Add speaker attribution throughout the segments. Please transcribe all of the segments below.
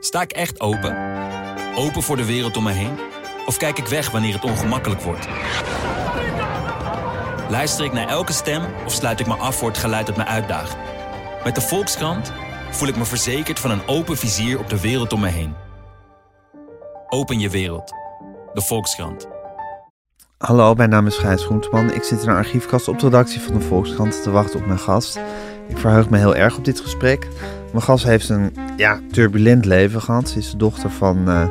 Speaker 1: Sta ik echt open? Open voor de wereld om me heen? Of kijk ik weg wanneer het ongemakkelijk wordt? Luister ik naar elke stem of sluit ik me af voor het geluid dat me uitdaagt? Met de Volkskrant voel ik me verzekerd van een open vizier op de wereld om me heen. Open je wereld. De Volkskrant.
Speaker 2: Hallo, mijn naam is Gijs Groenteman. Ik zit in een archiefkast op de redactie van de Volkskrant te wachten op mijn gast. Ik verheug me heel erg op dit gesprek. Mijn gast heeft een ja, turbulent leven gehad. Ze is de dochter van eh,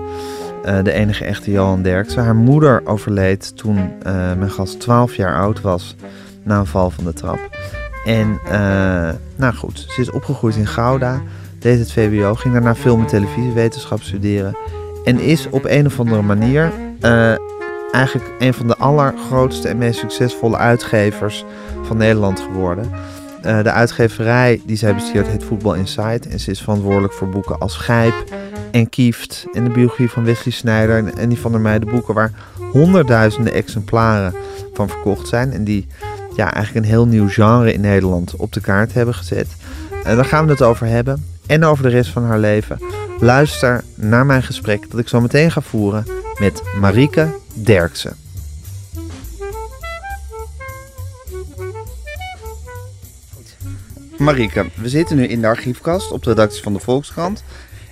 Speaker 2: eh, de enige echte Johan Derksen. Haar moeder overleed toen eh, mijn gast 12 jaar oud was na een val van de trap. En eh, nou goed, ze is opgegroeid in Gouda, deed het VWO, ging daarna film en televisiewetenschap studeren. En is op een of andere manier eh, eigenlijk een van de allergrootste en meest succesvolle uitgevers van Nederland geworden. Eh, de uitgeverij die zij bestuurt heet Voetbal Insight. En ze is verantwoordelijk voor boeken als Gijp en Kieft. En de biografie van Wesley Snijder en, en die van der Meijden boeken waar honderdduizenden exemplaren van verkocht zijn. En die ja, eigenlijk een heel nieuw genre in Nederland op de kaart hebben gezet. En Eh, daar gaan we het over hebben. En over de rest van haar leven. Luister naar mijn gesprek dat ik zo meteen ga voeren met Marieke Derksen. Marieke, we zitten nu in de archiefkast op de redactie van de Volkskrant.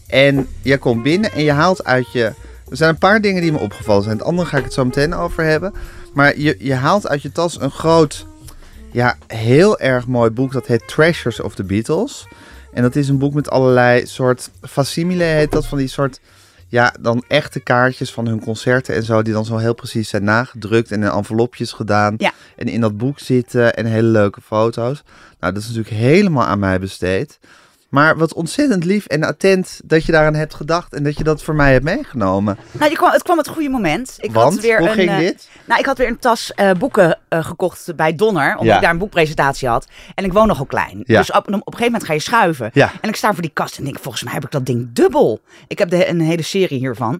Speaker 2: En jij komt binnen en je haalt uit je... Er zijn een paar dingen die me opgevallen zijn. Het andere ga ik het zo meteen over hebben. Maar je, je haalt uit je tas een groot, ja, heel erg mooi boek. Dat heet Treasures of the Beatles. En dat is een boek met allerlei soort... Facsimile heet dat, van die soort... Ja, dan echte kaartjes van hun concerten en zo, die dan zo heel precies zijn nagedrukt en in envelopjes gedaan.
Speaker 3: Ja.
Speaker 2: En in dat boek zitten en hele leuke foto's. Nou, dat is natuurlijk helemaal aan mij besteed. Maar wat ontzettend lief en attent dat je daaraan hebt gedacht en dat je dat voor mij hebt meegenomen.
Speaker 3: Nou, je kwam, het kwam het goede moment. Ik
Speaker 2: Want,
Speaker 3: had weer
Speaker 2: hoe
Speaker 3: een,
Speaker 2: ging
Speaker 3: eh,
Speaker 2: dit?
Speaker 3: Nou, ik had weer een tas eh, boeken eh, gekocht bij Donner, omdat
Speaker 2: Ja.
Speaker 3: ik daar een boekpresentatie had. En ik woon nogal klein.
Speaker 2: Ja.
Speaker 3: Dus op, op een gegeven moment ga je schuiven.
Speaker 2: Ja.
Speaker 3: En ik sta voor die kast en denk, volgens mij heb ik dat ding dubbel. Ik heb de, een hele serie hiervan.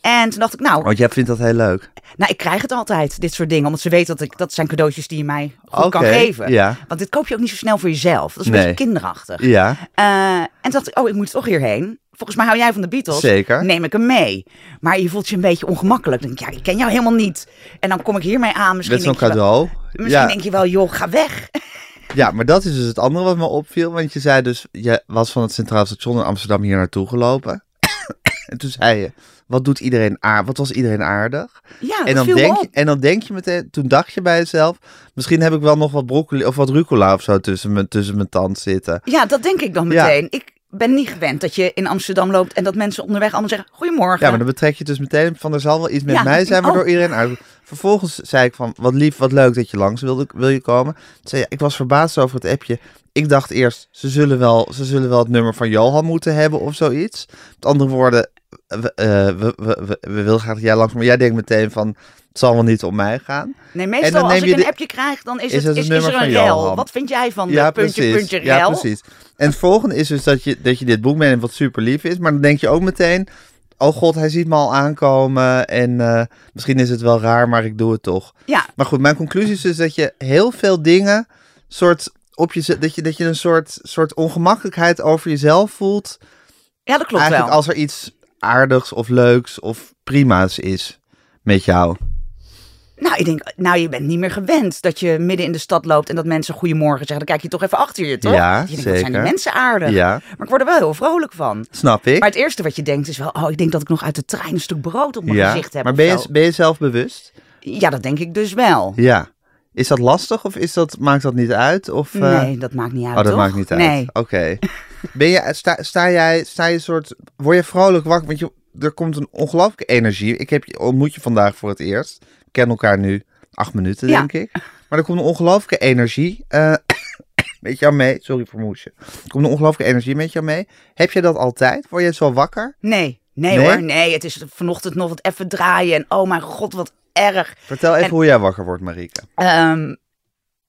Speaker 3: En toen dacht ik, nou,
Speaker 2: Want jij vindt dat heel leuk.
Speaker 3: nou, ik krijg het altijd, dit soort dingen. Omdat ze weten dat ik, dat zijn cadeautjes die je mij goed kan
Speaker 2: Oké,
Speaker 3: geven.
Speaker 2: ja.
Speaker 3: Want dit koop je ook niet zo snel voor jezelf. Dat is een
Speaker 2: Nee.
Speaker 3: beetje kinderachtig.
Speaker 2: Ja,
Speaker 3: Eh, en toen dacht ik, oh, ik moet toch hierheen. Volgens mij hou jij van de Beatles.
Speaker 2: Zeker.
Speaker 3: Neem ik hem mee. Maar je voelt je een beetje ongemakkelijk. Dan denk ik, ja, ik ken jou helemaal niet. En dan kom ik hiermee aan. Misschien,
Speaker 2: met zo'n
Speaker 3: denk, je wel,
Speaker 2: cadeau.
Speaker 3: misschien
Speaker 2: Ja,
Speaker 3: denk je wel, joh, ga weg.
Speaker 2: ja, maar dat is dus het andere wat me opviel. Want je zei dus, je was van het Centraal Station in Amsterdam hier naartoe gelopen. en toen zei je, wat doet iedereen aardig? Wat was iedereen aardig?
Speaker 3: Ja,
Speaker 2: en,
Speaker 3: dat
Speaker 2: dan
Speaker 3: viel me
Speaker 2: denk je,
Speaker 3: op.
Speaker 2: en dan denk je meteen, toen dacht je bij jezelf, misschien heb ik wel nog wat broccoli of wat rucola of zo tussen mijn, tussen mijn tand zitten.
Speaker 3: Ja, dat denk ik dan
Speaker 2: Ja.
Speaker 3: meteen. Ik ben niet gewend dat je in Amsterdam loopt en dat mensen onderweg allemaal zeggen, goedemorgen.
Speaker 2: Ja, maar dan betrek je het dus meteen van er zal wel iets met
Speaker 3: Ja,
Speaker 2: mij zijn,
Speaker 3: oh.
Speaker 2: waardoor iedereen uit. Vervolgens zei ik van wat lief, wat leuk dat je langs wilde, wil je komen. Toen zei je, ik was verbaasd over het appje. Ik dacht eerst, ze zullen wel, ze zullen wel het nummer van Johan moeten hebben of zoiets. Met andere woorden, we, eh, we, we, we, we willen graag dat jij langs, maar jij denkt meteen van het zal wel niet om mij gaan.
Speaker 3: nee,
Speaker 2: en
Speaker 3: meestal
Speaker 2: dan
Speaker 3: als
Speaker 2: neem
Speaker 3: ik
Speaker 2: je
Speaker 3: een
Speaker 2: de-
Speaker 3: appje krijg, dan
Speaker 2: is
Speaker 3: is,
Speaker 2: het
Speaker 3: het,
Speaker 2: een
Speaker 3: is, is
Speaker 2: nummer
Speaker 3: er een
Speaker 2: van Johan?
Speaker 3: rel. Wat vind jij van de puntje, puntje, rel?
Speaker 2: Ja, precies. En het volgende is dus dat je, dat je dit boek meeneemt, wat super lief is. Maar dan denk je ook meteen, oh god, hij ziet me al aankomen. En eh, misschien is het wel raar, maar ik doe het toch.
Speaker 3: Ja,
Speaker 2: Maar goed, mijn conclusie is dus dat je heel veel dingen soort op je, zet- dat je, dat je een soort, soort ongemakkelijkheid over jezelf voelt.
Speaker 3: ja, dat klopt
Speaker 2: eigenlijk
Speaker 3: wel.
Speaker 2: als er iets aardigs of leuks of prima's is met jou.
Speaker 3: Nou, ik denk, nou, je bent niet meer gewend dat je midden in de stad loopt en dat mensen goedemorgen zeggen. Dan kijk je toch even achter je, toch?
Speaker 2: Ja,
Speaker 3: je denkt, wat zijn die
Speaker 2: zeker.
Speaker 3: mensen aardig.
Speaker 2: Ja.
Speaker 3: Maar ik word er wel heel vrolijk van.
Speaker 2: Snap ik.
Speaker 3: Maar het eerste wat je denkt is wel, oh, ik denk dat ik nog uit de trein een stuk brood op mijn
Speaker 2: ja.
Speaker 3: gezicht heb.
Speaker 2: maar
Speaker 3: of
Speaker 2: ben je,
Speaker 3: zo.
Speaker 2: ben je zelf bewust?
Speaker 3: Ja, dat denk ik dus wel.
Speaker 2: Ja. Is dat lastig of is dat, maakt dat niet uit? Of, eh,
Speaker 3: Nee, dat maakt niet uit,
Speaker 2: Oh, dat
Speaker 3: toch?
Speaker 2: maakt niet uit.
Speaker 3: Nee.
Speaker 2: Oké. Ben je, sta, sta jij, sta je soort, word je vrolijk wakker? Want je, er komt een ongelooflijke energie. Ik heb je, ontmoet je vandaag voor het eerst. We kennen elkaar nu acht minuten,
Speaker 3: Ja.
Speaker 2: denk ik. Maar er komt een ongelooflijke energie eh, met jou mee. Sorry voor moesje. Er komt een ongelooflijke energie met jou mee. Heb je dat altijd? Word je zo wakker?
Speaker 3: Nee, nee,
Speaker 2: Nee?
Speaker 3: hoor. Nee, het is vanochtend nog wat even draaien en oh mijn god, wat erg.
Speaker 2: Vertel even
Speaker 3: En-
Speaker 2: hoe jij wakker wordt, Marieke.
Speaker 3: Ehm,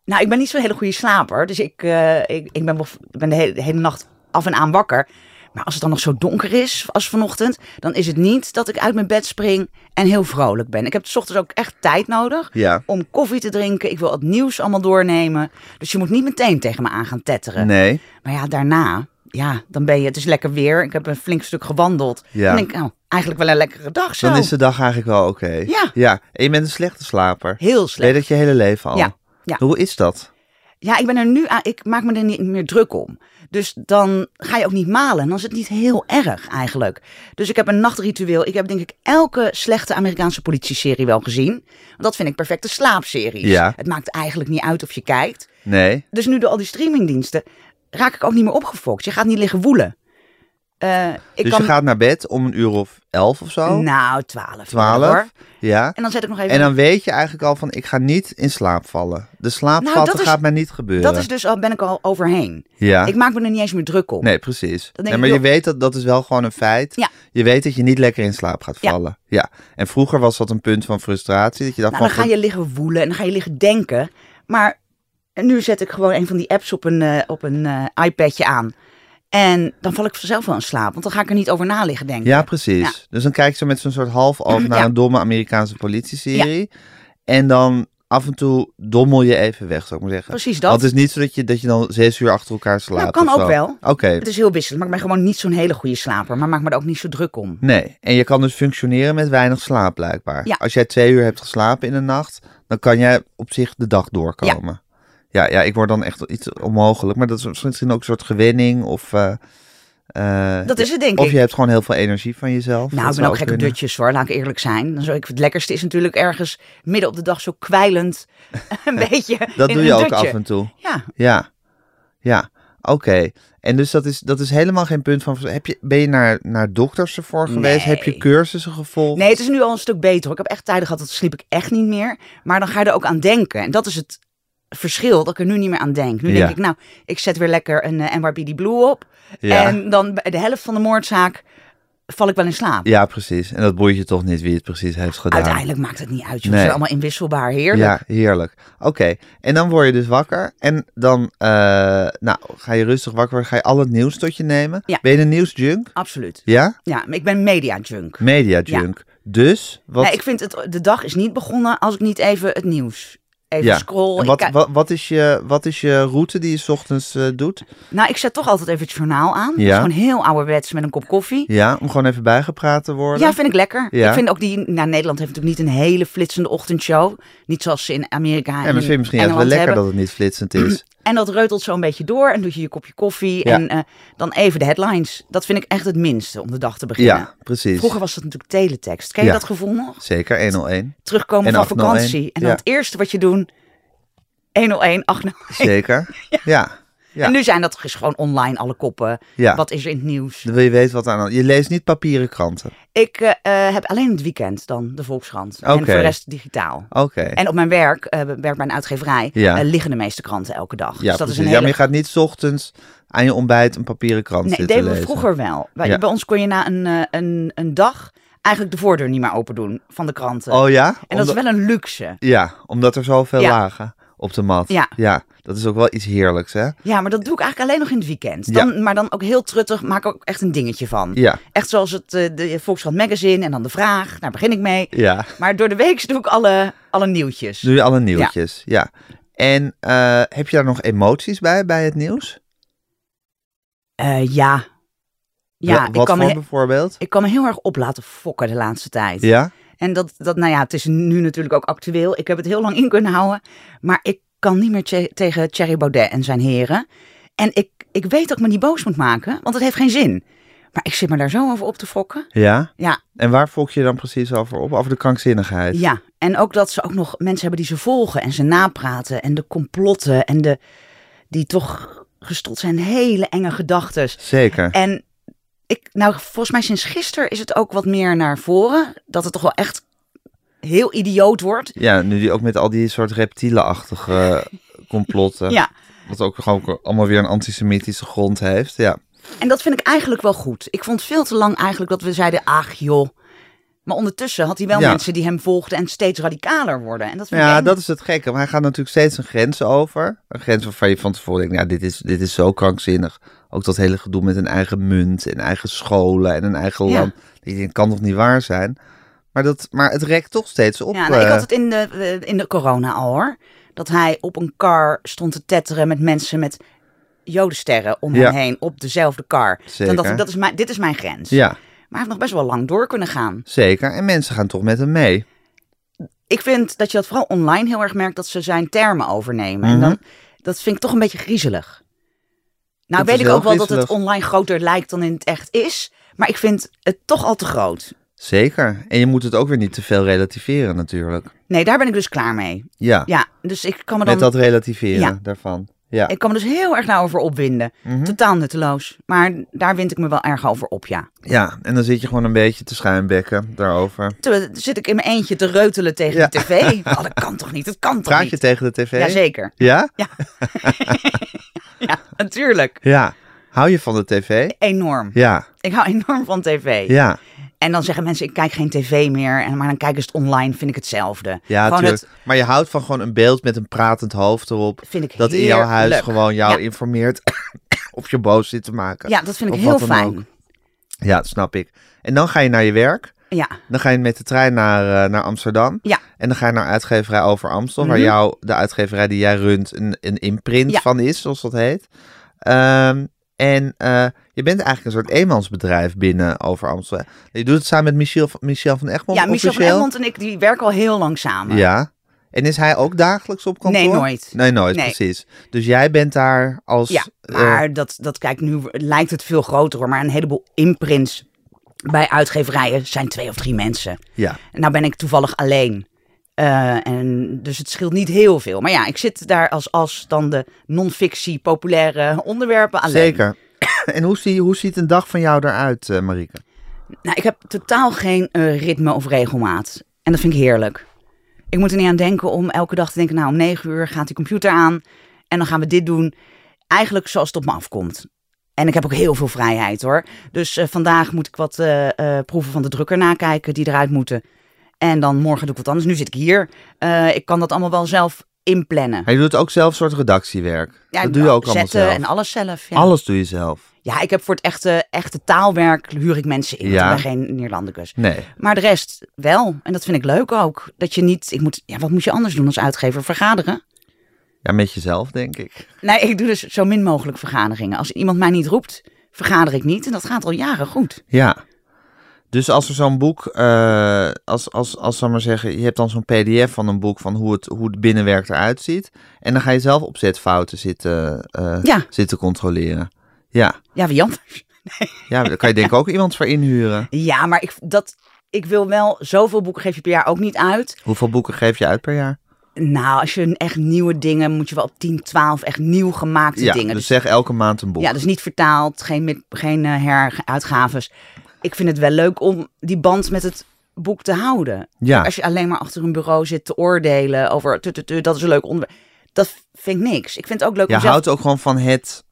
Speaker 3: nou, ik ben niet zo'n hele goede slaper. Dus ik, eh, ik, ik ben, wel- ik ben de, hele, de hele nacht af en aan wakker. Maar als het dan nog zo donker is als vanochtend, dan is het niet dat ik uit mijn bed spring en heel vrolijk ben. Ik heb 's ochtends ook echt tijd nodig
Speaker 2: Ja.
Speaker 3: om koffie te drinken. Ik wil het nieuws allemaal doornemen. Dus je moet niet meteen tegen me aan gaan tetteren.
Speaker 2: Nee.
Speaker 3: Maar ja, daarna ja, dan ben je, het is lekker weer. Ik heb een flink stuk gewandeld.
Speaker 2: Ja.
Speaker 3: Dan denk ik, nou, eigenlijk wel een lekkere dag zo.
Speaker 2: Dan is de dag eigenlijk wel oké.
Speaker 3: Ja.
Speaker 2: En je bent een slechte slaper.
Speaker 3: Heel
Speaker 2: Ben je
Speaker 3: slecht.
Speaker 2: dat je hele leven al?
Speaker 3: Ja, ja.
Speaker 2: Hoe is dat?
Speaker 3: Ja, ik ben er nu aan, ik maak me er niet meer druk om. Dus dan ga je ook niet malen. En Dan is het niet heel erg eigenlijk. Dus ik heb een nachtritueel. Ik heb denk ik elke slechte Amerikaanse politieserie wel gezien. Want dat vind ik perfecte slaapseries.
Speaker 2: Ja.
Speaker 3: Het maakt eigenlijk niet uit of je kijkt.
Speaker 2: Nee.
Speaker 3: Dus nu door al die streamingdiensten raak ik ook niet meer opgefokt. Je gaat niet liggen woelen. Eh, ik
Speaker 2: dus
Speaker 3: kan,
Speaker 2: je gaat naar bed om een uur of elf of zo?
Speaker 3: Nou, twaalf.
Speaker 2: Twaalf?
Speaker 3: Hoor.
Speaker 2: Ja.
Speaker 3: En dan zet ik nog even...
Speaker 2: En dan weet je eigenlijk al van, ik ga niet in slaap vallen. De slaapvatten
Speaker 3: Nou, dat is-
Speaker 2: gaat mij niet gebeuren.
Speaker 3: Dat is dus al, ben ik al overheen.
Speaker 2: ja.
Speaker 3: Ik maak me er niet eens meer druk om.
Speaker 2: Nee, precies.
Speaker 3: Dan denk
Speaker 2: Nee,
Speaker 3: ik,
Speaker 2: maar je
Speaker 3: joh.
Speaker 2: weet dat dat is wel gewoon een feit.
Speaker 3: Ja.
Speaker 2: Je weet dat je niet lekker in slaap gaat
Speaker 3: Ja.
Speaker 2: vallen. Ja. En vroeger was dat een punt van frustratie. Dat je dacht
Speaker 3: Nou, dan
Speaker 2: van,
Speaker 3: ga je liggen woelen en dan ga je liggen denken. Maar nu zet ik gewoon een van die apps op een, eh, op een eh, iPadje aan. En dan val ik vanzelf wel in slaap, want dan ga ik er niet over na liggen denken.
Speaker 2: Ja, precies. Dus dan kijk je zo met zo'n soort half oog naar
Speaker 3: Ja.
Speaker 2: een domme Amerikaanse politieserie. En dan af en toe dommel je even weg, zou ik maar zeggen.
Speaker 3: Precies dat. Nou,
Speaker 2: Want het is niet zo dat je, dat je dan zes uur achter elkaar slaapt.
Speaker 3: kan
Speaker 2: of zo.
Speaker 3: ook wel.
Speaker 2: Oké.
Speaker 3: Het is heel wisselend. maar Ik ben gewoon niet zo'n hele goede slaper, maar maak me er ook niet zo druk om.
Speaker 2: Nee, en je kan dus functioneren met weinig slaap blijkbaar.
Speaker 3: Ja.
Speaker 2: Als jij twee uur hebt geslapen in de nacht, dan kan jij op zich de dag doorkomen. Ja, ja, ik word dan echt iets onmogelijk. Maar dat is misschien ook een soort gewenning of... eh, eh,
Speaker 3: Dat is het, denk
Speaker 2: Of
Speaker 3: ik.
Speaker 2: je hebt gewoon heel veel energie van jezelf.
Speaker 3: Nou,
Speaker 2: Dat
Speaker 3: ik ben
Speaker 2: zou
Speaker 3: ook gek op
Speaker 2: kunnen.
Speaker 3: dutjes hoor, laat ik eerlijk zijn. Dan zou ik, het lekkerste is natuurlijk ergens midden op de dag zo kwijlend een beetje
Speaker 2: Dat
Speaker 3: in
Speaker 2: doe
Speaker 3: een
Speaker 2: je ook
Speaker 3: dutje.
Speaker 2: af en toe.
Speaker 3: Ja,
Speaker 2: Ja, ja, oké. En dus dat is, dat is helemaal geen punt van... Heb je, ben je naar, naar dokters ervoor geweest? Heb je
Speaker 3: Nee.
Speaker 2: cursussen gevolgd?
Speaker 3: Nee, het is nu al een stuk beter. hoor. Ik heb echt tijden gehad, dat sliep ik echt niet meer. Maar dan ga je er ook aan denken. En dat is het verschil, dat ik er nu niet meer aan denk. Nu
Speaker 2: Ja.
Speaker 3: denk ik, nou, ik zet weer lekker een eh, NYPD Blue op.
Speaker 2: Ja.
Speaker 3: En dan bij de helft van de moordzaak val ik wel in slaap.
Speaker 2: Ja, precies. En dat boeit je toch niet wie het precies heeft gedaan.
Speaker 3: Uiteindelijk maakt het niet uit. joh.
Speaker 2: Nee.
Speaker 3: Ze zijn allemaal inwisselbaar, heerlijk.
Speaker 2: Ja, heerlijk. Oké, en dan word je dus wakker en dan eh, nou, ga je rustig wakker worden, ga je al het nieuws tot je nemen.
Speaker 3: Ja.
Speaker 2: Ben je een nieuwsjunk?
Speaker 3: Absoluut.
Speaker 2: Ja?
Speaker 3: Ja, maar ik ben media junk.
Speaker 2: Mediajunk. Dus, wat,
Speaker 3: Nee, ik vind het, de dag is niet begonnen als ik niet even het nieuws... Even
Speaker 2: ja.
Speaker 3: scroll.
Speaker 2: En
Speaker 3: ik
Speaker 2: wat,
Speaker 3: kijk-
Speaker 2: wat, wat, is je, wat is je route die je 's ochtends eh, doet?
Speaker 3: nou, ik zet toch altijd even het journaal aan.
Speaker 2: Ja.
Speaker 3: Dat is gewoon heel ouderwets met een kop koffie.
Speaker 2: Ja, om gewoon even bijgepraat te worden?
Speaker 3: Ja, vind ik lekker.
Speaker 2: Ja.
Speaker 3: Ik vind ook die. Nou, Nederland heeft natuurlijk niet een hele flitsende ochtendshow. Niet zoals ze in Amerika en
Speaker 2: en misschien,
Speaker 3: in
Speaker 2: misschien juist wel
Speaker 3: Engeland
Speaker 2: lekker
Speaker 3: hebben.
Speaker 2: dat het niet flitsend is.
Speaker 3: En dat reutelt zo een beetje door. En doet je je kopje koffie.
Speaker 2: Ja.
Speaker 3: En eh, dan even de headlines. Dat vind ik echt het minste om de dag te beginnen.
Speaker 2: ja, precies.
Speaker 3: Vroeger was dat natuurlijk teletext. Ken je
Speaker 2: Ja.
Speaker 3: dat gevoel nog?
Speaker 2: Zeker, 101.
Speaker 3: Terugkomen
Speaker 2: En
Speaker 3: van
Speaker 2: 801.
Speaker 3: vakantie. En dan
Speaker 2: Ja.
Speaker 3: het eerste wat je doet. 101, 801.
Speaker 2: Zeker. ja. ja.
Speaker 3: En nu zijn dat dus gewoon online alle koppen.
Speaker 2: Ja.
Speaker 3: Wat is er in het nieuws?
Speaker 2: Dan wil je weten wat er aan. Je leest niet papieren kranten.
Speaker 3: Ik eh, eh, heb alleen het weekend dan de Volkskrant.
Speaker 2: Oké.
Speaker 3: En voor de rest digitaal.
Speaker 2: Oké.
Speaker 3: En op mijn werk, eh werk bij een uitgeverij,
Speaker 2: Ja.
Speaker 3: eh, liggen de meeste kranten elke dag.
Speaker 2: Ja,
Speaker 3: dus dat
Speaker 2: precies.
Speaker 3: is een
Speaker 2: ja, maar
Speaker 3: hele...
Speaker 2: je gaat niet 's ochtends aan je ontbijt een papieren krant
Speaker 3: nee,
Speaker 2: zitten
Speaker 3: deden we
Speaker 2: lezen.
Speaker 3: vroeger wel. Bij,
Speaker 2: Ja.
Speaker 3: bij ons kon je na een, eh, een, een dag eigenlijk de voordeur niet meer open doen van de kranten.
Speaker 2: Oh ja?
Speaker 3: en dat
Speaker 2: Omdat-
Speaker 3: is wel een luxe.
Speaker 2: Ja, omdat er zoveel
Speaker 3: Ja.
Speaker 2: lagen op de mat.
Speaker 3: Ja.
Speaker 2: dat is ook wel iets heerlijks, hè?
Speaker 3: Ja, maar dat doe ik eigenlijk alleen nog in het weekend.
Speaker 2: Ja.
Speaker 3: Dan, Maar dan ook heel truttig, maak ik ook echt een dingetje van.
Speaker 2: Ja,
Speaker 3: Echt zoals het, eh, de Volkskrant Magazine en dan de vraag, daar begin ik mee.
Speaker 2: ja. Dus-
Speaker 3: Maar door de week doe ik alle, alle nieuwtjes.
Speaker 2: Doe je alle nieuwtjes, ja. En eh, heb je daar nog emoties bij, bij het nieuws?
Speaker 3: Eh, ja, ja
Speaker 2: Wa-
Speaker 3: ik,
Speaker 2: Wat
Speaker 3: kan
Speaker 2: voor
Speaker 3: me,
Speaker 2: bijvoorbeeld?
Speaker 3: ik kan me heel erg op laten fokken de laatste tijd.
Speaker 2: Ja?
Speaker 3: En dat, dat, nou ja, het is nu natuurlijk ook actueel. Ik heb het heel lang in kunnen houden. Maar ik kan niet meer tje- tegen Thierry Baudet en zijn heren. En ik, ik weet dat ik me niet boos moet maken, want het heeft geen zin. Maar ik zit me daar zo over op te fokken.
Speaker 2: Ja?
Speaker 3: Ja,
Speaker 2: En waar volg je dan precies over op? Over de krankzinnigheid?
Speaker 3: ja. En ook dat ze ook nog mensen hebben die ze volgen en ze napraten. En de complotten en de, die toch gestopt zijn. Hele enge gedachten.
Speaker 2: Zeker.
Speaker 3: En ik, nou, volgens mij sinds gisteren is het ook wat meer naar voren. Dat het toch wel echt heel idioot wordt.
Speaker 2: Ja, nu die ook met al die soort reptielenachtige complotten.
Speaker 3: Ja.
Speaker 2: Wat ook gewoon allemaal weer een antisemitische grond heeft. Ja.
Speaker 3: En dat vind ik eigenlijk wel goed. Ik vond veel te lang eigenlijk dat we zeiden, ach joh. Maar ondertussen had hij wel
Speaker 2: Ja.
Speaker 3: mensen die hem volgden en steeds radicaler worden. En dat vind ik
Speaker 2: Ja,
Speaker 3: eng.
Speaker 2: dat is het gekke. Maar hij gaat natuurlijk steeds een grens over. Een grens waarvan je van tevoren denkt, nou, dit is, dit is zo krankzinnig. Ook dat hele gedoe met een eigen munt en eigen scholen en een eigen
Speaker 3: Ja.
Speaker 2: land. Ik denk, kan toch niet waar zijn? Maar, dat, maar het rekt toch steeds op.
Speaker 3: Ja, nou, ik
Speaker 2: eh,
Speaker 3: had het in de, eh, in de corona al hoor. Dat hij op een kar stond te tetteren met mensen met jodensterren om
Speaker 2: Ja.
Speaker 3: hem heen op dezelfde kar. Dan dacht
Speaker 2: Zeker.
Speaker 3: ik, dat is mijn, dit is mijn grens.
Speaker 2: Ja,
Speaker 3: Maar hij heeft nog best wel lang door kunnen gaan.
Speaker 2: zeker. En mensen gaan toch met hem mee.
Speaker 3: Ik vind dat je dat vooral online heel erg merkt dat ze zijn termen overnemen.
Speaker 2: Mhm.
Speaker 3: En dan, dat vind ik toch een beetje griezelig. Nou,
Speaker 2: Dat is
Speaker 3: weet ik
Speaker 2: wel
Speaker 3: ook wel dat het
Speaker 2: griezelig.
Speaker 3: online groter lijkt dan in het echt is. Maar ik vind het toch al te groot.
Speaker 2: Zeker. En je moet het ook weer niet te veel relativeren natuurlijk.
Speaker 3: Nee, daar ben ik dus klaar mee.
Speaker 2: Ja,
Speaker 3: Ja, dus ik kan me dan.
Speaker 2: met dat relativeren
Speaker 3: Ja.
Speaker 2: daarvan. Ja.
Speaker 3: Ik kan me dus heel erg daarover opwinden.
Speaker 2: Mhm.
Speaker 3: Totaal nutteloos. Maar daar wind ik me wel erg over op, ja.
Speaker 2: ja, en dan zit je gewoon een beetje te schuimbekken daarover.
Speaker 3: Toen zit ik in mijn eentje te reutelen tegen
Speaker 2: Ja.
Speaker 3: de tv. Oh, dat kan toch niet? Dat kan toch
Speaker 2: Praat je
Speaker 3: niet?
Speaker 2: tegen de tv?
Speaker 3: Jazeker.
Speaker 2: Ja?
Speaker 3: Ja, natuurlijk.
Speaker 2: Ja. Hou je van de tv?
Speaker 3: Enorm.
Speaker 2: Ja.
Speaker 3: Ik hou enorm van tv.
Speaker 2: Ja.
Speaker 3: En dan zeggen mensen, ik kijk geen tv meer. En, maar dan kijken ze het online, vind ik hetzelfde.
Speaker 2: Ja,
Speaker 3: Gewoon
Speaker 2: tuurlijk.
Speaker 3: het-
Speaker 2: Maar je houdt van gewoon een beeld met een pratend hoofd erop.
Speaker 3: Vind ik
Speaker 2: dat in jouw huis
Speaker 3: heerlijk.
Speaker 2: gewoon jou
Speaker 3: Ja.
Speaker 2: informeert of je boos zit te maken.
Speaker 3: ja, dat vind ik
Speaker 2: Of
Speaker 3: heel
Speaker 2: wat dan
Speaker 3: fijn.
Speaker 2: ook. Ja, dat snap ik. En dan ga je naar je werk.
Speaker 3: Ja,
Speaker 2: Dan ga je met de trein naar, eh, naar Amsterdam.
Speaker 3: Ja.
Speaker 2: En dan ga je naar uitgeverij Over Amstel, waar jou, de uitgeverij die jij runt, een, een imprint
Speaker 3: Mhm. Ja.
Speaker 2: van is, zoals dat heet. Ehm, en eh, je bent eigenlijk een soort eenmansbedrijf binnen Over Amstel. Je doet het samen met Michiel, van- Michiel van Egmond
Speaker 3: ja Michel van
Speaker 2: officieel.
Speaker 3: Egmond en ik die werken al heel lang samen.
Speaker 2: Ja. En is hij ook dagelijks op kantoor?
Speaker 3: Nee, nooit.
Speaker 2: Nee, nooit,
Speaker 3: Nee.
Speaker 2: precies. Dus jij bent daar als...
Speaker 3: Ja,
Speaker 2: eh,
Speaker 3: maar dat, dat kijk, nu lijkt het veel groter hoor. Maar een heleboel imprints bij uitgeverijen zijn twee of drie mensen.
Speaker 2: ja.
Speaker 3: En nou ben ik toevallig alleen. Eh, en dus het scheelt niet heel veel. Maar ja, ik zit daar als, als dan de non-fictie populaire onderwerpen alleen.
Speaker 2: Zeker. En hoe, zie, hoe ziet een dag van jou eruit, eh Marieke?
Speaker 3: Nou, ik heb totaal geen eh, ritme of regelmaat. En dat vind ik heerlijk. Ik moet er niet aan denken om elke dag te denken, nou om negen uur gaat die computer aan en dan gaan we dit doen. Eigenlijk zoals het op me afkomt. En ik heb ook heel veel vrijheid hoor. Dus eh, vandaag moet ik wat eh, eh, proeven van de drukker nakijken die eruit moeten. En dan morgen doe ik wat anders. Nu zit ik hier. Eh, ik kan dat allemaal wel zelf inplannen.
Speaker 2: Maar je doet ook zelf soort redactiewerk.
Speaker 3: Ja,
Speaker 2: dat doe je ook allemaal
Speaker 3: zetten
Speaker 2: zelf.
Speaker 3: en alles zelf. Ja.
Speaker 2: Alles doe je zelf.
Speaker 3: ja, ik heb voor het echte, echte taalwerk huur ik mensen in. want
Speaker 2: Ja.
Speaker 3: Ik ben geen Neerlandicus.
Speaker 2: Nee.
Speaker 3: Maar de rest wel. En dat vind ik leuk ook. Dat je niet. Ik moet, ja, wat moet je anders doen als uitgever? Vergaderen?
Speaker 2: Ja, met jezelf, denk ik.
Speaker 3: Nee, ik doe dus zo min mogelijk vergaderingen. Als iemand mij niet roept, vergader ik niet. En dat gaat al jaren goed.
Speaker 2: Ja. Dus als er zo'n boek, eh, als, als, als zal ik maar zeggen, je hebt dan zo'n pdf van een boek van hoe het, hoe het binnenwerk eruit ziet. En dan ga je zelf opzetfouten zitten, eh,
Speaker 3: Ja.
Speaker 2: zitten controleren. Ja.
Speaker 3: Ja, wie anders?
Speaker 2: Ja, daar kan je denk ik ook iemand voor inhuren.
Speaker 3: Ja, maar ik, dat, ik wil wel. Zoveel boeken geef je per jaar ook niet uit.
Speaker 2: Hoeveel boeken geef je uit per jaar?
Speaker 3: Nou, als je echt nieuwe dingen. moet je wel op 10, 12 echt nieuw gemaakte
Speaker 2: Ja,
Speaker 3: dingen.
Speaker 2: dus zeg elke maand een boek.
Speaker 3: Ja, dus niet vertaald, geen, met, geen eh, heruitgaves. Ik vind het wel leuk om die band met het boek te houden.
Speaker 2: Ja.
Speaker 3: Als je alleen maar achter een bureau zit te oordelen over tu, tu, tu, dat is een leuk onderwerp. Dat vind ik niks. Ik vind het ook leuk
Speaker 2: je
Speaker 3: om zelf...
Speaker 2: houdt ook gewoon van het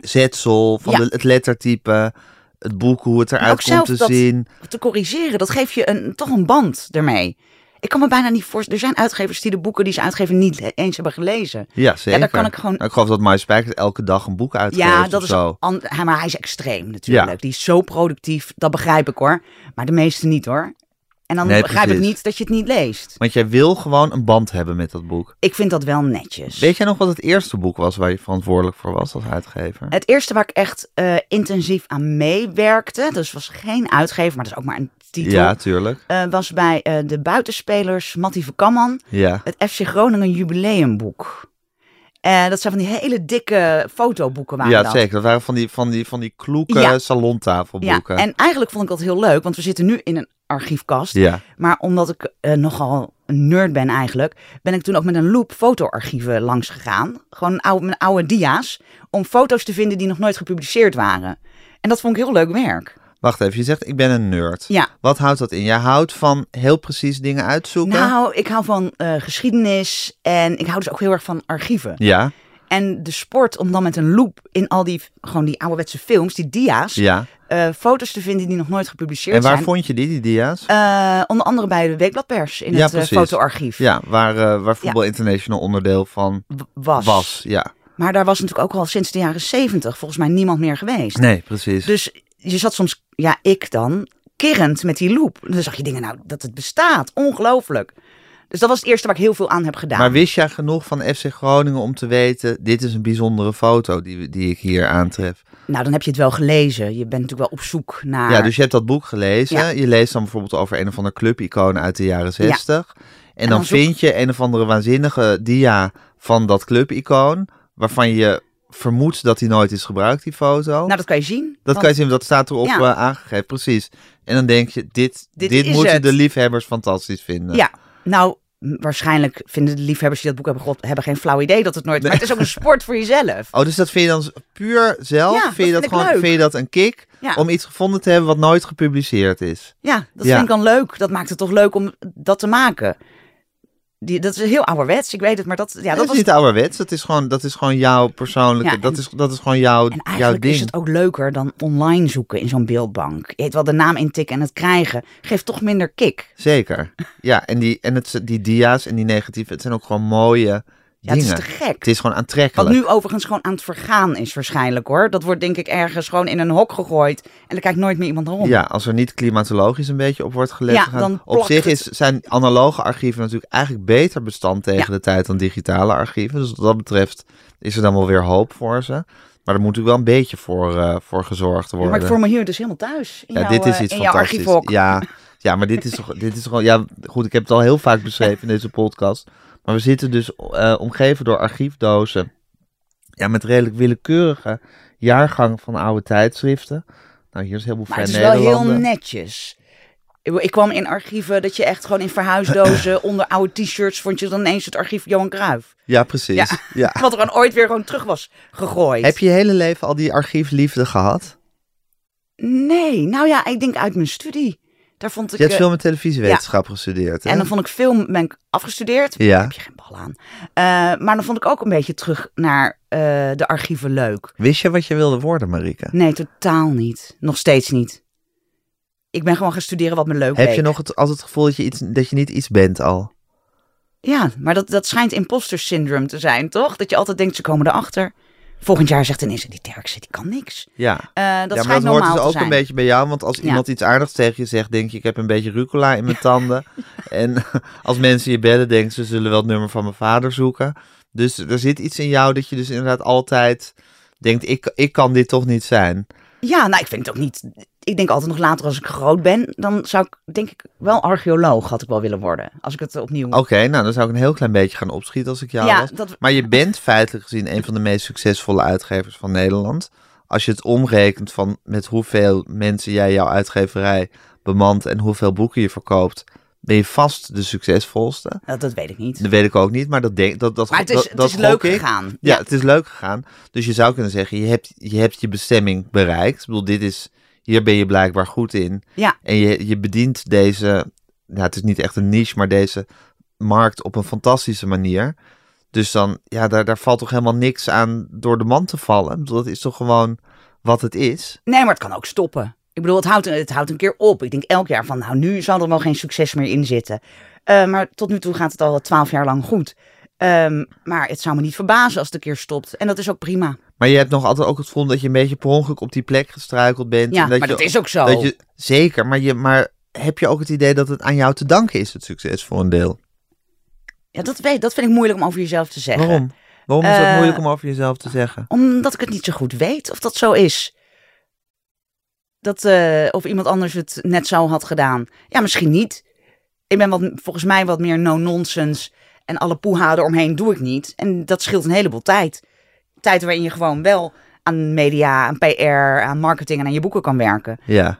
Speaker 2: zetsel, van
Speaker 3: Ja.
Speaker 2: de- het lettertype, het boek, hoe het
Speaker 3: Maar ook
Speaker 2: eruit komt
Speaker 3: zelf
Speaker 2: te
Speaker 3: dat
Speaker 2: zien.
Speaker 3: te corrigeren. Dat geeft je een, toch een band ermee. Ik kan me bijna niet voorstellen. Er zijn uitgevers die de boeken die ze uitgeven niet eens hebben gelezen.
Speaker 2: Ja, zeker.
Speaker 3: daar kan ik gewoon-
Speaker 2: Nou, ik geloof dat Mike Spijkers elke dag een boek uitgeeft
Speaker 3: Ja,
Speaker 2: of
Speaker 3: dat is
Speaker 2: zo.
Speaker 3: an- hij- maar hij is extreem natuurlijk.
Speaker 2: Ja.
Speaker 3: Die is zo productief, dat begrijp ik hoor. Maar de meeste niet hoor. En dan
Speaker 2: Nee,
Speaker 3: begrijp ik
Speaker 2: precies.
Speaker 3: niet dat je het niet leest.
Speaker 2: Want jij wil gewoon een band hebben met dat boek.
Speaker 3: Ik vind dat wel netjes.
Speaker 2: Weet jij nog wat het eerste boek was waar je verantwoordelijk voor was als uitgever?
Speaker 3: Het eerste waar ik echt eh, intensief aan meewerkte, dus was geen uitgever, maar dat is ook maar een titel,
Speaker 2: Ja, tuurlijk.
Speaker 3: eh, was bij eh, de buitenspelers Mattie Verkamman
Speaker 2: Ja.
Speaker 3: het FC Groningen jubileumboek. Eh, dat zijn van die hele dikke fotoboeken waren
Speaker 2: Ja,
Speaker 3: dat.
Speaker 2: zeker. Dat waren van die, van die, van die kloeke
Speaker 3: Ja. Ja,
Speaker 2: salontafelboeken.
Speaker 3: en eigenlijk vond ik dat heel leuk, want we zitten nu in een archiefkast.
Speaker 2: ja.
Speaker 3: Maar omdat ik eh, nogal een nerd ben eigenlijk, ben ik toen ook met een loop fotoarchieven langs gegaan. Gewoon oude, mijn oude dia's, om foto's te vinden die nog nooit gepubliceerd waren. En dat vond ik heel leuk werk.
Speaker 2: Wacht even, je zegt ik ben een nerd.
Speaker 3: Ja.
Speaker 2: Wat houdt dat in? Jij houdt van heel precies dingen uitzoeken?
Speaker 3: Nou, ik hou van eh, geschiedenis en ik hou dus ook heel erg van archieven.
Speaker 2: Ja,
Speaker 3: En de sport om dan met een loop in al die, gewoon die ouderwetse films, die dia's,
Speaker 2: ja.
Speaker 3: eh, foto's te vinden die nog nooit gepubliceerd
Speaker 2: En waar
Speaker 3: zijn.
Speaker 2: vond je die, die dia's?
Speaker 3: Eh, onder andere bij de Weekbladpers in
Speaker 2: Ja,
Speaker 3: het eh,
Speaker 2: precies.
Speaker 3: fotoarchief
Speaker 2: ja, waar, eh, waar Voetbal International onderdeel van
Speaker 3: w-
Speaker 2: was. Ja.
Speaker 3: Maar daar was natuurlijk ook al sinds de jaren zeventig volgens mij niemand meer geweest.
Speaker 2: Nee, precies.
Speaker 3: Dus je zat soms, ja, ik dan, kerend met die loop. Dan zag je dingen, nou, dat het bestaat. Ongelooflijk. Dus dat was het eerste waar ik heel veel aan heb gedaan.
Speaker 2: Maar wist jij genoeg van FC Groningen om te weten, dit is een bijzondere foto die, we- die ik hier aantref?
Speaker 3: Nou, dan heb je het wel gelezen. Je bent natuurlijk wel op zoek naar...
Speaker 2: Ja, dus je hebt dat boek gelezen.
Speaker 3: Ja.
Speaker 2: Je leest dan bijvoorbeeld over een of andere clubicoon uit de jaren 60. En, dan,
Speaker 3: dan zoek-
Speaker 2: vind je een of andere waanzinnige dia van dat clubicoon, waarvan je vermoedt dat die nooit is gebruikt, die foto.
Speaker 3: Nou, dat kan je zien.
Speaker 2: dat
Speaker 3: Want
Speaker 2: kan je zien, dat staat erop
Speaker 3: Ja.
Speaker 2: eh, aangegeven, precies. En dan denk je, dit, dit,
Speaker 3: Dit is
Speaker 2: moeten
Speaker 3: het.
Speaker 2: de liefhebbers fantastisch vinden.
Speaker 3: Ja, nou, m- waarschijnlijk vinden de liefhebbers die dat boek hebben gekocht... hebben geen flauw idee dat het nooit... Maar het is ook een sport voor jezelf.
Speaker 2: Oh, dus dat vind je dan z- puur zelf?
Speaker 3: Ja,
Speaker 2: vind,
Speaker 3: dat
Speaker 2: je dat
Speaker 3: vind ik
Speaker 2: gewoon,
Speaker 3: leuk.
Speaker 2: vind je dat een kick?
Speaker 3: Ja.
Speaker 2: Om iets gevonden te hebben wat nooit gepubliceerd is.
Speaker 3: Ja, dat
Speaker 2: Ja.
Speaker 3: vind ik dan leuk. Dat maakt het toch leuk om dat te maken. Die, dat is heel ouderwets, ik weet het, maar dat, ja,
Speaker 2: dat,
Speaker 3: dat
Speaker 2: is
Speaker 3: was...
Speaker 2: niet ouderwets. Dat is gewoon, dat is gewoon jouw persoonlijke...
Speaker 3: Ja, en-
Speaker 2: dat, is, dat is gewoon jouw,
Speaker 3: En
Speaker 2: jouw
Speaker 3: eigenlijk
Speaker 2: ding.
Speaker 3: is het ook leuker dan online zoeken in zo'n beeldbank. Je weet wel, de naam intikken en het krijgen geeft toch minder kick.
Speaker 2: Zeker. Ja, en, die, en het, die dia's en die negatieve... Het zijn ook gewoon mooie
Speaker 3: Ja, het
Speaker 2: dingen.
Speaker 3: is te gek.
Speaker 2: Het is gewoon
Speaker 3: Wat
Speaker 2: aantrekkelijk.
Speaker 3: nu overigens gewoon aan het vergaan is waarschijnlijk hoor. Dat wordt denk ik ergens gewoon in een hok gegooid. En dan kijkt nooit meer iemand rond.
Speaker 2: Ja, als er niet klimatologisch een beetje op wordt gelet.
Speaker 3: Ja,
Speaker 2: gaan-
Speaker 3: dan
Speaker 2: op
Speaker 3: plakt
Speaker 2: zich
Speaker 3: het.
Speaker 2: is, zijn analoge archieven natuurlijk eigenlijk beter bestand tegen
Speaker 3: Ja.
Speaker 2: de tijd dan digitale archieven. Dus wat dat betreft is er dan wel weer hoop voor ze. Maar er moet natuurlijk wel een beetje voor, eh, voor gezorgd
Speaker 3: Ja,
Speaker 2: worden.
Speaker 3: maar ik voel me hier dus helemaal thuis. In
Speaker 2: ja,
Speaker 3: jouw,
Speaker 2: dit is
Speaker 3: eh,
Speaker 2: iets
Speaker 3: in jouw
Speaker 2: fantastisch.
Speaker 3: archiefhok.
Speaker 2: Ja, ja, maar dit is toch, dit is gewoon. Ja, goed, ik heb het al heel vaak beschreven in deze podcast. Maar we zitten dus eh, omgeven door archiefdozen. Ja, met redelijk willekeurige jaargang van oude tijdschriften. Nou, hier is heel veel vrij
Speaker 3: Maar het is wel heel
Speaker 2: Nederlanden.
Speaker 3: netjes. Ik bedoel, Ik kwam in archieven dat je echt gewoon in verhuisdozen onder oude t-shirts vond je dan ineens het archief Johan Cruijff.
Speaker 2: Ja, precies. Ja.
Speaker 3: Ja. Wat er dan ooit weer gewoon terug was gegooid.
Speaker 2: Heb je je hele leven al die archiefliefde gehad?
Speaker 3: Nee, nou ja, ik denk uit mijn studie. Daar vond ik...
Speaker 2: Je hebt
Speaker 3: eh,
Speaker 2: film en televisiewetenschap gestudeerd, hè?
Speaker 3: en dan vond ik film, ben ik afgestudeerd.
Speaker 2: Ja.
Speaker 3: Heb je geen bal aan. Eh, maar dan vond ik ook een beetje terug naar eh, de archieven leuk.
Speaker 2: Wist je wat je wilde worden, Marike?
Speaker 3: Nee, totaal niet. Nog steeds niet. Ik ben gewoon gaan studeren wat me leuk
Speaker 2: Heb
Speaker 3: leek.
Speaker 2: je nog het, altijd het gevoel dat je, iets, dat je niet iets bent al?
Speaker 3: Ja, maar dat, dat schijnt imposter syndroom te zijn, toch? Dat je altijd denkt, ze komen erachter. Volgend jaar zegt ineens, die Terkse, die kan niks.
Speaker 2: Ja.
Speaker 3: Eh, dat
Speaker 2: ja, maar
Speaker 3: schijnt
Speaker 2: dat hoort
Speaker 3: normaal
Speaker 2: dus
Speaker 3: te
Speaker 2: ook
Speaker 3: zijn.
Speaker 2: een beetje bij jou. Want als
Speaker 3: Ja.
Speaker 2: iemand iets aardigs tegen je zegt, denk je, ik heb een beetje rucola in mijn tanden. En als mensen je bellen, denken ze, ze zullen wel het nummer van mijn vader zoeken. Dus er zit iets in jou dat je dus inderdaad altijd denkt, ik, ik kan dit toch niet zijn.
Speaker 3: Ja, nou, ik vind het ook niet... Ik denk altijd nog later, als ik groot ben, dan zou ik, denk ik, wel archeoloog had ik wel willen worden. Als ik het opnieuw...
Speaker 2: Oké, nou dan zou ik een heel klein beetje gaan opschieten als ik jou
Speaker 3: Ja,
Speaker 2: was.
Speaker 3: dat-
Speaker 2: Maar je bent feitelijk gezien een van de meest succesvolle uitgevers van Nederland. Als je het omrekent van met hoeveel mensen jij jouw uitgeverij bemant en hoeveel boeken je verkoopt, ben je vast de succesvolste.
Speaker 3: Dat, dat weet ik niet.
Speaker 2: Dat weet ik ook niet, maar dat denk dat dat
Speaker 3: Maar het is,
Speaker 2: dat,
Speaker 3: het
Speaker 2: dat
Speaker 3: is
Speaker 2: gok
Speaker 3: leuk
Speaker 2: ik.
Speaker 3: gegaan.
Speaker 2: Ja, het is leuk gegaan. Dus je zou kunnen zeggen, je hebt je, hebt je bestemming bereikt. Ik bedoel, dit is, hier ben je blijkbaar goed in.
Speaker 3: Ja.
Speaker 2: En je, je bedient deze, nou, het is niet echt een niche, maar deze markt op een fantastische manier. Dus dan, ja, daar, daar valt toch helemaal niks aan door de man te vallen. Ik bedoel, dat is toch gewoon wat het is.
Speaker 3: Nee, maar het kan ook stoppen. Ik bedoel, het houdt, het houdt een keer op. Ik denk elk jaar van, nou, nu zal er wel geen succes meer in zitten. Eh, maar tot nu toe gaat het al twaalf jaar lang goed. Ehm, maar het zou me niet verbazen als het een keer stopt. En dat is ook prima.
Speaker 2: Maar je hebt nog altijd ook het gevoel dat je een beetje per ongeluk op die plek gestruikeld bent.
Speaker 3: Ja,
Speaker 2: en dat
Speaker 3: maar
Speaker 2: je,
Speaker 3: dat is ook zo.
Speaker 2: Dat je, zeker, maar, je, maar heb je ook het idee dat het aan jou te danken is, het succes voor een deel?
Speaker 3: Ja, dat, weet, dat vind ik moeilijk om over jezelf te zeggen.
Speaker 2: Waarom? Waarom is dat
Speaker 3: Eh,
Speaker 2: moeilijk om over jezelf te zeggen?
Speaker 3: Omdat ik het niet zo goed weet of dat zo is. Dat, eh, of iemand anders het net zo had gedaan. Ja, misschien niet. Ik ben wat, volgens mij wat meer no-nonsense. En alle poeha eromheen doe ik niet. En dat scheelt een heleboel tijd. Tijd waarin je gewoon wel aan media, aan PR, aan marketing en aan je boeken kan werken.
Speaker 2: Ja,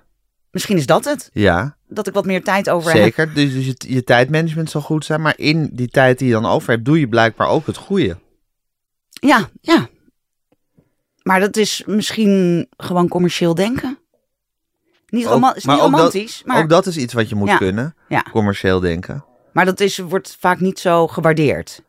Speaker 3: Misschien is dat het.
Speaker 2: ja
Speaker 3: Dat ik wat meer tijd over heb.
Speaker 2: zeker. Dus, dus je, je tijdmanagement zal goed zijn, maar in die tijd die je dan over hebt, doe je blijkbaar ook het goede.
Speaker 3: Ja, ja. Maar dat is misschien gewoon commercieel denken. Niet,
Speaker 2: Ook-
Speaker 3: roman- is
Speaker 2: maar
Speaker 3: niet
Speaker 2: ook dat-
Speaker 3: romantisch, maar...
Speaker 2: Ook dat is iets wat je moet
Speaker 3: Ja,
Speaker 2: kunnen,
Speaker 3: ja.
Speaker 2: commercieel denken.
Speaker 3: Maar dat is, wordt vaak niet zo gewaardeerd.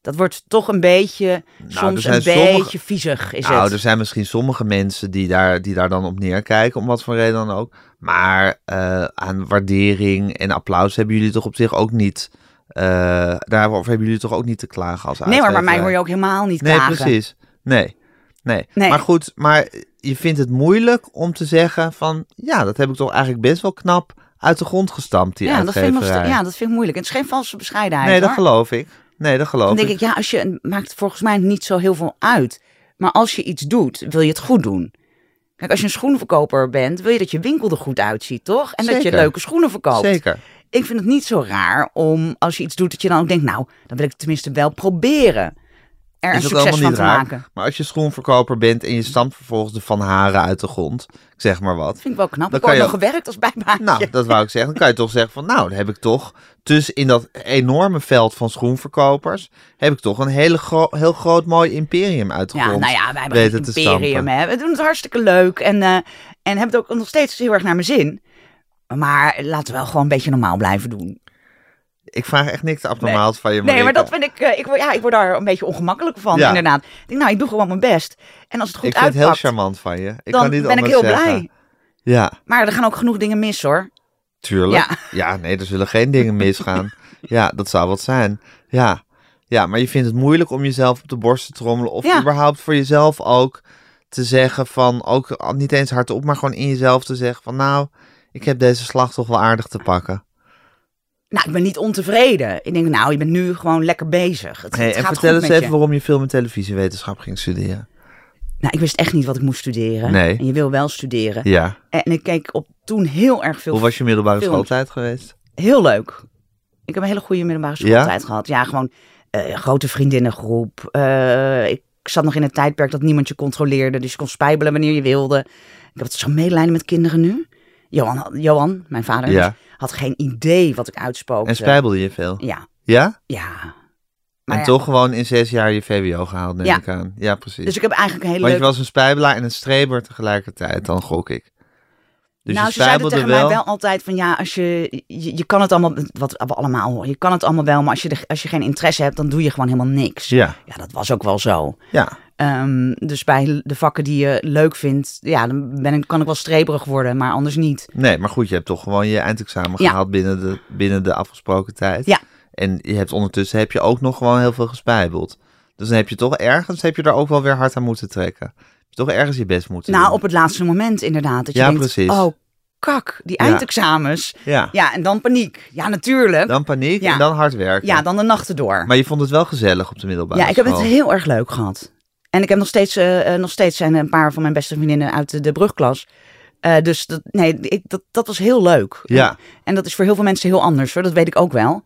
Speaker 3: Dat wordt toch een beetje,
Speaker 2: Nou, er
Speaker 3: soms
Speaker 2: zijn
Speaker 3: een
Speaker 2: sommige-
Speaker 3: beetje viezig is
Speaker 2: nou,
Speaker 3: het.
Speaker 2: er zijn misschien sommige mensen die daar, die daar dan op neerkijken, om wat voor reden dan ook. Maar eh, aan waardering en applaus hebben jullie toch op zich ook niet... eh daarover hebben jullie toch ook niet te klagen als
Speaker 3: nee, maar bij mij
Speaker 2: uitgeverij?
Speaker 3: hoor je ook helemaal niet
Speaker 2: Nee,
Speaker 3: klagen.
Speaker 2: precies. Nee. nee.
Speaker 3: Nee.
Speaker 2: Maar goed, maar je vindt het moeilijk om te zeggen van... ja, dat heb ik toch eigenlijk best wel knap uit de grond gestampt, die
Speaker 3: ja, dat vind ik nog,
Speaker 2: uitgeverij.
Speaker 3: st- ja, dat vind ik moeilijk. En het is geen valse bescheidenheid.
Speaker 2: nee, dat
Speaker 3: hoor.
Speaker 2: geloof ik. Nee, dat geloof
Speaker 3: Dan denk
Speaker 2: ik.
Speaker 3: ik, ja, als je, het maakt volgens mij niet zo heel veel uit. Maar als je iets doet, wil je het goed doen. Kijk, als je een schoenenverkoper bent, wil je dat je winkel er goed uitziet, toch? En dat je
Speaker 2: Zeker.
Speaker 3: leuke schoenen verkoopt.
Speaker 2: Zeker.
Speaker 3: Ik vind het niet zo raar om, als je iets doet, dat je dan ook denkt, nou, dan wil ik het tenminste wel proberen. Er een
Speaker 2: Is ook
Speaker 3: succes
Speaker 2: allemaal
Speaker 3: van
Speaker 2: niet
Speaker 3: te
Speaker 2: raar.
Speaker 3: maken. Dat
Speaker 2: Maar als je schoenverkoper bent en je stampt vervolgens de van haren uit de grond, ik zeg maar wat.
Speaker 3: vind ik wel knap.
Speaker 2: Dan
Speaker 3: ik heb
Speaker 2: kan
Speaker 3: nog
Speaker 2: je-
Speaker 3: gewerkt als bijbaantje.
Speaker 2: Nou, dat wou ik zeggen. Dan kan je toch zeggen van, nou, dan heb ik toch tussen in dat enorme veld van schoenverkopers, heb ik toch een hele gro- heel groot mooi imperium uit de
Speaker 3: Ja,
Speaker 2: grond
Speaker 3: nou ja, wij hebben een
Speaker 2: weten te
Speaker 3: imperium.
Speaker 2: stampen.
Speaker 3: Hè. We doen het hartstikke leuk. En, eh, en hebben het ook nog steeds heel erg naar mijn zin. Maar laten we wel gewoon een beetje normaal blijven doen.
Speaker 2: Ik vraag echt niks abnormaals van je,
Speaker 3: Nee, maar
Speaker 2: Marika.
Speaker 3: dat vind ik... eh, ik, word, ja, ik word daar een beetje ongemakkelijk van,
Speaker 2: Ja.
Speaker 3: inderdaad. Ik denk, nou, ik doe gewoon mijn best. En als het goed
Speaker 2: Ik vind het heel
Speaker 3: uitpakt,
Speaker 2: charmant van je. Ik
Speaker 3: dan
Speaker 2: kan niet
Speaker 3: ben ik
Speaker 2: anders
Speaker 3: heel
Speaker 2: zeggen.
Speaker 3: blij.
Speaker 2: Ja,
Speaker 3: Maar er gaan ook genoeg dingen mis, hoor.
Speaker 2: tuurlijk.
Speaker 3: Ja.
Speaker 2: Ja. nee, er zullen geen dingen misgaan. ja, dat zou wat zijn. Ja. ja, maar je vindt het moeilijk om jezelf op de borst te trommelen. Of
Speaker 3: Ja.
Speaker 2: überhaupt voor jezelf ook te zeggen van, ook al niet eens hardop, maar gewoon in jezelf te zeggen van, nou, ik heb deze slag toch wel aardig te pakken.
Speaker 3: Nou, ik ben niet ontevreden. Ik denk, nou, je bent nu gewoon lekker bezig. Het,
Speaker 2: Hey,
Speaker 3: het
Speaker 2: en
Speaker 3: gaat
Speaker 2: vertel
Speaker 3: goed
Speaker 2: eens
Speaker 3: met
Speaker 2: even
Speaker 3: je.
Speaker 2: waarom je film- en televisiewetenschap ging studeren.
Speaker 3: Nou, ik wist echt niet wat ik moest studeren.
Speaker 2: Nee.
Speaker 3: En je wil wel studeren.
Speaker 2: Ja.
Speaker 3: En ik keek op toen heel erg veel
Speaker 2: Hoe was je middelbare
Speaker 3: film.
Speaker 2: schooltijd geweest?
Speaker 3: Heel leuk. Ik heb een hele goede middelbare schooltijd gehad. Ja, gewoon eh, grote vriendinnengroep. Eh, ik zat nog in het tijdperk dat niemand je controleerde. Dus je kon spijbelen wanneer je wilde. Ik heb het zo medelijden met kinderen nu. Johan, had- Johan mijn vader,
Speaker 2: Ja.
Speaker 3: dus, had geen idee wat ik uitspookte.
Speaker 2: En spijbelde je veel?
Speaker 3: Ja,
Speaker 2: Ja?
Speaker 3: ja. Maar
Speaker 2: En
Speaker 3: ja,
Speaker 2: toch gewoon in zes jaar je VWO gehaald, neem
Speaker 3: Ja.
Speaker 2: ik aan. Ja, precies.
Speaker 3: Dus ik heb eigenlijk een hele
Speaker 2: Want je
Speaker 3: leuke...
Speaker 2: was een spijbelaar en een streber tegelijkertijd, dan gok ik. Dus
Speaker 3: nou,
Speaker 2: je
Speaker 3: ze zeiden
Speaker 2: spijbelde
Speaker 3: tegen
Speaker 2: wel.
Speaker 3: mij wel altijd van ja, als je, je, je kan het allemaal, wat we allemaal horen, je kan het allemaal wel, maar als je, de- als je geen interesse hebt, dan doe je gewoon helemaal niks.
Speaker 2: Ja,
Speaker 3: ja dat was ook wel zo.
Speaker 2: ja.
Speaker 3: Ehm, dus bij de vakken die je leuk vindt, ja, dan ben ik, kan ik wel streberig worden, maar anders niet.
Speaker 2: Nee, maar goed, je hebt toch gewoon je eindexamen
Speaker 3: Ja.
Speaker 2: gehaald binnen de, binnen de afgesproken tijd.
Speaker 3: Ja.
Speaker 2: En je hebt ondertussen heb je ook nog gewoon heel veel gespijbeld. Dus dan heb je toch ergens, heb je daar ook wel weer hard aan moeten trekken. Heb je toch ergens je best moeten
Speaker 3: Nou,
Speaker 2: doen.
Speaker 3: op het laatste moment inderdaad. Dat je
Speaker 2: Ja,
Speaker 3: denkt,
Speaker 2: precies.
Speaker 3: oh kak, die
Speaker 2: Ja.
Speaker 3: eindexamens.
Speaker 2: Ja.
Speaker 3: Ja, en dan paniek. Ja, natuurlijk.
Speaker 2: Dan paniek
Speaker 3: Ja.
Speaker 2: en dan hard werken.
Speaker 3: ja, dan de nachten door.
Speaker 2: Maar je vond het wel gezellig op de middelbare
Speaker 3: ja, ik heb het
Speaker 2: school.
Speaker 3: heel erg leuk gehad. En ik heb nog steeds, eh, eh, nog steeds zijn een paar van mijn beste vriendinnen uit de, de brugklas. Eh, dus dat, nee, ik, dat, dat was heel leuk.
Speaker 2: Ja.
Speaker 3: En dat is voor heel veel mensen heel anders hoor, dat weet ik ook wel.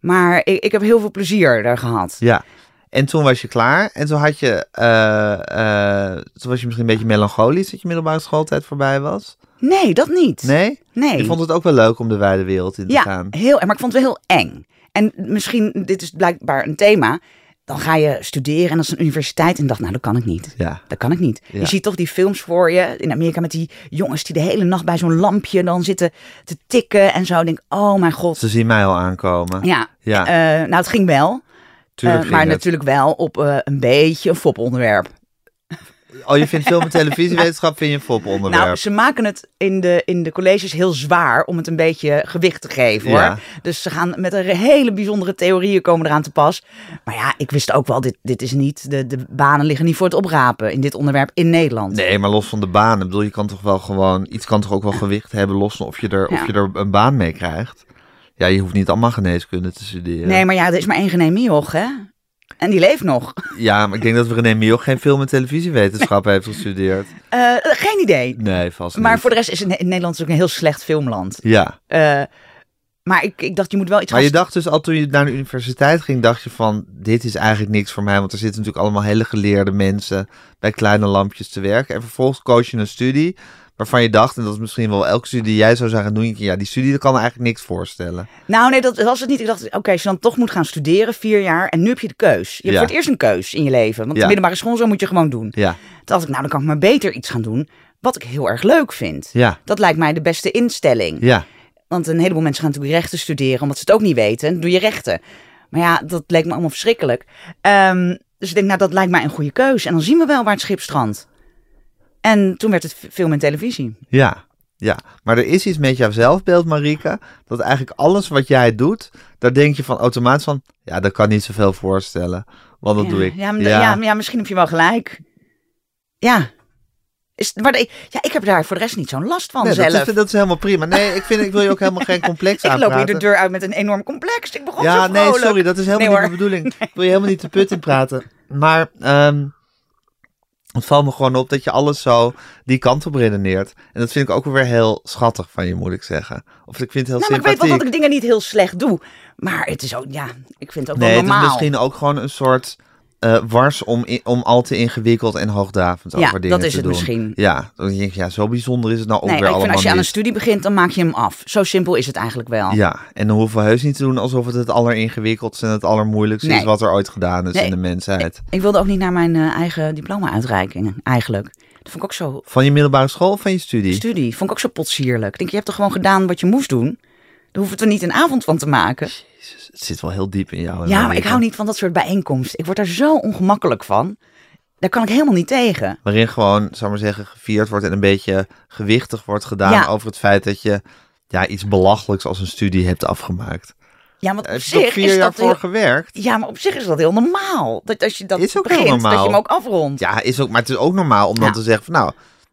Speaker 3: Maar ik, ik heb heel veel plezier daar gehad.
Speaker 2: Ja. En toen was je klaar. En toen had je. eh, eh, toen was je misschien een beetje melancholisch dat je middelbare schooltijd voorbij was.
Speaker 3: Nee, dat niet.
Speaker 2: Nee?
Speaker 3: Nee.
Speaker 2: Je vond het ook wel leuk om de wijde wereld in te
Speaker 3: ja,
Speaker 2: gaan.
Speaker 3: heel erg. Maar ik vond het wel heel eng. En misschien, dit is blijkbaar een thema. Dan ga je studeren en dat is een universiteit. En ik dacht, nou, dat kan ik niet.
Speaker 2: Ja.
Speaker 3: Dat kan ik niet.
Speaker 2: Ja.
Speaker 3: Je ziet toch die films voor je in Amerika met die jongens die de hele nacht bij zo'n lampje dan zitten te tikken en zo. Ik denk, oh mijn god.
Speaker 2: Ze zien mij al aankomen.
Speaker 3: Ja,
Speaker 2: Ja.
Speaker 3: Eh, nou, het ging wel.
Speaker 2: Tuurlijk
Speaker 3: Eh,
Speaker 2: ging
Speaker 3: maar
Speaker 2: het.
Speaker 3: natuurlijk wel op eh, een beetje een foponderwerp.
Speaker 2: Oh, je vindt film en televisiewetenschap vind je een fop onderwerp.
Speaker 3: Nou, ze maken het in de, in de colleges heel zwaar om het een beetje gewicht te geven hoor.
Speaker 2: Ja.
Speaker 3: Dus ze gaan met een hele bijzondere theorieën komen eraan te pas. Maar ja, ik wist ook wel, dit, dit is niet, de, de banen liggen niet voor het oprapen in dit onderwerp in Nederland.
Speaker 2: Nee, maar los van de baan. Ik bedoel, je kan toch wel gewoon. Iets kan toch ook wel gewicht hebben, los van of je er,
Speaker 3: Ja.
Speaker 2: of je er een baan mee krijgt. Ja, je hoeft niet allemaal geneeskunde te studeren.
Speaker 3: Nee, maar ja, er is maar één René Mioch hè. En die leeft nog.
Speaker 2: Ja, maar ik denk dat René Mioch geen film en televisiewetenschap heeft gestudeerd.
Speaker 3: Eh, geen idee.
Speaker 2: Nee, vast niet.
Speaker 3: Maar voor de rest is in, in Nederland ook een heel slecht filmland.
Speaker 2: Ja.
Speaker 3: Eh, maar ik, ik dacht, je moet wel iets
Speaker 2: Maar je
Speaker 3: gaan...
Speaker 2: dacht dus al toen je naar de universiteit ging, dacht je van, dit is eigenlijk niks voor mij, want er zitten natuurlijk allemaal hele geleerde mensen bij kleine lampjes te werken. En vervolgens koos je een studie waarvan je dacht, en dat is misschien wel elke studie die jij zou zeggen, doen, ja, die studie dat kan eigenlijk niks voorstellen.
Speaker 3: Nou nee, dat was het niet. Ik dacht, oké, als je dan toch moet gaan studeren, vier jaar. En nu heb je de keus. Je hebt
Speaker 2: Ja.
Speaker 3: voor het eerst een keus in je leven. Want de
Speaker 2: Ja.
Speaker 3: middelbare school, zo moet je gewoon doen.
Speaker 2: Ja,
Speaker 3: Toen dacht ik, nou dan kan ik maar beter iets gaan doen wat ik heel erg leuk vind.
Speaker 2: ja,
Speaker 3: Dat lijkt mij de beste instelling.
Speaker 2: ja.
Speaker 3: Want een heleboel mensen gaan natuurlijk rechten studeren, omdat ze het ook niet weten. En dan doe je rechten. Maar ja, dat leek me allemaal verschrikkelijk. Ehm, dus ik denk, nou dat lijkt mij een goede keuze. En dan zien we wel waar het schip strandt. En toen werd het f- film en televisie.
Speaker 2: Ja, ja. Maar er is iets met jouw zelfbeeld, Marika, dat eigenlijk alles wat jij doet, daar denk je van automatisch van, ja, dat kan niet zoveel voorstellen, want dat
Speaker 3: ja,
Speaker 2: doe ik.
Speaker 3: Ja, maar- ja, maar ja, misschien heb je wel gelijk. Ja. Is, maar de- ja, ik heb daar voor de rest niet zo'n last van
Speaker 2: Nee,
Speaker 3: zelf.
Speaker 2: dat, is, dat is helemaal prima. Nee, ik, vind, ik wil je ook helemaal geen complex
Speaker 3: ik loop
Speaker 2: aanpraten.
Speaker 3: hier de deur uit met een enorm complex. Ik begon zo
Speaker 2: Ja, nee,
Speaker 3: vrolijk.
Speaker 2: sorry, dat is helemaal
Speaker 3: Nee,
Speaker 2: niet de bedoeling. Ik wil je helemaal niet te put in praten. Maar ehm, het valt me gewoon op dat je alles zo die kant op redeneert. En dat vind ik ook wel weer heel schattig van je, moet ik zeggen. Of ik vind het heel
Speaker 3: Nou, maar ik weet
Speaker 2: sympathiek.
Speaker 3: wel dat ik dingen niet heel slecht doe. Maar het is ook, ja, ik vind het ook
Speaker 2: nee,
Speaker 3: wel
Speaker 2: het is
Speaker 3: normaal.
Speaker 2: misschien ook gewoon een soort eh, wars om, i- om al te ingewikkeld en hoogdravend
Speaker 3: Ja,
Speaker 2: over dingen
Speaker 3: dat is
Speaker 2: te
Speaker 3: het
Speaker 2: doen.
Speaker 3: misschien.
Speaker 2: Ja, dan denk je, ja, zo bijzonder is het nou ook
Speaker 3: nee,
Speaker 2: weer
Speaker 3: maar ik vind
Speaker 2: allemaal
Speaker 3: als je aan een
Speaker 2: niet.
Speaker 3: studie begint, dan maak je hem af. Zo simpel is het eigenlijk wel.
Speaker 2: Ja, en dan hoeven we heus niet te doen alsof het het alleringewikkeldste en het allermoeilijkste is
Speaker 3: Nee.
Speaker 2: wat er ooit gedaan is
Speaker 3: Nee.
Speaker 2: in de mensheid.
Speaker 3: Ik wilde ook niet naar mijn eh, eigen diploma-uitreiking, eigenlijk. Dat vond ik ook zo...
Speaker 2: Van je middelbare school of van je studie?
Speaker 3: Studie, vond ik ook zo potsierlijk. Ik denk, je hebt toch gewoon gedaan wat je moest doen? Daar hoeven we er niet een avond van te maken.
Speaker 2: Het zit wel heel diep in jou.
Speaker 3: Ja, maar
Speaker 2: Marieke.
Speaker 3: ik hou niet van dat soort bijeenkomsten. Ik word daar zo ongemakkelijk van. Daar kan ik helemaal niet tegen.
Speaker 2: Waarin gewoon, zou maar zeggen, gevierd wordt en een beetje gewichtig wordt gedaan
Speaker 3: Ja.
Speaker 2: over het feit dat je ja, iets belachelijks als een studie hebt afgemaakt.
Speaker 3: Ja, want op
Speaker 2: Heb je toch
Speaker 3: zich
Speaker 2: vier
Speaker 3: is
Speaker 2: jaar
Speaker 3: dat
Speaker 2: voor
Speaker 3: heel...
Speaker 2: gewerkt?
Speaker 3: Ja, maar op zich is dat heel normaal. Dat als je dat
Speaker 2: Is ook heel
Speaker 3: begint, dat
Speaker 2: normaal.
Speaker 3: je hem ook afrondt.
Speaker 2: Ja, is ook, maar het is ook normaal om dan
Speaker 3: Ja.
Speaker 2: te zeggen van nou,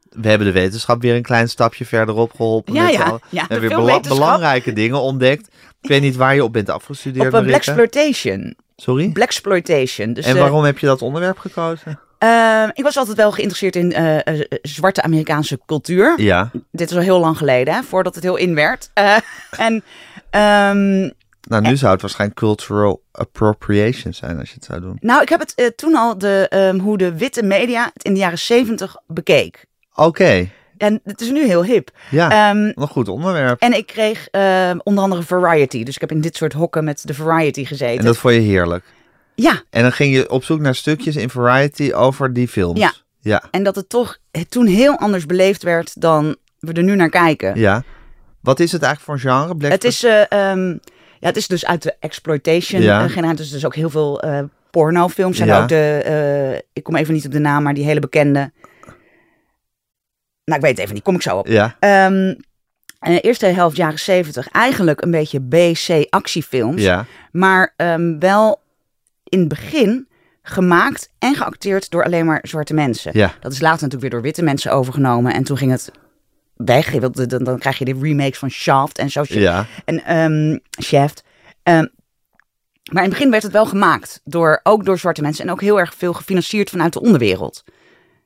Speaker 2: we hebben de wetenschap weer een klein stapje verderop geholpen.
Speaker 3: Ja,
Speaker 2: met
Speaker 3: ja.
Speaker 2: al-
Speaker 3: Ja,
Speaker 2: en weer
Speaker 3: veel
Speaker 2: bela-
Speaker 3: wetenschap.
Speaker 2: belangrijke dingen ontdekt. Ik weet niet waar je op bent afgestudeerd,
Speaker 3: Op een
Speaker 2: Marieke.
Speaker 3: Blaxploitation.
Speaker 2: Sorry?
Speaker 3: Blaxploitation. Dus,
Speaker 2: en
Speaker 3: eh,
Speaker 2: waarom heb je dat onderwerp gekozen?
Speaker 3: eh, ik was altijd wel geïnteresseerd in eh, eh, zwarte Amerikaanse cultuur.
Speaker 2: Ja,
Speaker 3: Dit is al heel lang geleden, hè, voordat het heel in werd. Eh, en ehm,
Speaker 2: nou nu zou het waarschijnlijk cultural appropriation zijn als je het zou doen.
Speaker 3: nou, ik heb het eh, toen al de, ehm, hoe de witte media het in de jaren zeventig bekeek.
Speaker 2: Oké,
Speaker 3: En het is nu heel hip.
Speaker 2: ja.
Speaker 3: Ehm,
Speaker 2: Nog goed onderwerp.
Speaker 3: en ik kreeg ehm, onder andere Variety. Dus ik heb in dit soort hokken met de Variety gezeten.
Speaker 2: En dat vond je heerlijk.
Speaker 3: Ja,
Speaker 2: En dan ging je op zoek naar stukjes in Variety over die films.
Speaker 3: Ja.
Speaker 2: Ja.
Speaker 3: en dat het toch het toen heel anders beleefd werd dan we er nu naar kijken.
Speaker 2: ja. Wat is het eigenlijk voor een genre? Black
Speaker 3: Het is, eh, ehm, ja, het is dus uit de exploitation
Speaker 2: Ja.
Speaker 3: eh, generatie. Dus, dus ook heel veel eh pornofilms. En
Speaker 2: Ja.
Speaker 3: ook de, eh, ik kom even niet op de naam, maar die hele bekende. Nou, ik weet het even niet. Kom ik zo op.
Speaker 2: Ja.
Speaker 3: Ehm, eh, eerste helft jaren zeventig. Eigenlijk een beetje BC actiefilms.
Speaker 2: Ja.
Speaker 3: Maar ehm, wel in het begin gemaakt en geacteerd door alleen maar zwarte mensen.
Speaker 2: Ja.
Speaker 3: Dat is later natuurlijk weer door witte mensen overgenomen. En toen ging het weg. Je wilt- Dan, dan krijg je de remakes van Shaft en zo.
Speaker 2: Ja.
Speaker 3: En ehm Shaft. Ehm, maar in het begin werd het wel gemaakt. Door, ook door zwarte mensen. En ook heel erg veel gefinancierd vanuit de onderwereld.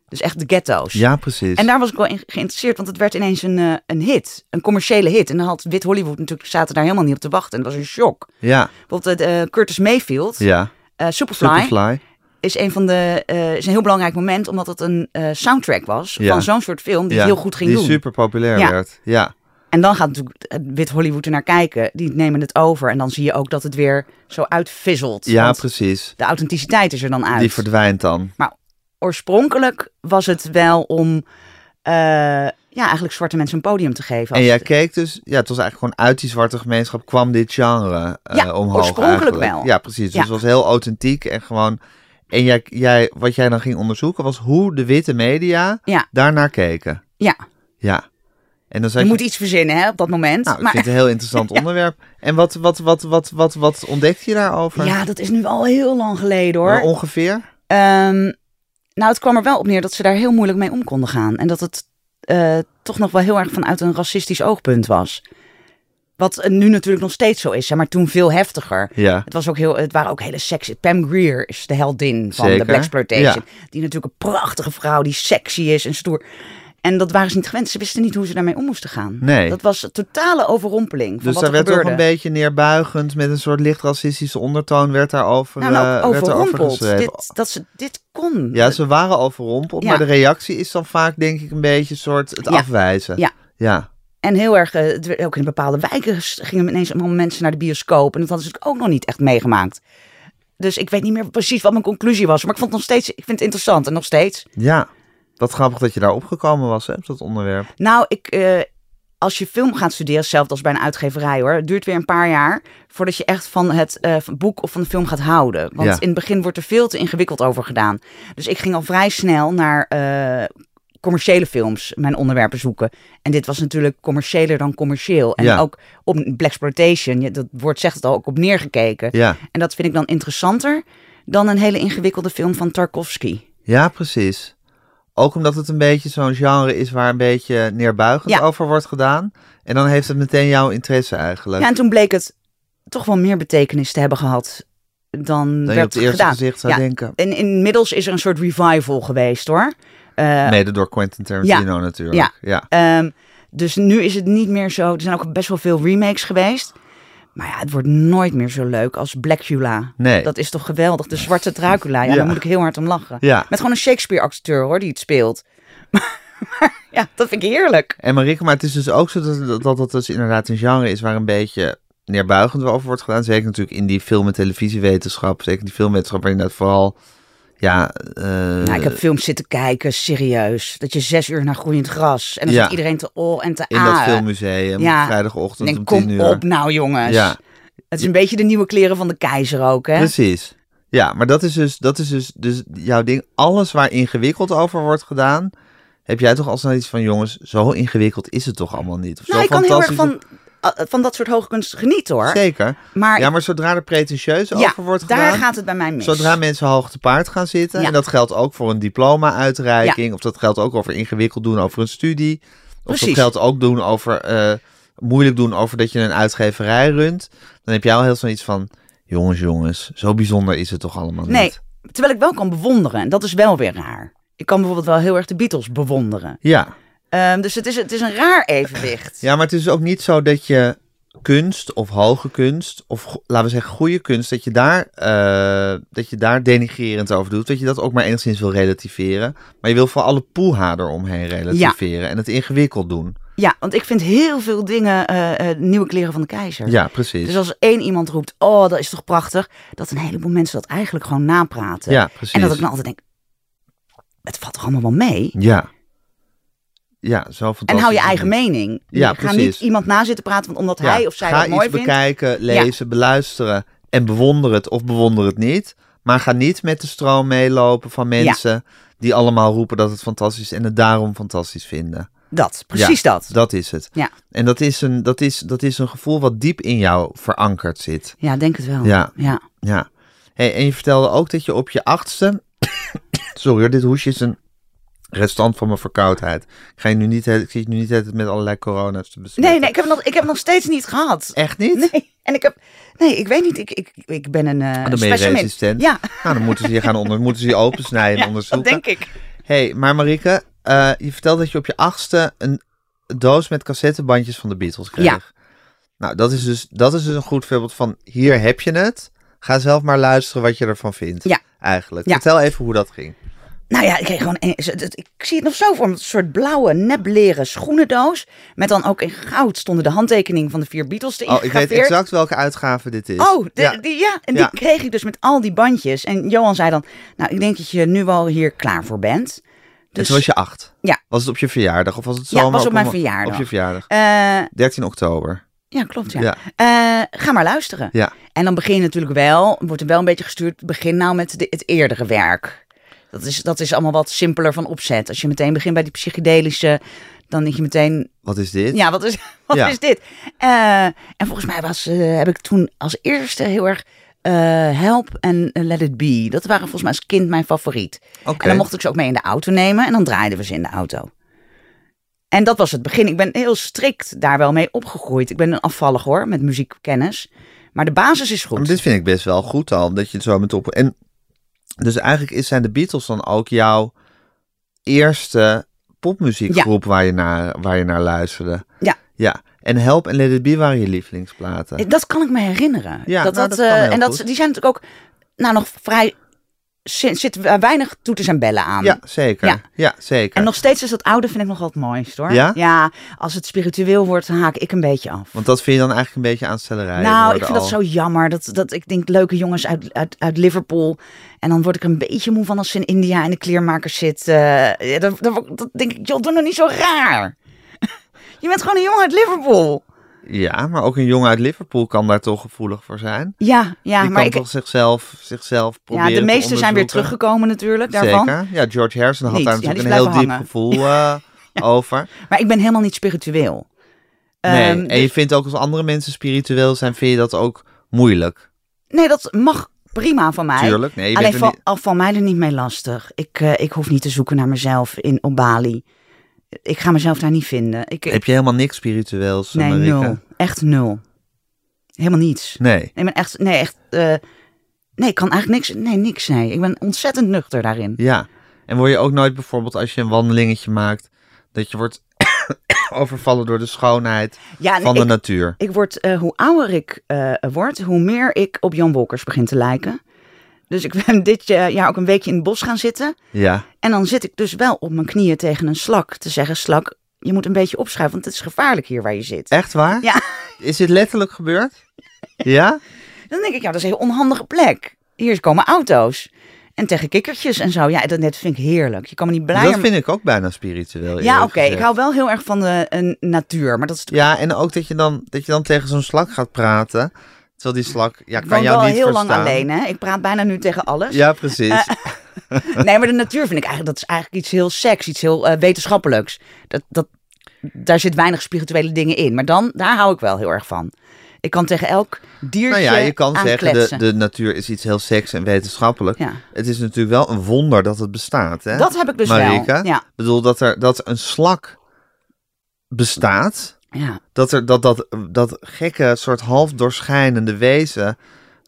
Speaker 3: Dus echt de ghetto's.
Speaker 2: Ja, precies.
Speaker 3: En daar was ik wel in geïnteresseerd, want het werd ineens een, eh, een hit. Een commerciële hit. En dan had Wit Hollywood natuurlijk, zaten daar helemaal niet op te wachten. En dat was een shock.
Speaker 2: Ja.
Speaker 3: Bijvoorbeeld eh, Curtis Mayfield,
Speaker 2: Ja.
Speaker 3: eh, Superfly,
Speaker 2: Superfly.
Speaker 3: is een van de eh, is een heel belangrijk moment, omdat het een eh, soundtrack was
Speaker 2: Ja.
Speaker 3: van zo'n soort film die
Speaker 2: ja.
Speaker 3: het heel goed ging
Speaker 2: die
Speaker 3: doen.
Speaker 2: super populair
Speaker 3: Ja.
Speaker 2: werd. Ja.
Speaker 3: En dan gaat natuurlijk eh, wit Hollywood er naar kijken, die nemen het over en dan zie je ook dat het weer zo uitvisselt.
Speaker 2: Ja,
Speaker 3: want
Speaker 2: precies.
Speaker 3: de authenticiteit is er dan uit.
Speaker 2: Die verdwijnt dan.
Speaker 3: Oorspronkelijk was het wel om eh, ja, eigenlijk zwarte mensen een podium te geven.
Speaker 2: En
Speaker 3: Als
Speaker 2: jij
Speaker 3: het-
Speaker 2: keek dus, ja, het was eigenlijk gewoon uit die zwarte gemeenschap kwam dit genre eh,
Speaker 3: Ja,
Speaker 2: omhoog.
Speaker 3: oorspronkelijk
Speaker 2: eigenlijk.
Speaker 3: wel.
Speaker 2: Ja, precies. Dus
Speaker 3: Ja.
Speaker 2: het was heel authentiek en gewoon. En jij, jij, wat jij dan ging onderzoeken was hoe de witte media
Speaker 3: Ja.
Speaker 2: daarnaar keken.
Speaker 3: ja,
Speaker 2: Ja. En dan
Speaker 3: je
Speaker 2: zei je,
Speaker 3: moet iets verzinnen hè, op dat moment.
Speaker 2: nou, ik
Speaker 3: maar
Speaker 2: vind het een heel interessant onderwerp. En wat, wat, wat, wat, wat, wat ontdekte je daarover?
Speaker 3: ja, dat is nu al heel lang geleden hoor.
Speaker 2: Maar ongeveer?
Speaker 3: Ehm, nou, het kwam er wel op neer dat ze daar heel moeilijk mee om konden gaan. En dat het eh, toch nog wel heel erg vanuit een racistisch oogpunt was. Wat eh, nu natuurlijk nog steeds zo is, hè, maar toen veel heftiger.
Speaker 2: Ja.
Speaker 3: Het, was ook heel, het waren ook hele sexy. Pam Greer is de heldin van
Speaker 2: Zeker,
Speaker 3: de Black Exploitation. Die natuurlijk een prachtige vrouw die sexy is en stoer. En dat waren ze niet gewend. Ze wisten niet hoe ze daarmee om moesten gaan.
Speaker 2: Nee.
Speaker 3: Dat was een totale overrompeling van
Speaker 2: Dus
Speaker 3: wat
Speaker 2: daar
Speaker 3: er
Speaker 2: werd toch
Speaker 3: gebeurde.
Speaker 2: een beetje neerbuigend met een soort licht racistische ondertoon werd daarover,
Speaker 3: nou, nou,
Speaker 2: eh, werd daarover
Speaker 3: overrompeld.
Speaker 2: geschreven.
Speaker 3: Dit, dat ze dit kon.
Speaker 2: Ja, ze waren al verrompeld,
Speaker 3: Ja.
Speaker 2: maar de reactie is dan vaak denk ik een beetje soort het
Speaker 3: Ja.
Speaker 2: afwijzen.
Speaker 3: Ja.
Speaker 2: Ja.
Speaker 3: En heel erg, eh, het werd ook in bepaalde wijken s- gingen ineens allemaal mensen naar de bioscoop. En dat hadden ze natuurlijk ook nog niet echt meegemaakt. Dus ik weet niet meer precies wat mijn conclusie was. Maar ik vond het nog steeds, ik vind het interessant. En nog steeds.
Speaker 2: Ja. Wat grappig dat je daar opgekomen was, hè, op dat onderwerp.
Speaker 3: Nou, ik, eh, als je film gaat studeren, zelfs als bij een uitgeverij hoor. Het duurt weer een paar jaar voordat je echt van het eh, van het boek of van de film gaat houden. Want
Speaker 2: Ja.
Speaker 3: in het begin wordt er veel te ingewikkeld over gedaan. Dus ik ging al vrij snel naar eh, commerciële films mijn onderwerpen zoeken. En dit was natuurlijk commerciëler dan commercieel. En
Speaker 2: Ja.
Speaker 3: ook op Blaxploitation, je- dat woord zegt het al, ook op neergekeken.
Speaker 2: Ja.
Speaker 3: En dat vind ik dan interessanter dan een hele ingewikkelde film van Tarkovsky.
Speaker 2: Ja, precies. Ook omdat het een beetje zo'n genre is waar een beetje neerbuigend
Speaker 3: Ja.
Speaker 2: over wordt gedaan. En dan heeft het meteen jouw interesse eigenlijk.
Speaker 3: Ja, en toen bleek het toch wel meer betekenis te hebben gehad dan,
Speaker 2: dan je op
Speaker 3: werd
Speaker 2: het eerste
Speaker 3: gedaan.
Speaker 2: gezicht zou
Speaker 3: Ja.
Speaker 2: denken.
Speaker 3: En inmiddels is er een soort revival geweest hoor. Eh,
Speaker 2: Mede door Quentin Tarantino natuurlijk. Ja.
Speaker 3: Ja.
Speaker 2: Ja.
Speaker 3: ehm, dus nu is het niet meer zo. Er zijn ook best wel veel remakes geweest. Maar ja, het wordt nooit meer zo leuk als Blackula.
Speaker 2: Nee.
Speaker 3: Dat is toch geweldig? De zwarte Dracula. Ja,
Speaker 2: Ja.
Speaker 3: daar moet ik heel hard om lachen. Met gewoon een Shakespeare-acteur hoor, die het speelt. Maar, maar ja, dat vind ik heerlijk.
Speaker 2: En Marike, maar het is dus ook zo dat dat, dat het dus inderdaad een genre is waar een beetje neerbuigend over wordt gedaan. Zeker natuurlijk in die film- en televisiewetenschap. Zeker die filmwetenschap waar inderdaad vooral... Ja, eh,
Speaker 3: nou, ik heb films zitten kijken, serieus. Dat je zes uur naar groeiend gras. En dan
Speaker 2: Ja.
Speaker 3: zit iedereen te ol en te
Speaker 2: in dat filmmuseum,
Speaker 3: Ah, Ja.
Speaker 2: vrijdagochtend
Speaker 3: En
Speaker 2: om tien
Speaker 3: kom
Speaker 2: uur.
Speaker 3: op nou jongens.
Speaker 2: Ja.
Speaker 3: Het is een beetje de nieuwe kleren van de keizer ook hè.
Speaker 2: Precies. Ja, maar dat is dus, dat is dus, dus jouw ding. Alles waar ingewikkeld over wordt gedaan, heb jij toch al snel iets van, jongens, zo ingewikkeld is het toch allemaal niet? Of
Speaker 3: nou,
Speaker 2: zo
Speaker 3: ik kan heel erg
Speaker 2: fantastisch.
Speaker 3: van, eh, van dat soort hoogkunst genieten hoor.
Speaker 2: Zeker.
Speaker 3: Maar
Speaker 2: ja, maar zodra er pretentieus
Speaker 3: ja,
Speaker 2: over wordt
Speaker 3: daar
Speaker 2: gedaan,
Speaker 3: gaat het bij mij mis.
Speaker 2: zodra mensen hoog te paard gaan zitten,
Speaker 3: Ja.
Speaker 2: en dat geldt ook voor een diploma-uitreiking, of dat geldt ook over ingewikkeld doen over een studie, of dat
Speaker 3: Precies.
Speaker 2: geldt ook doen over, eh, moeilijk doen over dat je een uitgeverij runt, dan heb jij al heel snel iets van, jongens, jongens, zo bijzonder is het toch allemaal
Speaker 3: Nee,
Speaker 2: niet?
Speaker 3: terwijl ik wel kan bewonderen. En dat is wel weer raar. Ik kan bijvoorbeeld wel heel erg de Beatles bewonderen.
Speaker 2: Ja.
Speaker 3: Ehm, dus het is, het is een raar evenwicht.
Speaker 2: Ja, maar het is ook niet zo dat je kunst of hoge kunst, of go- laten we zeggen goede kunst, dat je, daar, eh, dat je daar denigrerend over doet. Dat je dat ook maar enigszins wil relativeren. Maar je wil voor alle poeha eromheen relativeren en het ingewikkeld doen.
Speaker 3: Ja, want ik vind heel veel dingen eh, eh, nieuwe kleren van de keizer.
Speaker 2: Ja, precies.
Speaker 3: Dus als één iemand roept, oh, dat is toch prachtig, dat een heleboel mensen dat eigenlijk gewoon napraten.
Speaker 2: Ja, precies.
Speaker 3: En dat ik dan altijd denk, het valt toch allemaal wel mee?
Speaker 2: Ja. Ja, zo fantastisch.
Speaker 3: En hou je eigen
Speaker 2: mee.
Speaker 3: mening.
Speaker 2: Ja,
Speaker 3: Ga
Speaker 2: precies.
Speaker 3: niet iemand na zitten praten, want omdat
Speaker 2: Ja,
Speaker 3: hij of zij
Speaker 2: ga
Speaker 3: dat
Speaker 2: iets
Speaker 3: mooi vindt.
Speaker 2: bekijken, lezen, beluisteren en bewonder het of bewonder het niet. Maar ga niet met de stroom meelopen van mensen die allemaal roepen dat het fantastisch is en het daarom fantastisch vinden.
Speaker 3: Dat, precies
Speaker 2: Ja,
Speaker 3: dat.
Speaker 2: Dat is het.
Speaker 3: Ja.
Speaker 2: En dat is, een, dat, is, dat is een gevoel wat diep in jou verankerd zit.
Speaker 3: Ja, denk het wel.
Speaker 2: Ja.
Speaker 3: ja.
Speaker 2: Ja. Hey, en je vertelde ook dat je op je achtste... Sorry hoor, dit hoesje is een restant van mijn verkoudheid. Ik, ga je nu niet, he- ik zit je nu niet de hele tijd met allerlei corona's te besmetten.
Speaker 3: Nee, nee, ik heb, het nog, ik heb het nog steeds niet gehad.
Speaker 2: Echt niet?
Speaker 3: Nee, en ik heb... Nee, ik weet niet. Ik, ik, ik ben een eh
Speaker 2: dan ben je
Speaker 3: specimen.
Speaker 2: resistent.
Speaker 3: Ja,
Speaker 2: Nou, dan moeten ze je gaan onder, moeten ze je opensnijden en
Speaker 3: ja
Speaker 2: onderzoeken.
Speaker 3: dat denk ik.
Speaker 2: hey, maar Marike, eh, je vertelde dat je op je achtste een doos met cassettebandjes van de Beatles kreeg.
Speaker 3: Ja.
Speaker 2: Nou, dat is, dus, dat is dus een goed voorbeeld van hier heb je het. Ga zelf maar luisteren wat je ervan vindt.
Speaker 3: Ja.
Speaker 2: Eigenlijk.
Speaker 3: Ja.
Speaker 2: Vertel even hoe dat ging.
Speaker 3: Nou ja, ik kreeg gewoon. een- het- het- Ik zie het nog zo voor me. Een soort blauwe nepleren schoenendoos. Met dan ook in goud stonden de handtekening van de vier Beatles erin.
Speaker 2: Oh, ik weet
Speaker 3: gegraveerd.
Speaker 2: exact welke uitgave dit is.
Speaker 3: Oh, de-
Speaker 2: Dus ja.
Speaker 3: Die, ja, en
Speaker 2: Ja.
Speaker 3: die kreeg ik dus met al die bandjes. En Johan zei dan, nou, ik denk dat je nu al hier klaar voor bent.
Speaker 2: En
Speaker 3: Dus
Speaker 2: toen was je acht.
Speaker 3: Ja.
Speaker 2: Was het op je verjaardag of was het
Speaker 3: Ja,
Speaker 2: zomaar?
Speaker 3: was op mijn
Speaker 2: een-
Speaker 3: verjaardag.
Speaker 2: Op je verjaardag.
Speaker 3: eh,
Speaker 2: 13 oktober.
Speaker 3: ja, klopt, ja.
Speaker 2: Ja.
Speaker 3: Eh, ga maar luisteren.
Speaker 2: Ja.
Speaker 3: En dan begin je natuurlijk wel, wordt er wel een beetje gestuurd, begin nou met de, het eerdere werk. Dat is, dat is allemaal wat simpeler van opzet. Als je meteen begint bij die psychedelische, dan denk je meteen,
Speaker 2: Wat is dit?
Speaker 3: ja, wat is, wat
Speaker 2: Ja.
Speaker 3: is dit? Eh, en volgens mij was, eh, heb ik toen als eerste heel erg eh, Help en eh, Let It Be. Dat waren volgens mij als kind mijn favoriet.
Speaker 2: Oké.
Speaker 3: En dan mocht ik ze ook mee in de auto nemen en dan draaiden we ze in de auto. En dat was het begin. Ik ben heel strikt daar wel mee opgegroeid. Ik ben een afvallig hoor, met muziekkennis. Maar de basis is goed.
Speaker 2: Maar dit vind ik best wel goed al, dat je het zo met op... En dus eigenlijk is, zijn de Beatles dan ook jouw eerste popmuziekgroep waar, je naar, waar je naar luisterde?
Speaker 3: Ja.
Speaker 2: Ja. En Help en Let It Be waren je lievelingsplaten.
Speaker 3: Eh, Dat kan ik me herinneren.
Speaker 2: Ja,
Speaker 3: dat,
Speaker 2: nou,
Speaker 3: dat,
Speaker 2: dat kan
Speaker 3: eh,
Speaker 2: heel
Speaker 3: en dat,
Speaker 2: goed.
Speaker 3: die zijn natuurlijk ook nou, nog vrij... Zit, zit eh, weinig toeters en bellen aan.
Speaker 2: Ja, zeker. Ja,
Speaker 3: Ja.
Speaker 2: zeker.
Speaker 3: En nog steeds is dat oude vind ik nog wel het mooist hoor.
Speaker 2: Ja?
Speaker 3: als het spiritueel wordt, dan haak ik een beetje af.
Speaker 2: Want dat vind je dan eigenlijk een beetje aanstellerij.
Speaker 3: nou, ik
Speaker 2: worden
Speaker 3: vind dat
Speaker 2: al.
Speaker 3: zo jammer. Dat, dat ik denk leuke jongens uit, uit, uit Liverpool. En dan word ik er een beetje moe van als ze in India in de kleermakers zit. eh, ja, dat, dat, dat denk ik, joh, doe nog niet zo raar. Je bent gewoon een jongen uit Liverpool.
Speaker 2: Ja, maar ook een jongen uit Liverpool kan daar toch gevoelig voor zijn.
Speaker 3: Ja, ja
Speaker 2: Die
Speaker 3: maar
Speaker 2: kan
Speaker 3: ik,
Speaker 2: toch zichzelf, zichzelf
Speaker 3: ja,
Speaker 2: proberen
Speaker 3: de
Speaker 2: te
Speaker 3: meesten zijn weer
Speaker 2: onderzoeken?
Speaker 3: teruggekomen natuurlijk daarvan.
Speaker 2: Zeker. Ja, George Harrison had
Speaker 3: Niet.
Speaker 2: daar
Speaker 3: Ja, die
Speaker 2: natuurlijk
Speaker 3: is
Speaker 2: een heel
Speaker 3: blijven
Speaker 2: diep
Speaker 3: hangen.
Speaker 2: gevoel eh, over.
Speaker 3: Maar ik ben helemaal niet spiritueel.
Speaker 2: Nee,
Speaker 3: Ehm,
Speaker 2: en je vindt ook als andere mensen spiritueel zijn, vind je dat ook moeilijk.
Speaker 3: Nee, dat mag prima van mij.
Speaker 2: Tuurlijk, nee, je
Speaker 3: Alleen
Speaker 2: bent er
Speaker 3: val,
Speaker 2: niet-
Speaker 3: al val mij er niet mee lastig. Ik, eh, ik hoef niet te zoeken naar mezelf in, op Bali. Ik ga mezelf daar niet vinden. Ik, ik-
Speaker 2: Heb je helemaal niks spiritueels,
Speaker 3: nee,
Speaker 2: Marieke?
Speaker 3: nul. Echt nul. Helemaal niets.
Speaker 2: Nee.
Speaker 3: Nee, ik ben echt... Nee, echt eh, nee, ik kan eigenlijk niks... Nee, niks, nee. Ik ben ontzettend nuchter daarin.
Speaker 2: Ja. En word je ook nooit bijvoorbeeld als je een wandelingetje maakt, dat je wordt overvallen door de schoonheid
Speaker 3: Ja,
Speaker 2: van
Speaker 3: Ah, nee,
Speaker 2: de
Speaker 3: ik,
Speaker 2: natuur?
Speaker 3: ik word, eh, hoe ouder ik eh, word, hoe meer ik op Jan Wolkers begin te lijken. Dus ik ben dit eh, jaar ook een weekje in het bos gaan zitten.
Speaker 2: Ja.
Speaker 3: En dan zit ik dus wel op mijn knieën tegen een slak te zeggen: Slak, je moet een beetje opschuiven, want het is gevaarlijk hier waar je zit.
Speaker 2: Echt waar?
Speaker 3: Ja.
Speaker 2: Is dit letterlijk gebeurd? Ja?
Speaker 3: Dan denk ik: Ja, dat is een heel onhandige plek. Hier komen auto's. En tegen kikkertjes en zo. Ja, dat net vind ik heerlijk. Je kan me niet blijer.
Speaker 2: Dat vind ik ook bijna spiritueel.
Speaker 3: ja,
Speaker 2: eerlijk
Speaker 3: oké. Ik
Speaker 2: gezegd.
Speaker 3: hou wel heel erg van de een natuur. Maar dat is
Speaker 2: Ja, en ook dat je dan, dat je dan tegen zo'n slak gaat praten. Terwijl die slak, ja,
Speaker 3: ik
Speaker 2: kan
Speaker 3: woon
Speaker 2: jou
Speaker 3: wel
Speaker 2: niet
Speaker 3: heel
Speaker 2: verstaan.
Speaker 3: lang alleen. Eh, Hè? Ik praat bijna nu tegen alles.
Speaker 2: Ja, precies.
Speaker 3: Nee, maar de natuur vind ik eigenlijk, dat is eigenlijk iets heel seks, iets heel eh, wetenschappelijks. Dat, dat, daar zit weinig spirituele dingen in. Maar dan, daar hou ik wel heel erg van. Ik kan tegen elk diertje
Speaker 2: nou ja, je kan zeggen, de,
Speaker 3: aankletsen.
Speaker 2: de natuur is iets heel seks en wetenschappelijk.
Speaker 3: Ja.
Speaker 2: Het is natuurlijk wel een wonder dat het bestaat. Hè?
Speaker 3: Dat heb ik dus
Speaker 2: Marika?
Speaker 3: wel. Ja,
Speaker 2: Ik bedoel, dat, er, dat een slak bestaat.
Speaker 3: ja.
Speaker 2: Dat, er, dat, dat dat gekke soort half doorschijnende wezen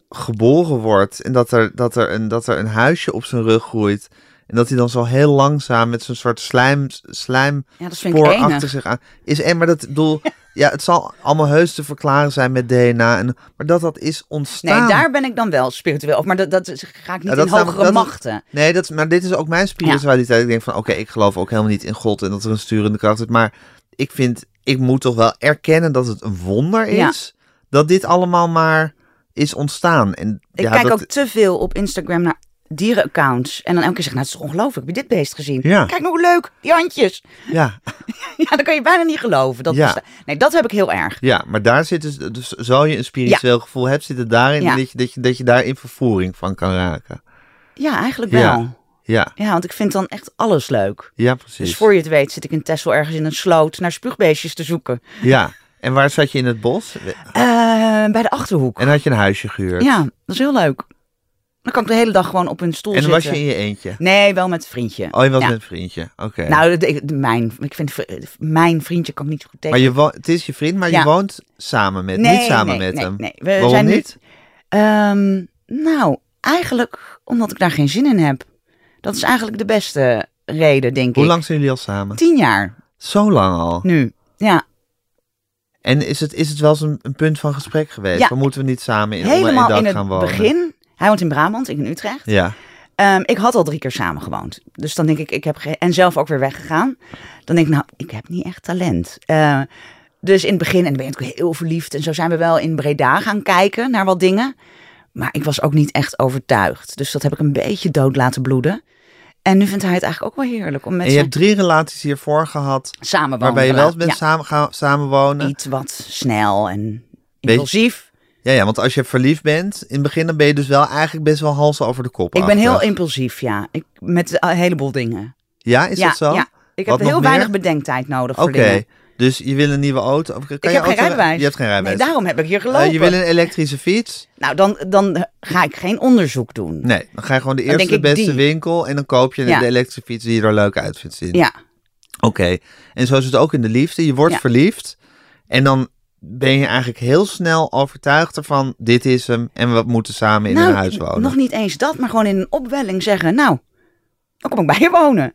Speaker 2: geboren wordt. En dat er, dat, er een, dat er een huisje op zijn rug groeit. En dat hij dan zo heel langzaam met zo'n soort slijm, slijm
Speaker 3: ja, dat vind ik
Speaker 2: spoor
Speaker 3: enig.
Speaker 2: achter zich aan. Is en maar dat ik bedoel, ja, het zal allemaal heus te verklaren zijn met DNA. En, maar dat dat is
Speaker 3: Nee,
Speaker 2: ontstaan.
Speaker 3: daar ben ik dan wel spiritueel. over, Maar dat, dat is- ga ik niet
Speaker 2: Ja, dat
Speaker 3: in
Speaker 2: is namelijk-
Speaker 3: hogere
Speaker 2: dat is-
Speaker 3: machten.
Speaker 2: Nee, dat, is- maar dit is ook mijn spiritualiteit. Ik denk van, oké, ik geloof ook helemaal niet in God en dat er een sturende kracht is. Maar ik vind, ik moet toch wel erkennen dat het een wonder
Speaker 3: Ja.
Speaker 2: is dat dit allemaal maar is ontstaan. En
Speaker 3: Ik
Speaker 2: ja,
Speaker 3: kijk
Speaker 2: dat,
Speaker 3: ook te veel op Instagram naar dierenaccounts. En dan elke keer zeg ik, nou, het is toch ongelooflijk. Heb je dit beest gezien?
Speaker 2: Ja.
Speaker 3: Kijk nou hoe leuk, die handjes.
Speaker 2: Ja,
Speaker 3: Ja, dan kan je bijna niet geloven. Dat
Speaker 2: Ja.
Speaker 3: besta- Nee, dat heb ik heel erg.
Speaker 2: ja, maar daar zit dus, dus zo je een spiritueel gevoel hebt, zit het daarin
Speaker 3: Ja.
Speaker 2: dat, je, dat, je, dat je daar in vervoering van kan raken.
Speaker 3: Ja, eigenlijk wel.
Speaker 2: Ja. Ja,
Speaker 3: Ja, want ik vind dan echt alles leuk.
Speaker 2: ja,
Speaker 3: Dus
Speaker 2: precies.
Speaker 3: voor je het weet zit ik in Texel ergens in een sloot naar spuugbeestjes te zoeken.
Speaker 2: Ja, en waar zat je in het bos?
Speaker 3: Eh, bij de Achterhoek.
Speaker 2: En had je een huisje gehuurd?
Speaker 3: Ja, dat is heel leuk. Dan kan ik de hele dag gewoon op een stoel
Speaker 2: en dan was
Speaker 3: zitten.
Speaker 2: je in je eentje?
Speaker 3: Nee, wel met een vriendje.
Speaker 2: Oh, je was
Speaker 3: Ja.
Speaker 2: met een vriendje. Oké.
Speaker 3: Nou, de- ik- de- mijn, ik vind vri- mijn vriendje kan ik niet zo goed tegen.
Speaker 2: Maar je wo- het is je vriend, maar je
Speaker 3: Ja.
Speaker 2: woont samen met,
Speaker 3: nee,
Speaker 2: niet samen
Speaker 3: nee,
Speaker 2: met
Speaker 3: nee,
Speaker 2: hem.
Speaker 3: Nee, we
Speaker 2: Waarom
Speaker 3: zijn nu-
Speaker 2: niet?
Speaker 3: Ehm, nou, eigenlijk omdat ik daar geen zin in heb. Dat is eigenlijk de beste reden, denk
Speaker 2: Hoe
Speaker 3: ik.
Speaker 2: lang zijn jullie al samen?
Speaker 3: Tien jaar
Speaker 2: Zo lang al.
Speaker 3: nu. Ja,
Speaker 2: En is het, is het wel eens een, een punt van gesprek geweest?
Speaker 3: Ja.
Speaker 2: Dan moeten we niet samen in onder één
Speaker 3: helemaal
Speaker 2: dak
Speaker 3: in
Speaker 2: gaan
Speaker 3: het
Speaker 2: wonen.
Speaker 3: begin. Hij woont in Brabant, ik in Utrecht.
Speaker 2: Ja,
Speaker 3: Ehm, ik had al drie keer samen gewoond. Dus dan denk ik, ik heb ge- en zelf ook weer weggegaan. Dan denk ik, nou, ik heb niet echt talent. Eh, dus in het begin, en dan ben je natuurlijk heel verliefd. En zo zijn we wel in Breda gaan kijken naar wat dingen. Maar ik was ook niet echt overtuigd. Dus dat heb ik een beetje dood laten bloeden. En nu vindt hij het eigenlijk ook wel heerlijk om met
Speaker 2: en je
Speaker 3: zijn
Speaker 2: hebt drie relaties hiervoor gehad,
Speaker 3: samen wonen.
Speaker 2: waarbij je wel eens bent
Speaker 3: Ja,
Speaker 2: samen gaan samenwonen.
Speaker 3: iets wat snel en impulsief.
Speaker 2: Ja, ja, want als je verliefd bent, in het begin dan ben je dus wel eigenlijk best wel hals over de kop.
Speaker 3: Ik ben heel
Speaker 2: achter.
Speaker 3: impulsief, ja. Ik, met een heleboel dingen.
Speaker 2: Ja, is
Speaker 3: ja,
Speaker 2: dat zo?
Speaker 3: ja. Ik
Speaker 2: Wat
Speaker 3: heb heel
Speaker 2: nog meer?
Speaker 3: weinig bedenktijd nodig
Speaker 2: Oké,
Speaker 3: voor dingen.
Speaker 2: dus je wil een nieuwe auto. Kan
Speaker 3: Ik
Speaker 2: je
Speaker 3: heb geen
Speaker 2: auto-
Speaker 3: rijbewijs.
Speaker 2: Je hebt geen rijbewijs.
Speaker 3: Nee, daarom heb ik hier gelopen.
Speaker 2: Eh, je wil een elektrische fiets.
Speaker 3: Nou, dan, dan ga ik geen onderzoek doen.
Speaker 2: Nee, dan ga je gewoon de
Speaker 3: denk
Speaker 2: eerste de
Speaker 3: ik
Speaker 2: beste
Speaker 3: die.
Speaker 2: winkel en dan koop je
Speaker 3: Ja.
Speaker 2: de elektrische fiets die je er leuk uit vindt zien.
Speaker 3: Ja,
Speaker 2: Oké, en zo is het ook in de liefde. Je wordt
Speaker 3: Ja.
Speaker 2: verliefd en dan ben je eigenlijk heel snel overtuigd ervan, dit is hem en we moeten samen in
Speaker 3: nou,
Speaker 2: een huis wonen.
Speaker 3: nog niet eens dat, maar gewoon in een opwelling zeggen, nou, dan kom ik bij je wonen.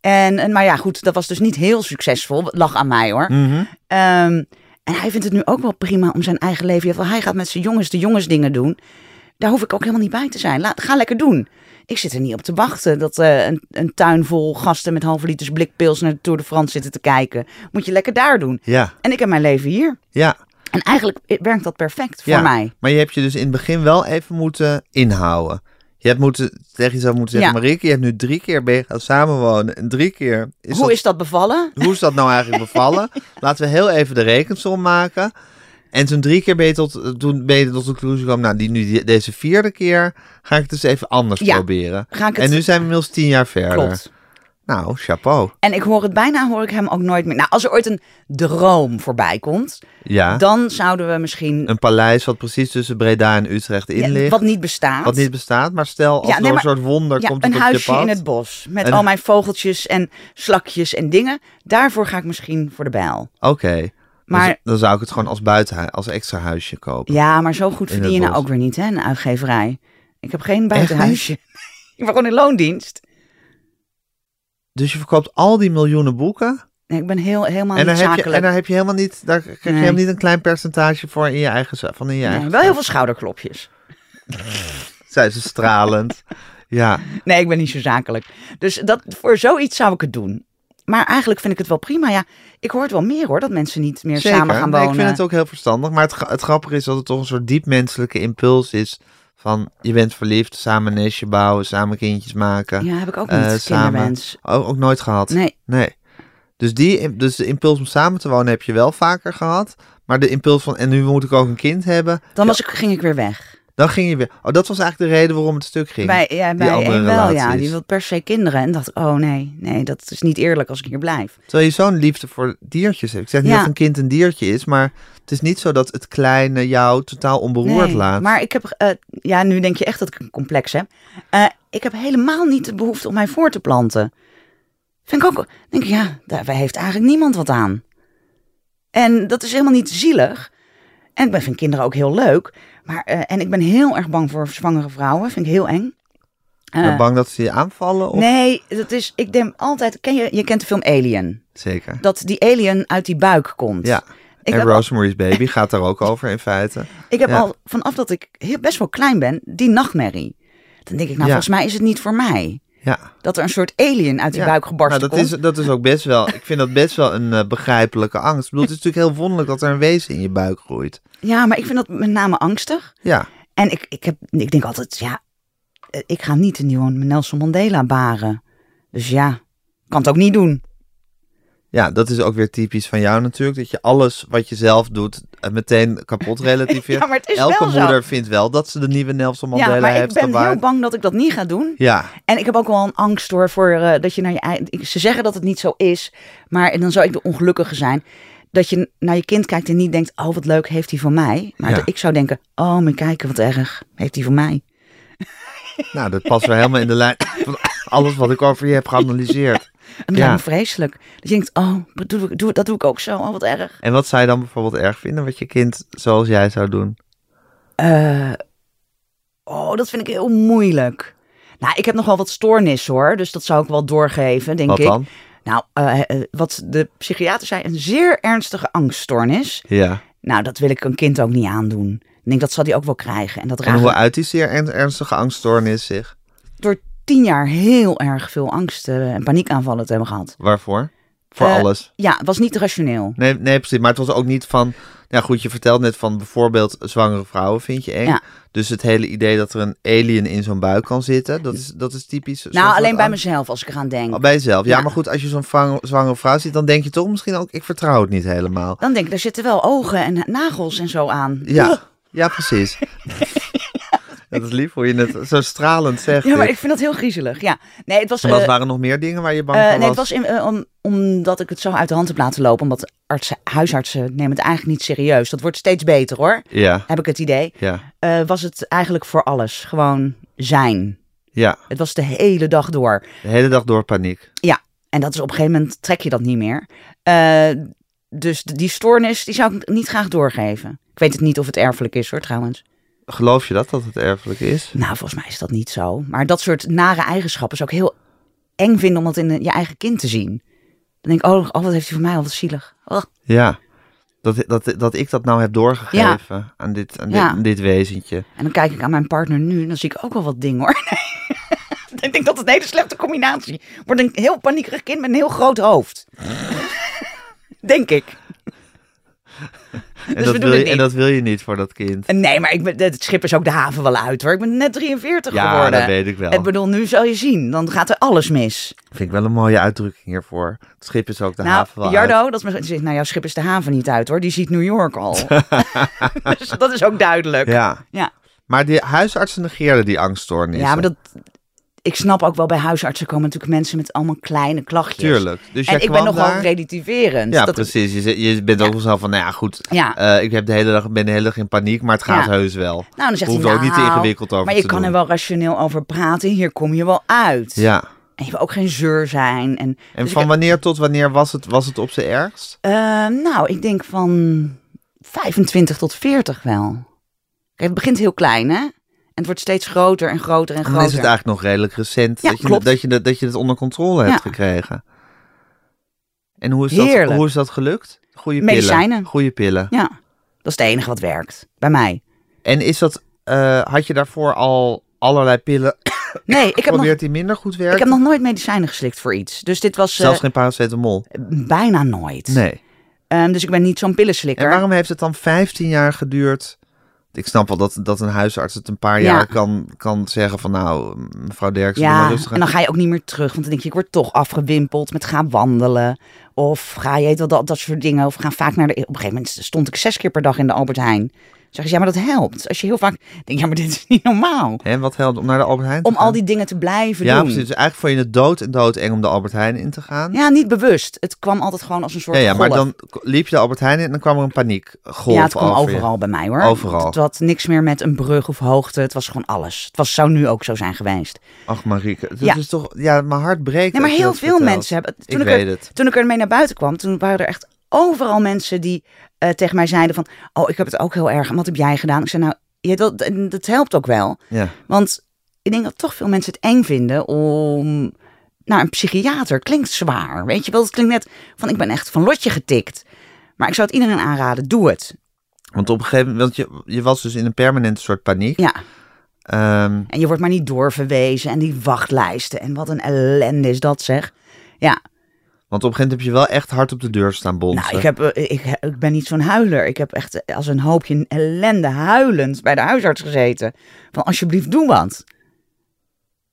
Speaker 3: En, en, maar ja, goed, dat was dus niet heel succesvol. Het lag aan mij hoor.
Speaker 2: Mhm.
Speaker 3: Ehm, en hij vindt het nu ook wel prima om zijn eigen leven. Ja, wel, Hij gaat met zijn jongens de jongensdingen doen. Daar hoef ik ook helemaal niet bij te zijn. Laat, ga lekker doen. Ik zit er niet op te wachten dat eh, een, een tuin vol gasten met halve liters blikpils naar de Tour de France zitten te kijken. Moet je lekker daar doen.
Speaker 2: Ja,
Speaker 3: En ik heb mijn leven hier.
Speaker 2: ja,
Speaker 3: En eigenlijk werkt dat perfect voor
Speaker 2: ja.
Speaker 3: mij.
Speaker 2: Maar je hebt je dus in het begin wel even moeten inhouden. Je hebt moeten, tegen jezelf moeten zeggen,
Speaker 3: Ja.
Speaker 2: Marieke, je hebt nu drie keer ben je gaan samenwonen en drie keer is
Speaker 3: Hoe
Speaker 2: dat
Speaker 3: is dat bevallen?
Speaker 2: hoe is dat nou eigenlijk bevallen? Laten we heel even de rekensom maken. En toen drie keer ben je tot, toen ben je tot de conclusie gekomen, nou, die, nu, die- deze vierde keer ga ik het dus even anders
Speaker 3: Ja,
Speaker 2: proberen.
Speaker 3: Ga ik het...
Speaker 2: En nu zijn we inmiddels tien jaar verder.
Speaker 3: Klopt.
Speaker 2: Nou, chapeau.
Speaker 3: En ik hoor het bijna, hoor ik hem ook nooit meer. Nou, als er ooit een droom voorbij komt,
Speaker 2: Ja.
Speaker 3: dan zouden we misschien...
Speaker 2: Een paleis wat precies tussen Breda en Utrecht in ligt.
Speaker 3: wat
Speaker 2: Wat,
Speaker 3: niet bestaat.
Speaker 2: niet bestaat. Maar stel, als
Speaker 3: Ja,
Speaker 2: door
Speaker 3: nee,
Speaker 2: een
Speaker 3: maar-
Speaker 2: soort wonder
Speaker 3: ja,
Speaker 2: komt
Speaker 3: een
Speaker 2: het op je
Speaker 3: huisje
Speaker 2: pad.
Speaker 3: in het bos. Met
Speaker 2: En-
Speaker 3: al mijn vogeltjes en slakjes en dingen. Daarvoor ga ik misschien voor de bijl.
Speaker 2: Oké. Maar... Dan,
Speaker 3: Maar-
Speaker 2: zou ik het gewoon als buitenhuis, als extra huisje kopen.
Speaker 3: Ja, maar zo goed
Speaker 2: In het
Speaker 3: verdien je nou
Speaker 2: bos.
Speaker 3: ook weer niet, hè? Een uitgeverij. Ik heb geen buitenhuisje. ik ben gewoon in loondienst.
Speaker 2: Dus je verkoopt al die miljoenen boeken.
Speaker 3: Nee, ik ben heel, helemaal
Speaker 2: En
Speaker 3: niet
Speaker 2: daar, heb je,
Speaker 3: zakelijk.
Speaker 2: en daar heb je helemaal niet, daar krijg
Speaker 3: Nee.
Speaker 2: je helemaal niet een klein percentage voor in je eigen, za- van in je
Speaker 3: Nee,
Speaker 2: eigen.
Speaker 3: wel heel veel schouderklopjes.
Speaker 2: Zij ze stralend. ja.
Speaker 3: Nee, ik ben niet zo zakelijk. Dus dat, voor zoiets zou ik het doen. Maar eigenlijk vind ik het wel prima. Ja, ik hoor het wel meer hoor, dat mensen niet meer samen gaan
Speaker 2: Nee,
Speaker 3: wonen.
Speaker 2: ik vind het ook heel verstandig. Maar het, gra- het grappige is dat het toch een soort diep menselijke impuls is. Van je bent verliefd, samen een nestje bouwen, samen kindjes maken.
Speaker 3: Ja, heb ik ook
Speaker 2: eh,
Speaker 3: niet, kinderwens.
Speaker 2: Ook, ook nooit gehad.
Speaker 3: Nee,
Speaker 2: Dus, die, dus de impuls om samen te wonen heb je wel vaker gehad. Maar de impuls van en nu moet ik ook een kind hebben.
Speaker 3: dan was ik, ging ik weer weg.
Speaker 2: Dan ging je weer. Oh, dat was eigenlijk de reden waarom het stuk ging.
Speaker 3: Bij, ja,
Speaker 2: die
Speaker 3: bij
Speaker 2: andere
Speaker 3: een wel, ja.
Speaker 2: relaties.
Speaker 3: Die wil per se kinderen. En dacht, oh nee, nee, dat is niet eerlijk als ik hier blijf.
Speaker 2: Terwijl je zo'n liefde voor diertjes hebt. Ik zeg niet
Speaker 3: Ja.
Speaker 2: dat een kind een diertje is, maar het is niet zo dat het kleine jou totaal onberoerd
Speaker 3: Nee,
Speaker 2: laat.
Speaker 3: Maar ik heb, eh, ja, nu denk je echt dat ik een complex heb. Eh, ik heb helemaal niet de behoefte om mij voor te planten. Vind ik ook, denk ik, ja, daar daar heeft eigenlijk niemand wat aan. En dat is helemaal niet zielig. En ik ben, vind kinderen ook heel leuk. Maar, eh, en ik ben heel erg bang voor zwangere vrouwen. Vind ik heel eng. Eh,
Speaker 2: Maar bang dat ze je aanvallen? Of?
Speaker 3: nee, dat is, ik denk altijd, ken je, je kent de film Alien.
Speaker 2: Zeker.
Speaker 3: Dat die alien uit die buik komt.
Speaker 2: Ja.
Speaker 3: Ik
Speaker 2: en
Speaker 3: heb
Speaker 2: Rosemary's Baby gaat daar ook over in feite.
Speaker 3: Ik heb
Speaker 2: Ja.
Speaker 3: al vanaf dat ik heel- best wel klein ben, die nachtmerrie. Dan denk ik, nou,
Speaker 2: Ja.
Speaker 3: volgens mij is het niet voor mij.
Speaker 2: Ja.
Speaker 3: Dat er een soort alien uit die
Speaker 2: Ja.
Speaker 3: buik gebarsten
Speaker 2: Nou, dat is,
Speaker 3: komt.
Speaker 2: dat is ook best wel, ik vind dat best wel een eh, begrijpelijke angst. Ik bedoel, het is natuurlijk heel wonderlijk dat er een wezen in je buik groeit.
Speaker 3: Ja, maar ik vind dat met name angstig.
Speaker 2: Ja,
Speaker 3: En ik, ik, heb, ik denk altijd, ja, eh, ik ga niet een nieuwe Nelson Mandela baren. Dus ja, kan het ook niet doen.
Speaker 2: ja, dat is ook weer typisch van jou natuurlijk. Dat je alles wat je zelf doet eh, meteen kapot relativeert.
Speaker 3: Ja, maar het is
Speaker 2: Elke
Speaker 3: wel zo.
Speaker 2: moeder vindt wel dat ze de nieuwe Nelson Mandela
Speaker 3: ja, maar ik
Speaker 2: heeft
Speaker 3: ben
Speaker 2: gebaard.
Speaker 3: heel bang dat ik dat niet ga doen.
Speaker 2: Ja,
Speaker 3: En ik heb ook wel een angst hoor voor eh, dat je naar je ei- ik- Ze zeggen dat het niet zo is, maar en dan zou ik de ongelukkige zijn. Dat je naar je kind kijkt en niet denkt: Oh, wat leuk heeft hij van mij. Maar
Speaker 2: Ja.
Speaker 3: dat ik zou denken: Oh, mijn kijken, wat erg. Heeft hij van mij?
Speaker 2: nou, dat past wel helemaal in de lijn van alles wat ik over je heb geanalyseerd.
Speaker 3: En
Speaker 2: Ja.
Speaker 3: ja. vreselijk. Dat je denkt: Oh, dat doe, ik- doe- dat doe ik ook zo. Oh, wat erg.
Speaker 2: En wat zou je dan bijvoorbeeld erg vinden wat je kind zoals jij zou doen?
Speaker 3: Eh, oh, dat vind ik heel moeilijk. Nou, ik heb nog wel wat stoornis hoor. Dus dat zou ik wel doorgeven, denk
Speaker 2: wat
Speaker 3: ik.
Speaker 2: dan?
Speaker 3: Nou, eh, eh, wat de psychiater zei: een zeer ernstige angststoornis.
Speaker 2: Ja.
Speaker 3: Nou, dat wil ik een kind ook niet aandoen. Ik denk dat zal die ook wel krijgen. En dat
Speaker 2: En
Speaker 3: raakt
Speaker 2: hoe uit die zeer ern- ernstige angststoornis zich?
Speaker 3: door tien jaar heel erg veel angst eh, en paniekaanvallen te hebben gehad.
Speaker 2: Waarvoor? Voor
Speaker 3: Eh,
Speaker 2: alles.
Speaker 3: Ja, het was niet rationeel. Nou,
Speaker 2: Nee, nee, precies. Maar het was ook niet van. Nou goed, je vertelt net van bijvoorbeeld zwangere vrouwen vind je eng.
Speaker 3: Ja.
Speaker 2: Dus het hele idee dat er een alien in zo'n buik kan zitten, dat is, dat is typisch. zo'n
Speaker 3: Nou,
Speaker 2: soort
Speaker 3: alleen bij
Speaker 2: angst.
Speaker 3: mezelf als ik eraan denk.
Speaker 2: Oh, bij jezelf. Ja,
Speaker 3: Ja.
Speaker 2: maar goed, als je zo'n vang- zwangere vrouw ziet, dan denk je toch misschien ook, ik vertrouw het niet helemaal.
Speaker 3: Dan denk ik, daar zitten wel ogen en nagels en zo aan.
Speaker 2: Ja, ja precies. dat is lief hoe je het zo stralend zegt.
Speaker 3: Ja, maar
Speaker 2: dit.
Speaker 3: ik vind dat heel griezelig. Ja. Nee, het was,
Speaker 2: En wat
Speaker 3: eh,
Speaker 2: waren er nog meer dingen waar je bang
Speaker 3: eh,
Speaker 2: voor
Speaker 3: nee, het
Speaker 2: was?
Speaker 3: was in, eh, om, omdat ik het zo uit de hand heb laten lopen. Omdat artsen, huisartsen nemen het eigenlijk niet serieus. Dat wordt steeds beter hoor,
Speaker 2: Ja,
Speaker 3: heb ik het idee.
Speaker 2: ja,
Speaker 3: Eh, was het eigenlijk voor alles. Gewoon zijn.
Speaker 2: ja.
Speaker 3: Het was de hele dag door.
Speaker 2: De hele dag door paniek.
Speaker 3: En dat is op een gegeven moment trek je dat niet meer. Eh, dus d- die stoornis, die zou ik niet graag doorgeven. Ik weet het niet of het erfelijk is hoor, trouwens.
Speaker 2: Geloof je dat, dat het erfelijk is?
Speaker 3: Nou, volgens mij is dat niet zo. Maar dat soort nare eigenschappen zou ik heel eng vinden om dat in eh, je eigen kind te zien. Dan denk ik, oh, oh wat heeft hij voor mij, al wat zielig. Oh,
Speaker 2: Ja. Dat, dat, dat ik dat nou heb doorgegeven aan, dit, aan,
Speaker 3: Ja.
Speaker 2: dit, aan dit wezentje.
Speaker 3: En dan kijk ik aan mijn partner nu en dan zie ik ook wel wat dingen hoor. Nee. ik denk dat het een hele slechte combinatie wordt. Een heel paniekerig kind met een heel groot hoofd. denk ik.
Speaker 2: En,
Speaker 3: Dus
Speaker 2: dat
Speaker 3: we doen
Speaker 2: wil je, en
Speaker 3: het niet. Eh.
Speaker 2: dat wil je niet voor dat kind.
Speaker 3: Nee, maar ik ben, het schip is ook de haven wel uit hoor. Ik ben net 43
Speaker 2: Ja,
Speaker 3: geworden.
Speaker 2: dat weet ik wel.
Speaker 3: Ik bedoel, nu zal je zien. Dan gaat er alles mis.
Speaker 2: Vind ik wel een mooie uitdrukking hiervoor. Het schip is ook de
Speaker 3: nou,
Speaker 2: haven wel
Speaker 3: Jardo,
Speaker 2: uit.
Speaker 3: dat is mijn- zegt, nou jouw schip is de haven niet uit hoor. Die ziet New York al. dus dat is ook duidelijk.
Speaker 2: Ja.
Speaker 3: Ja.
Speaker 2: Maar die huisartsen negeerden die angststoornis.
Speaker 3: Ja, maar dat... ik snap ook wel, bij huisartsen komen natuurlijk mensen met allemaal kleine klachtjes.
Speaker 2: Tuurlijk. Dus jij
Speaker 3: en ik ben
Speaker 2: kwam
Speaker 3: nogal
Speaker 2: daar-
Speaker 3: relativerend.
Speaker 2: Ja,
Speaker 3: Dus Dat-
Speaker 2: precies. Je, zit- je bent ook zelf van, nou ja, goed.
Speaker 3: Ja.
Speaker 2: eh, ik heb de hele dag, ben de hele dag in paniek, maar het gaat
Speaker 3: Ja.
Speaker 2: heus wel.
Speaker 3: Nou, dan zegt
Speaker 2: Hoeft
Speaker 3: hij,
Speaker 2: er ook niet te
Speaker 3: nou,
Speaker 2: ingewikkeld over
Speaker 3: Maar je
Speaker 2: te
Speaker 3: kan
Speaker 2: doen.
Speaker 3: er wel rationeel over praten. Hier kom je wel uit.
Speaker 2: Ja.
Speaker 3: En je wil ook geen zeur zijn. En,
Speaker 2: En
Speaker 3: dus
Speaker 2: van
Speaker 3: ik-
Speaker 2: wanneer tot wanneer was het, was het op zijn ergst?
Speaker 3: Eh, nou, ik denk van 25 tot 40 wel. Kijk, het begint heel klein, hè? En het wordt steeds groter en groter en
Speaker 2: Dan
Speaker 3: groter.
Speaker 2: is het eigenlijk nog redelijk recent
Speaker 3: Ja,
Speaker 2: dat, je,
Speaker 3: klopt.
Speaker 2: dat, je, dat, dat je het onder controle hebt
Speaker 3: Ja.
Speaker 2: gekregen. En hoe is, dat,
Speaker 3: Heerlijk.
Speaker 2: hoe is dat gelukt? Goede pillen.
Speaker 3: Medicijnen.
Speaker 2: Goede pillen.
Speaker 3: Ja, dat is het enige wat werkt. Bij mij.
Speaker 2: En is dat, eh, had je daarvoor al allerlei pillen
Speaker 3: Nee, ik heb, nog,
Speaker 2: geprobeerd die minder goed werken?
Speaker 3: ik heb nog nooit medicijnen geslikt voor iets. Dus dit was eh,
Speaker 2: Zelfs geen paracetamol?
Speaker 3: bijna nooit.
Speaker 2: Nee.
Speaker 3: Ehm, dus ik ben niet zo'n
Speaker 2: En
Speaker 3: pillenslikker.
Speaker 2: waarom heeft het dan 15 jaar geduurd? Ik snap wel dat, dat een huisarts het een paar
Speaker 3: Ja.
Speaker 2: jaar kan, kan zeggen van nou, mevrouw Derksen, doe maar
Speaker 3: Ja,
Speaker 2: rustig aan.
Speaker 3: en dan ga je ook niet meer terug. Want dan denk je, ik word toch afgewimpeld met gaan wandelen. Of ga je weet wel, dat, dat soort dingen. Of ga vaak naar de... Op een gegeven moment stond ik zes keer per dag in de Albert Heijn. Zeggen ze, ja, maar dat helpt. Als je heel vaak denkt, ja, maar dit is niet normaal.
Speaker 2: En wat helpt om naar de Albert Heijn te
Speaker 3: Om
Speaker 2: gaan?
Speaker 3: al die dingen te blijven
Speaker 2: Ja,
Speaker 3: doen.
Speaker 2: precies. Dus eigenlijk vond je het dood en dood eng om de Albert Heijn in te gaan.
Speaker 3: Ja, niet bewust. Het kwam altijd gewoon als een soort
Speaker 2: ja, ja, maar
Speaker 3: golf.
Speaker 2: dan k- liep je de Albert Heijn in en dan kwam er een paniekgolf
Speaker 3: ja, het kwam
Speaker 2: over je.
Speaker 3: overal bij mij hoor.
Speaker 2: Overal.
Speaker 3: Het had niks meer met een brug of hoogte. Het was gewoon alles. Het was, zou nu ook zo zijn geweest.
Speaker 2: Ach, Marieke. Dat
Speaker 3: Ja.
Speaker 2: is toch... Ja, mijn hart breekt
Speaker 3: Nee, maar
Speaker 2: als je
Speaker 3: heel
Speaker 2: dat
Speaker 3: veel
Speaker 2: vertelt.
Speaker 3: mensen hebben. Toen
Speaker 2: ik
Speaker 3: ik,
Speaker 2: weet
Speaker 3: er,
Speaker 2: het.
Speaker 3: Toen ik ermee naar buiten kwam, toen waren er echt overal mensen die eh, tegen mij zeiden van, oh, ik heb het ook heel erg. En wat heb jij gedaan? Ik zei, nou, ja, dat, en dat helpt ook wel.
Speaker 2: Ja.
Speaker 3: Want ik denk dat toch veel mensen het eng vinden om naar een psychiater. Klinkt zwaar, weet je wel. Het klinkt net van, ik ben echt van lotje getikt. Maar ik zou het iedereen aanraden, doe het.
Speaker 2: Want op een gegeven moment... Want je, je was dus in een permanente soort paniek.
Speaker 3: Ja,
Speaker 2: Ehm,
Speaker 3: en je wordt maar niet doorverwezen en die wachtlijsten. En wat een ellende is dat, zeg. Ja,
Speaker 2: want op een gegeven moment heb je wel echt hard op de deur staan bonzen.
Speaker 3: Nou, ik, heb, eh, ik, ik ben niet zo'n huiler. Ik heb echt eh, als een hoopje ellende huilend bij de huisarts gezeten. Van alsjeblieft, doe wat.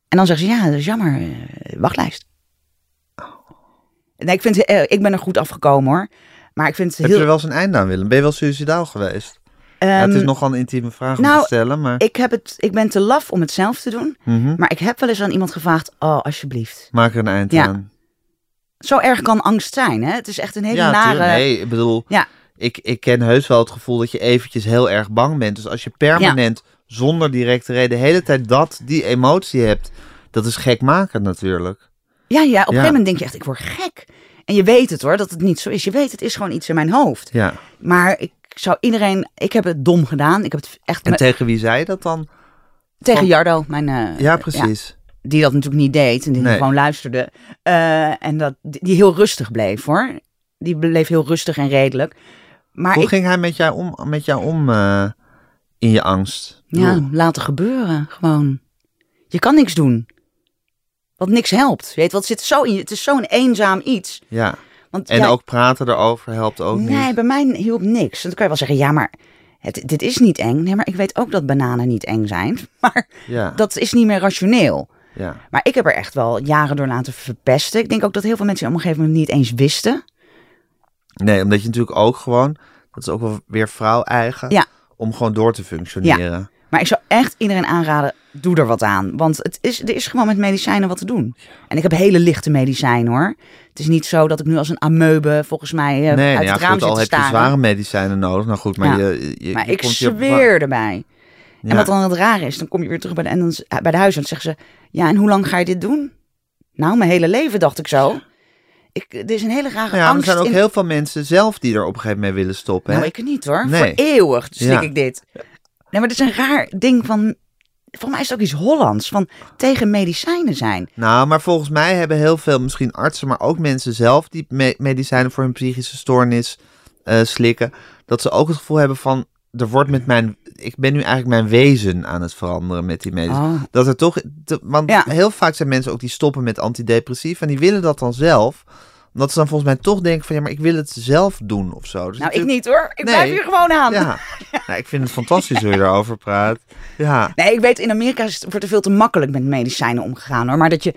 Speaker 3: En dan zeggen ze, ja, dat is jammer, eh, wachtlijst. Nee, ik, vind, eh, ik ben er goed afgekomen hoor. Maar ik vind het
Speaker 2: Heb je
Speaker 3: heel...
Speaker 2: er wel eens een einde aan, Willem? Ben je wel suicidaal geweest? Ja, het is
Speaker 3: ehm,
Speaker 2: nogal een intieme vraag om
Speaker 3: nou,
Speaker 2: te stellen, maar...
Speaker 3: ik, heb het, ik ben te laf om het zelf te doen.
Speaker 2: Mhm.
Speaker 3: Maar ik heb wel eens aan iemand gevraagd, oh, alsjeblieft.
Speaker 2: Maak er een eind
Speaker 3: Ja.
Speaker 2: aan.
Speaker 3: Zo erg kan angst zijn, hè? Het is echt een hele nare...
Speaker 2: tuurlijk. Nee, ik bedoel...
Speaker 3: Ja.
Speaker 2: Ik, ik ken heus wel het gevoel dat je eventjes heel erg bang bent. Dus als je permanent, zonder directe reden, de hele tijd dat, die emotie hebt... Dat is gekmakend natuurlijk.
Speaker 3: Ja, ja, op een
Speaker 2: Ja.
Speaker 3: gegeven moment denk je echt, ik word gek. En je weet het hoor, dat het niet zo is. Je weet, het is gewoon iets in mijn hoofd.
Speaker 2: Ja.
Speaker 3: Maar ik zou iedereen, ik heb het dom gedaan. Ik heb het echt
Speaker 2: En
Speaker 3: me-
Speaker 2: tegen wie zei je dat dan?
Speaker 3: tegen Jardo, mijn, eh,
Speaker 2: Ja, precies.
Speaker 3: die dat natuurlijk niet deed en die
Speaker 2: Nee.
Speaker 3: gewoon luisterde. Eh, en dat, die die heel rustig bleef hoor. Die bleef heel rustig en redelijk. Maar
Speaker 2: Hoe
Speaker 3: ik,
Speaker 2: ging hij met jou om, met jou om eh, in je angst?
Speaker 3: ja,
Speaker 2: Bedoel,
Speaker 3: laten gebeuren gewoon. Je kan niks doen. Want niks helpt. Je Weet, wat zit zo in je, het is zo'n eenzaam iets.
Speaker 2: ja.
Speaker 3: Want
Speaker 2: En
Speaker 3: ja,
Speaker 2: ook praten erover helpt ook
Speaker 3: nee,
Speaker 2: niet.
Speaker 3: bij mij hielp niks. En dan kan je wel zeggen, ja, maar het, dit is niet eng. Nee, maar ik weet ook dat bananen niet eng zijn. Maar
Speaker 2: Ja,
Speaker 3: dat is niet meer rationeel.
Speaker 2: ja.
Speaker 3: Maar ik heb er echt wel jaren door laten verpesten. Ik denk ook dat heel veel mensen op een gegeven moment niet eens wisten.
Speaker 2: Nee, omdat je natuurlijk ook gewoon, dat is ook wel weer vrouw eigen,
Speaker 3: Ja.
Speaker 2: om gewoon door te functioneren.
Speaker 3: Maar ik zou echt iedereen aanraden, doe er wat aan. Want het is, er is gewoon met medicijnen wat te doen. En ik heb hele lichte medicijnen hoor. Het is niet zo dat ik nu als een amoebe volgens mij eh,
Speaker 2: Nee,
Speaker 3: uit
Speaker 2: nou ja,
Speaker 3: het raam
Speaker 2: goed,
Speaker 3: zit
Speaker 2: al
Speaker 3: te
Speaker 2: heb je
Speaker 3: staren.
Speaker 2: zware medicijnen nodig. Nou goed, maar
Speaker 3: Ja.
Speaker 2: je, je,
Speaker 3: maar
Speaker 2: je
Speaker 3: ik
Speaker 2: komt hier op-
Speaker 3: zweer erbij.
Speaker 2: Ja.
Speaker 3: En wat dan het rare is, dan kom je weer terug bij de, en dan, is- bij de huisarts. Zeggen ze, ja, en hoe lang ga je dit doen? Nou, mijn hele leven dacht ik zo. Ik, er is een hele rare
Speaker 2: Nou ja, maar er
Speaker 3: angst
Speaker 2: zijn ook
Speaker 3: in-
Speaker 2: heel veel mensen zelf die er op een gegeven moment mee willen stoppen.
Speaker 3: Nou,
Speaker 2: hè?
Speaker 3: ik niet hoor.
Speaker 2: Nee.
Speaker 3: Voor eeuwig slik
Speaker 2: Ja.
Speaker 3: ik dit. Nee, maar het is een raar ding van... Volgens mij is het ook iets Hollands. Van tegen medicijnen zijn.
Speaker 2: Nou, maar volgens mij hebben heel veel, misschien artsen, maar ook mensen zelf die me- medicijnen voor hun psychische stoornis eh, slikken, dat ze ook het gevoel hebben van, er wordt met mijn, ik ben nu eigenlijk mijn wezen aan het veranderen met die medicijnen.
Speaker 3: Oh.
Speaker 2: Dat er toch, te- want
Speaker 3: Ja.
Speaker 2: heel vaak zijn mensen ook die stoppen met antidepressief en die willen dat dan zelf, omdat ze dan volgens mij toch denken van, ja, maar ik wil het zelf doen of zo. Dus
Speaker 3: Nou, ik
Speaker 2: natuurlijk-
Speaker 3: niet hoor. Ik
Speaker 2: Nee.
Speaker 3: blijf hier gewoon aan.
Speaker 2: Ja, Nou, ik vind het fantastisch hoe je daarover praat. Ja.
Speaker 3: Nee, ik weet, in Amerika is het- wordt er veel te makkelijk met medicijnen omgegaan hoor. Maar dat je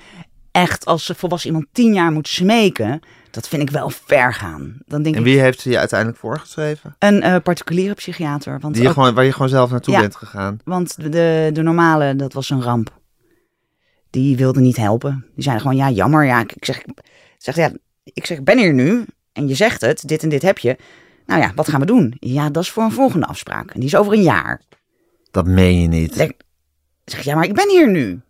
Speaker 3: echt als volwassen iemand tien jaar moet smeken... Dat vind ik wel ver gaan. Dan denk
Speaker 2: En
Speaker 3: ik
Speaker 2: wie heeft ze je uiteindelijk voorgeschreven?
Speaker 3: een eh, particuliere psychiater. Want,
Speaker 2: Die je
Speaker 3: ook-
Speaker 2: gewoon, waar je gewoon zelf naartoe
Speaker 3: Ja.
Speaker 2: bent gegaan.
Speaker 3: want de, de normale, dat was een ramp. die wilde niet helpen. Die zeiden gewoon, ja, jammer. Ja, ik ik zeg, ik zeg, ja, ik zeg, ik ben hier nu en je zegt het, dit en dit heb je. Nou ja, wat gaan we doen? Ja, dat is voor een volgende afspraak. En die is over een jaar.
Speaker 2: Dat meen je niet.
Speaker 3: Denk, zeg ik, ja, maar ik ben hier nu.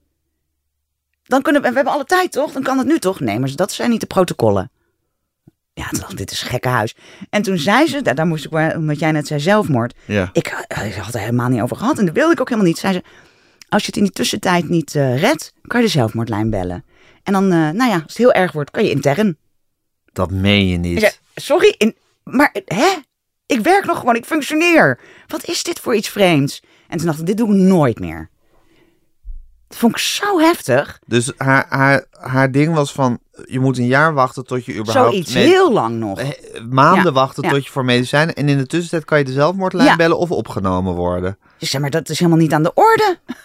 Speaker 3: Dan kunnen we, we hebben alle tijd toch? Dan kan het nu toch? Nee, maar dat zijn niet de protocollen. Ja, toen dacht ik, dit is gekkenhuis. En toen zei ze, daar, daar moest ik, maar- omdat jij net zei zelfmoord.
Speaker 2: Ja.
Speaker 3: Ik, eh, ik had er helemaal niet over gehad en dat wilde ik ook helemaal niet. Zei ze, als je het in die tussentijd niet eh, redt, kan je de zelfmoordlijn bellen. En dan, eh, nou ja, als het heel erg wordt, kan je intern.
Speaker 2: Dat meen je
Speaker 3: Ik zei,
Speaker 2: niet.
Speaker 3: sorry, in, maar eh, hè? Ik werk nog gewoon, ik functioneer. Wat is dit voor iets vreemds? En toen dacht ik, dit doe ik nooit meer. Dat vond ik zo heftig.
Speaker 2: Dus haar, haar, haar ding was van, je moet een jaar wachten tot je überhaupt...
Speaker 3: Zoiets,
Speaker 2: med-
Speaker 3: heel lang nog.
Speaker 2: eh, Maanden
Speaker 3: Ja,
Speaker 2: wachten
Speaker 3: ja.
Speaker 2: tot je voor medicijnen. En in de tussentijd kan je de zelfmoordlijn
Speaker 3: Ja.
Speaker 2: bellen of opgenomen worden.
Speaker 3: Dus zeg maar, dat is helemaal niet aan de orde.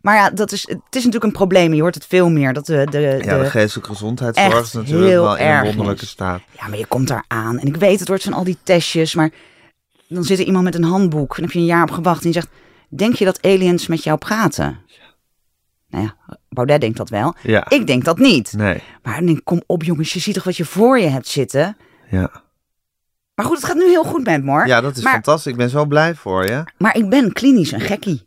Speaker 3: Maar ja, dat is, het is natuurlijk een probleem. Je hoort het veel meer. Dat de, de,
Speaker 2: Ja, de,
Speaker 3: de-
Speaker 2: geestelijke gezondheidszorg is
Speaker 3: echt
Speaker 2: natuurlijk
Speaker 3: heel
Speaker 2: wel in een
Speaker 3: erg
Speaker 2: wonderlijke
Speaker 3: is.
Speaker 2: staat.
Speaker 3: Ja, maar je komt daar aan. En ik weet, het wordt van al die testjes. Maar dan zit er iemand met een handboek. En dan heb je een jaar op gewacht. En die zegt, denk je dat aliens met jou praten? Nou ja, Baudet denkt dat wel.
Speaker 2: Ja.
Speaker 3: Ik denk dat niet.
Speaker 2: Nee,
Speaker 3: Maar dan denk ik, kom op jongens, je ziet toch wat je voor je hebt zitten.
Speaker 2: ja.
Speaker 3: Maar goed, het gaat nu heel goed met Mor.
Speaker 2: Ja, dat is
Speaker 3: maar,
Speaker 2: fantastisch. Ik ben zo blij voor je.
Speaker 3: maar ik ben klinisch een gekkie.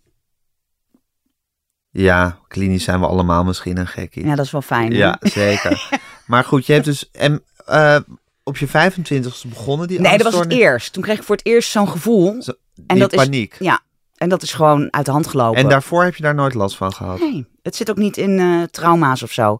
Speaker 2: Ja, klinisch zijn we allemaal misschien een gekkie.
Speaker 3: Ja, dat is wel fijn. hè?
Speaker 2: Ja, zeker. maar goed, je hebt dus... En, eh, op je 25ste begonnen die
Speaker 3: Nee, dat was het
Speaker 2: angststoornis?
Speaker 3: eerst. Toen kreeg ik voor het eerst zo'n gevoel.
Speaker 2: Zo-
Speaker 3: en
Speaker 2: die
Speaker 3: dat is-
Speaker 2: paniek.
Speaker 3: Ja, en dat is gewoon uit de hand gelopen.
Speaker 2: En daarvoor heb je daar nooit last van gehad?
Speaker 3: Nee, het zit ook niet in eh, trauma's of zo.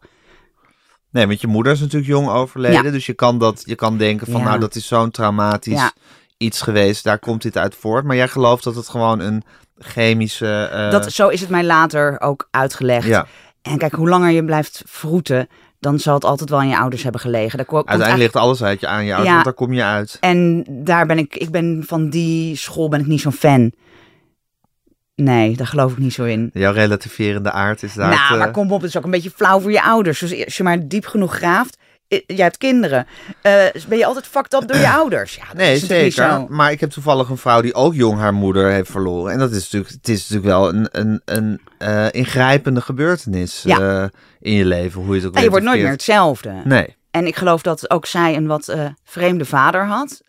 Speaker 2: Nee, want je moeder is natuurlijk jong overleden.
Speaker 3: Ja.
Speaker 2: Dus je kan, dat, je kan denken van,
Speaker 3: Ja.
Speaker 2: nou, dat is zo'n traumatisch
Speaker 3: Ja.
Speaker 2: iets geweest. Daar komt dit uit voort. Maar jij gelooft dat het gewoon een chemische... eh,
Speaker 3: dat, zo is het mij later ook uitgelegd.
Speaker 2: Ja.
Speaker 3: En kijk, hoe langer je blijft vroeten, dan zal het altijd wel aan je ouders hebben gelegen. Daar ko- komt
Speaker 2: Uiteindelijk ligt alles uit je aan je ouders,
Speaker 3: Ja.
Speaker 2: want daar kom je uit.
Speaker 3: En daar ben ik, ik ben van die school ben ik niet zo'n fan. Nee, daar geloof ik niet zo in.
Speaker 2: Jouw relativerende aard is daar.
Speaker 3: nou,
Speaker 2: het,
Speaker 3: maar
Speaker 2: eh,
Speaker 3: kom op, het is ook een beetje flauw voor je ouders. Dus als je maar diep genoeg graaft, eh, jij hebt kinderen, eh, ben je altijd fucked up door je ouders. Ja, dat
Speaker 2: Nee,
Speaker 3: is natuurlijk niet
Speaker 2: zeker.
Speaker 3: zo.
Speaker 2: Maar ik heb toevallig een vrouw die ook jong haar moeder heeft verloren. En dat is natuurlijk, het is natuurlijk wel een, een, een eh, ingrijpende gebeurtenis
Speaker 3: Ja.
Speaker 2: eh, in je leven. Hoe je het ook
Speaker 3: En
Speaker 2: bent
Speaker 3: je wordt nooit meer
Speaker 2: verkeerd.
Speaker 3: hetzelfde.
Speaker 2: Nee.
Speaker 3: En ik geloof dat ook zij een wat eh, vreemde vader had.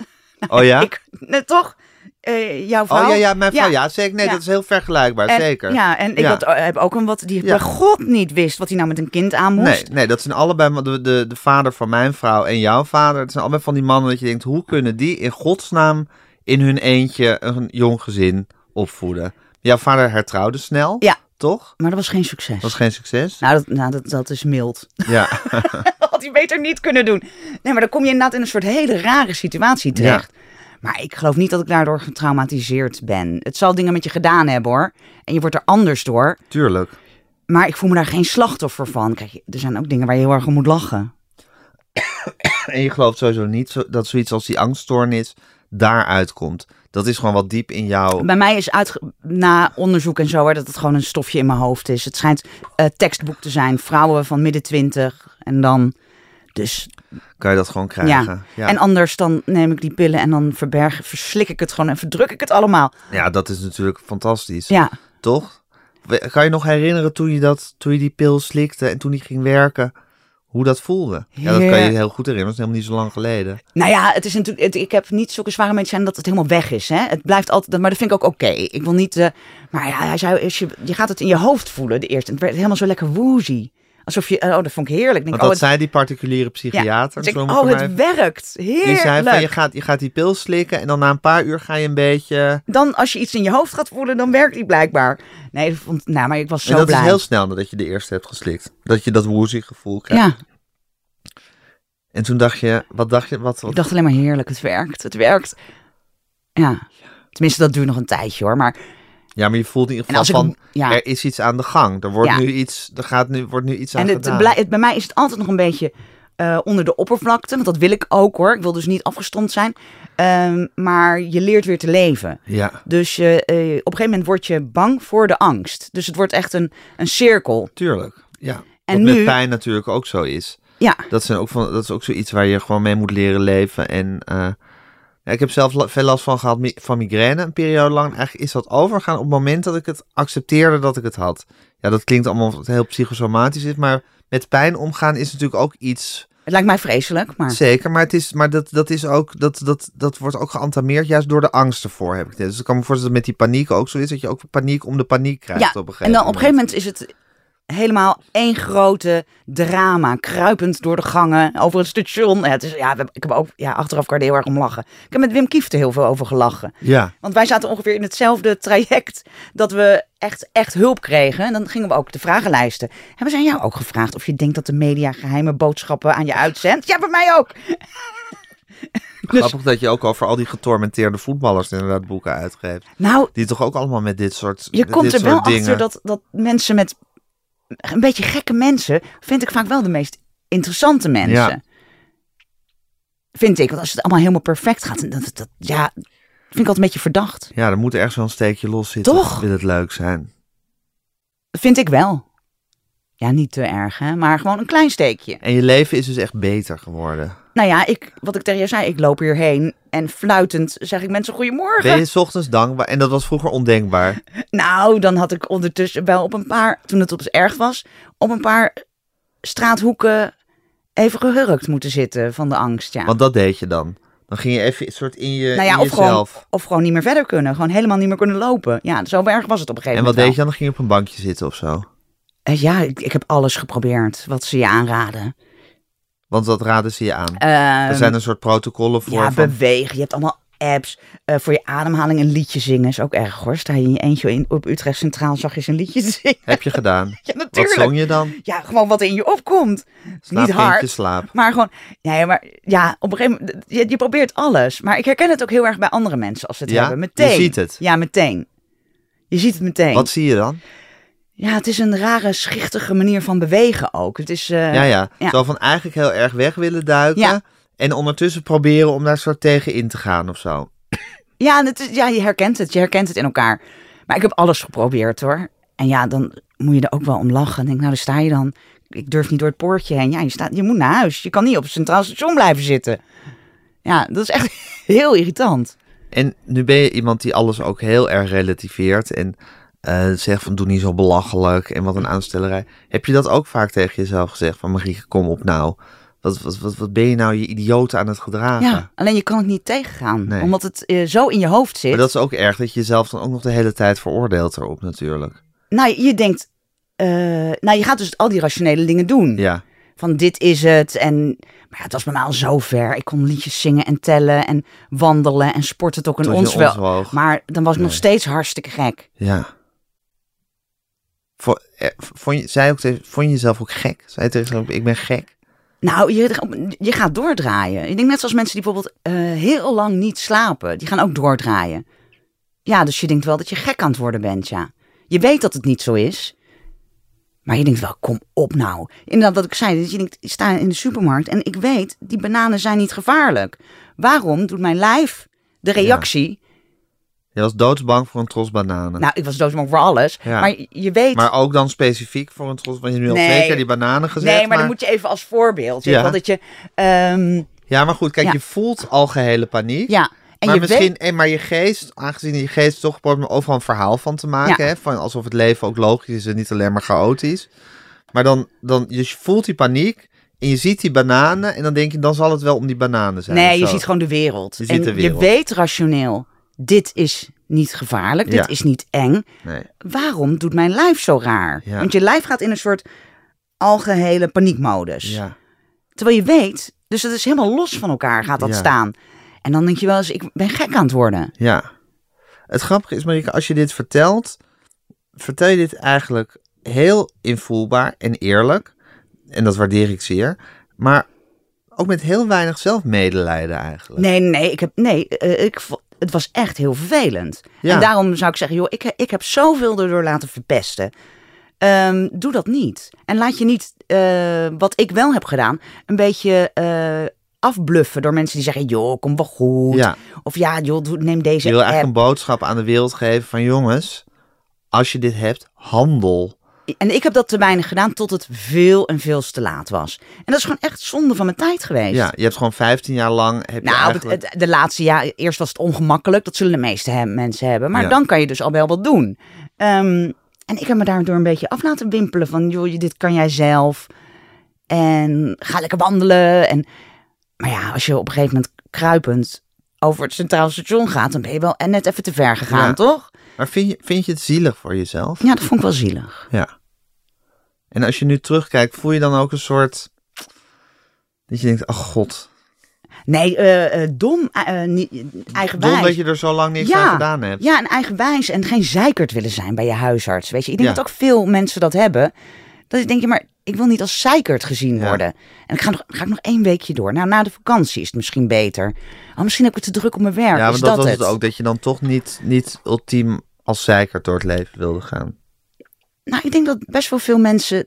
Speaker 2: Oh ja?
Speaker 3: Ik, net toch? Eh, jouw vrouw?
Speaker 2: Oh ja, ja, mijn vrouw. Ja, zeker. Nee,
Speaker 3: Ja.
Speaker 2: dat is heel vergelijkbaar.
Speaker 3: En-
Speaker 2: zeker.
Speaker 3: Ja, en ik
Speaker 2: Ja.
Speaker 3: had- eh, heb ook een wat die
Speaker 2: Ja.
Speaker 3: bij God niet wist wat hij nou met een kind aan moest.
Speaker 2: Nee, nee, dat zijn allebei de, de, de vader van mijn vrouw en jouw vader. Het zijn allebei van die mannen dat je denkt, hoe kunnen die in godsnaam in hun eentje een jong gezin opvoeden? Jouw vader hertrouwde snel,
Speaker 3: Ja.
Speaker 2: toch?
Speaker 3: Maar dat was geen succes.
Speaker 2: Was geen succes.
Speaker 3: Nou, dat, nou dat, dat is mild.
Speaker 2: Ja,
Speaker 3: dat had hij beter niet kunnen doen. Nee, maar dan kom je inderdaad in een soort hele rare situatie terecht. Maar ik geloof niet dat ik daardoor getraumatiseerd ben. Het zal dingen met je gedaan hebben hoor. En je wordt er anders door.
Speaker 2: tuurlijk.
Speaker 3: Maar ik voel me daar geen slachtoffer van. Kijk, er zijn ook dingen waar je heel erg om moet lachen.
Speaker 2: En je gelooft sowieso niet zo- dat zoiets als die angststoornis daaruit komt. Dat is gewoon wat diep in jou.
Speaker 3: Bij mij is uitge- na onderzoek en zo, hè, dat het gewoon een stofje in mijn hoofd is. Het schijnt eh tekstboek te zijn. Vrouwen van midden twintig. En dan. Dus
Speaker 2: Kan je dat gewoon
Speaker 3: ja.
Speaker 2: krijgen? Ja,
Speaker 3: En anders dan neem ik die pillen en dan verberg, verslik ik het gewoon en verdruk ik het allemaal.
Speaker 2: ja dat is natuurlijk fantastisch.
Speaker 3: Ja.
Speaker 2: Toch? We- Kan je nog herinneren toen je, dat, toen je die pil slikte en toen die ging werken, hoe dat voelde? Ja, dat kan je
Speaker 3: Ja.
Speaker 2: heel goed herinneren. Dat is helemaal niet zo lang geleden.
Speaker 3: Nou ja, het is natuurlijk, het- ik heb niet zulke zware medicijnen dat het helemaal weg is. Hè? Het blijft altijd, maar dat vind ik ook oké. Ik wil niet, eh, maar ja, hij zei, als je, je gaat het in je hoofd voelen de eerste. Het werd helemaal zo lekker woozy. Alsof je, oh, dat vond ik heerlijk. Ik
Speaker 2: Want
Speaker 3: Denk,
Speaker 2: dat
Speaker 3: oh, het,
Speaker 2: zei die particuliere
Speaker 3: ja.
Speaker 2: psychiater.
Speaker 3: Dus ik
Speaker 2: zo
Speaker 3: denk,
Speaker 2: moet ik
Speaker 3: oh,
Speaker 2: hem
Speaker 3: het
Speaker 2: even-
Speaker 3: werkt. Heerlijk.
Speaker 2: die zei van, je gaat, je gaat die pil slikken en dan na een paar uur ga je een beetje...
Speaker 3: Dan als je iets in je hoofd gaat voelen, dan werkt die blijkbaar. Nee, ik vond, nou, maar ik was zo
Speaker 2: en dat
Speaker 3: blij.
Speaker 2: is heel snel nadat je de eerste hebt geslikt. Dat je dat woozy gevoel krijgt.
Speaker 3: ja,
Speaker 2: En toen dacht je, wat dacht je? Wat, wat-
Speaker 3: ik dacht alleen maar heerlijk, het werkt, het werkt. Ja, tenminste dat duurt nog een tijdje hoor. Maar
Speaker 2: Ja, maar je voelt in ieder
Speaker 3: en
Speaker 2: geval
Speaker 3: als ik,
Speaker 2: van,
Speaker 3: ja.
Speaker 2: er is iets aan de gang. Er, wordt
Speaker 3: Ja.
Speaker 2: nu iets, er gaat nu, wordt nu iets aan
Speaker 3: En het,
Speaker 2: gedaan.
Speaker 3: blij- het- bij mij is het altijd nog een beetje eh, onder de oppervlakte. Want dat wil ik ook hoor. Ik wil dus niet afgestomd zijn. Ehm, maar je leert weer te leven.
Speaker 2: Ja,
Speaker 3: Dus je, eh, op een gegeven moment word je bang voor de angst. Dus het wordt echt een, een cirkel.
Speaker 2: tuurlijk. Ja.
Speaker 3: En
Speaker 2: Wat met
Speaker 3: nu-
Speaker 2: pijn natuurlijk ook zo is.
Speaker 3: Ja,
Speaker 2: Dat, zijn ook van, dat is ook zoiets waar je gewoon mee moet leren leven. En eh, Ja, ik heb zelf la- veel last van gehad mi- van migraine een periode lang. Eigenlijk is dat overgegaan op het moment dat ik het accepteerde dat ik het had. Ja, dat klinkt allemaal alsof het heel psychosomatisch is, maar met pijn omgaan is natuurlijk ook iets.
Speaker 3: Het lijkt mij vreselijk, maar...
Speaker 2: Zeker, maar, het is, maar dat, dat, is ook, dat, dat, dat wordt ook geantameerd juist door de angst ervoor, heb ik dit. Dus ik kan me voorstellen dat met die paniek ook zo is, dat je ook paniek om de paniek krijgt op een gegeven
Speaker 3: en dan op een gegeven moment is het helemaal één grote drama. Kruipend door de gangen, over het station. Ja, het is, ja, we hebben- ik heb ook ja, achteraf kan je er heel erg om lachen. Ik heb met Wim Kieft er heel veel over gelachen.
Speaker 2: Ja,
Speaker 3: Want wij zaten ongeveer in hetzelfde traject dat we echt, echt hulp kregen. En dan gingen we ook de vragenlijsten. Hebben ze aan jou ook gevraagd of je denkt dat de media geheime boodschappen aan je uitzendt? Ja, bij mij ook. Dus
Speaker 2: grappig dat je ook over al die getormenteerde voetballers inderdaad boeken uitgeeft.
Speaker 3: Nou,
Speaker 2: Die toch ook allemaal met dit soort
Speaker 3: je
Speaker 2: dit
Speaker 3: komt er
Speaker 2: soort
Speaker 3: wel
Speaker 2: dingen.
Speaker 3: achter dat, dat mensen met een beetje gekke mensen vind ik vaak wel de meest interessante mensen.
Speaker 2: Ja.
Speaker 3: Vind ik, want als het allemaal helemaal perfect gaat, dan dat, dat, ja, vind ik altijd een beetje verdacht.
Speaker 2: Ja, er moet ergens wel een steekje los zitten.
Speaker 3: Toch?
Speaker 2: Wil het leuk zijn.
Speaker 3: Vind ik wel. Ja, niet te erg, hè? maar gewoon een klein steekje.
Speaker 2: En je leven is dus echt beter geworden.
Speaker 3: Nou ja, ik, wat ik tegen je zei, ik loop hierheen en fluitend zeg ik mensen goedemorgen.
Speaker 2: Ben je 's ochtends dankbaar? En dat was vroeger ondenkbaar.
Speaker 3: Nou, dan had ik ondertussen wel op een paar, toen het op het erg was, op een paar straathoeken even gehurkt moeten zitten van de angst. Ja.
Speaker 2: Want dat deed je dan. Dan ging je even een soort in, je,
Speaker 3: nou ja,
Speaker 2: in
Speaker 3: of gewoon,
Speaker 2: jezelf.
Speaker 3: of gewoon niet meer verder kunnen. Gewoon helemaal niet meer kunnen lopen. Ja, zo erg was het op een gegeven
Speaker 2: En wat
Speaker 3: moment.
Speaker 2: deed je dan? Dan ging je op een bankje zitten of zo.
Speaker 3: wel. Eh, ja, ik, ik heb alles geprobeerd wat ze je aanraden.
Speaker 2: Want dat raden ze je aan.
Speaker 3: Ehm,
Speaker 2: er zijn een soort protocollen voor.
Speaker 3: ja,
Speaker 2: van-
Speaker 3: bewegen. Je hebt allemaal apps. Eh, voor je ademhaling een liedje zingen is ook erg hoor. Sta je in je eentje in, op Utrecht Centraal zag je eens een liedje zingen.
Speaker 2: Heb je gedaan?
Speaker 3: Ja,
Speaker 2: Wat
Speaker 3: natuurlijk.
Speaker 2: zong je Nou, dan?
Speaker 3: Ja, gewoon wat er in je opkomt.
Speaker 2: Slaap,
Speaker 3: Niet hard.
Speaker 2: kindje, slaap.
Speaker 3: Maar gewoon, nee, maar ja, op een gegeven moment, je, je probeert alles. Maar ik herken het ook heel erg bij andere mensen als ze het
Speaker 2: Ja?
Speaker 3: hebben. Meteen.
Speaker 2: Je ziet het.
Speaker 3: Ja, meteen. Je ziet het meteen.
Speaker 2: Wat zie je dan?
Speaker 3: Ja, het is een rare, schichtige manier van bewegen ook. Het is, eh,
Speaker 2: ja, ja.
Speaker 3: ja.
Speaker 2: Zo van eigenlijk heel erg weg willen duiken.
Speaker 3: Ja.
Speaker 2: En ondertussen proberen om daar soort tegen in te gaan of zo.
Speaker 3: ja, en het is, ja, je herkent het. Je herkent het in elkaar. Maar ik heb alles geprobeerd hoor. En ja, dan moet je er ook wel om lachen. Dan denk, ik, nou, daar sta je dan. Ik durf niet door het poortje heen. Ja, je, staat, je moet naar huis. Je kan niet op het centraal station blijven zitten. Ja, dat is echt heel irritant.
Speaker 2: En nu ben je iemand die alles ook heel erg relativeert. En eh, zegt van doe niet zo belachelijk en wat een aanstellerij. Heb je dat ook vaak tegen jezelf gezegd? Van Marieke, kom op nou. Wat, wat, wat, wat ben je nou je idioot aan het gedragen?
Speaker 3: Ja, alleen je kan het niet tegengaan.
Speaker 2: Nee.
Speaker 3: Omdat het eh, zo in je hoofd zit.
Speaker 2: Maar dat is ook erg dat je jezelf dan ook nog de hele tijd veroordeelt erop natuurlijk.
Speaker 3: Nou, je denkt... eh, nou, je gaat dus al die rationele dingen doen.
Speaker 2: Ja,
Speaker 3: Van dit is het. En, maar ja, het was bij mij al zo ver. Ik kon liedjes zingen en tellen en wandelen en sporten tot een
Speaker 2: tot
Speaker 3: ons
Speaker 2: je
Speaker 3: wel.
Speaker 2: onzwoog.
Speaker 3: Maar dan was ik nog
Speaker 2: Nee.
Speaker 3: steeds hartstikke gek.
Speaker 2: Ja. Vo- eh, Vond je, zei ook tegen, vond je jezelf ook gek? Zei je tegen jezelf, ik ben gek?
Speaker 3: Nou, je, je gaat doordraaien. Ik denk net zoals mensen die bijvoorbeeld eh, heel lang niet slapen. Die gaan ook doordraaien. Ja, dus je denkt wel dat je gek aan het worden bent, ja. Je weet dat het niet zo is. Maar je denkt wel, kom op nou. Inderdaad, wat ik zei, dat je denkt, ik sta in de supermarkt en ik weet, die bananen zijn niet gevaarlijk. Waarom doet mijn lijf de reactie
Speaker 2: Je was doodsbang voor een tros bananen.
Speaker 3: Nou, ik was doodsbang voor alles.
Speaker 2: Ja.
Speaker 3: Maar je weet...
Speaker 2: maar ook dan specifiek voor een tros, want je hebt nu al
Speaker 3: Nee.
Speaker 2: twee keer die bananen gezegd.
Speaker 3: nee, maar, dan moet je even als voorbeeld.
Speaker 2: Ja.
Speaker 3: Ja. Dat je... ehm,
Speaker 2: Ja, maar goed, kijk,
Speaker 3: Ja.
Speaker 2: je voelt al gehele paniek.
Speaker 3: ja. En
Speaker 2: maar
Speaker 3: je
Speaker 2: misschien,
Speaker 3: weet...
Speaker 2: eh, maar je geest, aangezien je geest toch probeert om overal een verhaal van te maken,
Speaker 3: Ja.
Speaker 2: hè, van alsof het leven ook logisch is en niet alleen maar chaotisch. Maar dan, dan je voelt die paniek en je ziet die bananen en dan denk je, dan zal het wel om die bananen zijn.
Speaker 3: Nee,
Speaker 2: of
Speaker 3: je
Speaker 2: zo.
Speaker 3: ziet gewoon de wereld.
Speaker 2: Je ziet
Speaker 3: en
Speaker 2: de wereld.
Speaker 3: je weet rationeel, dit is niet gevaarlijk.
Speaker 2: Ja.
Speaker 3: Dit is niet eng.
Speaker 2: Nee.
Speaker 3: Waarom doet mijn lijf zo raar?
Speaker 2: Ja.
Speaker 3: Want je lijf gaat in een soort algehele paniekmodus.
Speaker 2: Ja.
Speaker 3: Terwijl je weet... Dus het is helemaal los van elkaar gaat dat
Speaker 2: Ja.
Speaker 3: staan. En dan denk je wel eens, ik ben gek aan het worden.
Speaker 2: Ja. Het grappige is, Marika, als je dit vertelt, vertel je dit eigenlijk heel invoelbaar en eerlijk. En dat waardeer ik zeer. Maar ook met heel weinig zelfmedelijden eigenlijk.
Speaker 3: Nee, nee, ik heb, nee eh, ik, vo- het was echt heel vervelend.
Speaker 2: Ja.
Speaker 3: En daarom zou ik zeggen, joh, ik, ik heb zoveel erdoor laten verpesten. Ehm, doe dat niet. En laat je niet, eh, wat ik wel heb gedaan, een beetje eh, afbluffen door mensen die zeggen, joh, kom wel goed.
Speaker 2: Ja.
Speaker 3: Of ja, joh, doe- neem deze
Speaker 2: Je wil
Speaker 3: app.
Speaker 2: eigenlijk een boodschap aan de wereld geven van jongens, als je dit hebt, handel.
Speaker 3: En ik heb dat te weinig gedaan tot het veel en veel te laat was. En dat is gewoon echt zonde van mijn tijd geweest.
Speaker 2: Ja, je hebt gewoon 15 jaar lang. Heb je
Speaker 3: Nou,
Speaker 2: eigenlijk...
Speaker 3: het- het- de laatste jaar, eerst was het ongemakkelijk. Dat zullen de meeste he- mensen hebben. Maar
Speaker 2: Ja.
Speaker 3: dan kan je dus al wel wat doen. Ehm, en ik heb me daardoor een beetje af laten wimpelen. Van, joh, je- dit kan jij zelf. En ga lekker wandelen. En, maar ja, als je op een gegeven moment kruipend over het Centraal Station gaat... dan ben je wel en net even te ver gegaan,
Speaker 2: Ja.
Speaker 3: toch?
Speaker 2: Maar vind je, vind je het zielig voor jezelf?
Speaker 3: Ja, dat vond ik wel zielig.
Speaker 2: Ja. En als je nu terugkijkt, voel je dan ook een soort. Dat je denkt, ach god.
Speaker 3: Nee, eh, eh, dom, eh, eh, niet- eigenwijs.
Speaker 2: Dom dat je er zo lang niks aan gedaan hebt.
Speaker 3: Ja, en eigenwijs en geen zeikert willen zijn bij je huisarts. Weet je, ik denk
Speaker 2: Ja.
Speaker 3: dat ook veel mensen dat hebben. Dat ik denk, ja, maar ik wil niet als zeikert gezien
Speaker 2: Ja.
Speaker 3: worden. En ik ga, nog, ga ik nog één weekje door. Nou, na de vakantie is het misschien beter. Oh, misschien heb ik het te druk op mijn werk.
Speaker 2: Ja,
Speaker 3: is
Speaker 2: want dat
Speaker 3: dat,
Speaker 2: was
Speaker 3: het?
Speaker 2: het ook. Dat je dan toch niet, niet ultiem als zeikert door het leven wilde gaan.
Speaker 3: Nou, ik denk dat best wel veel mensen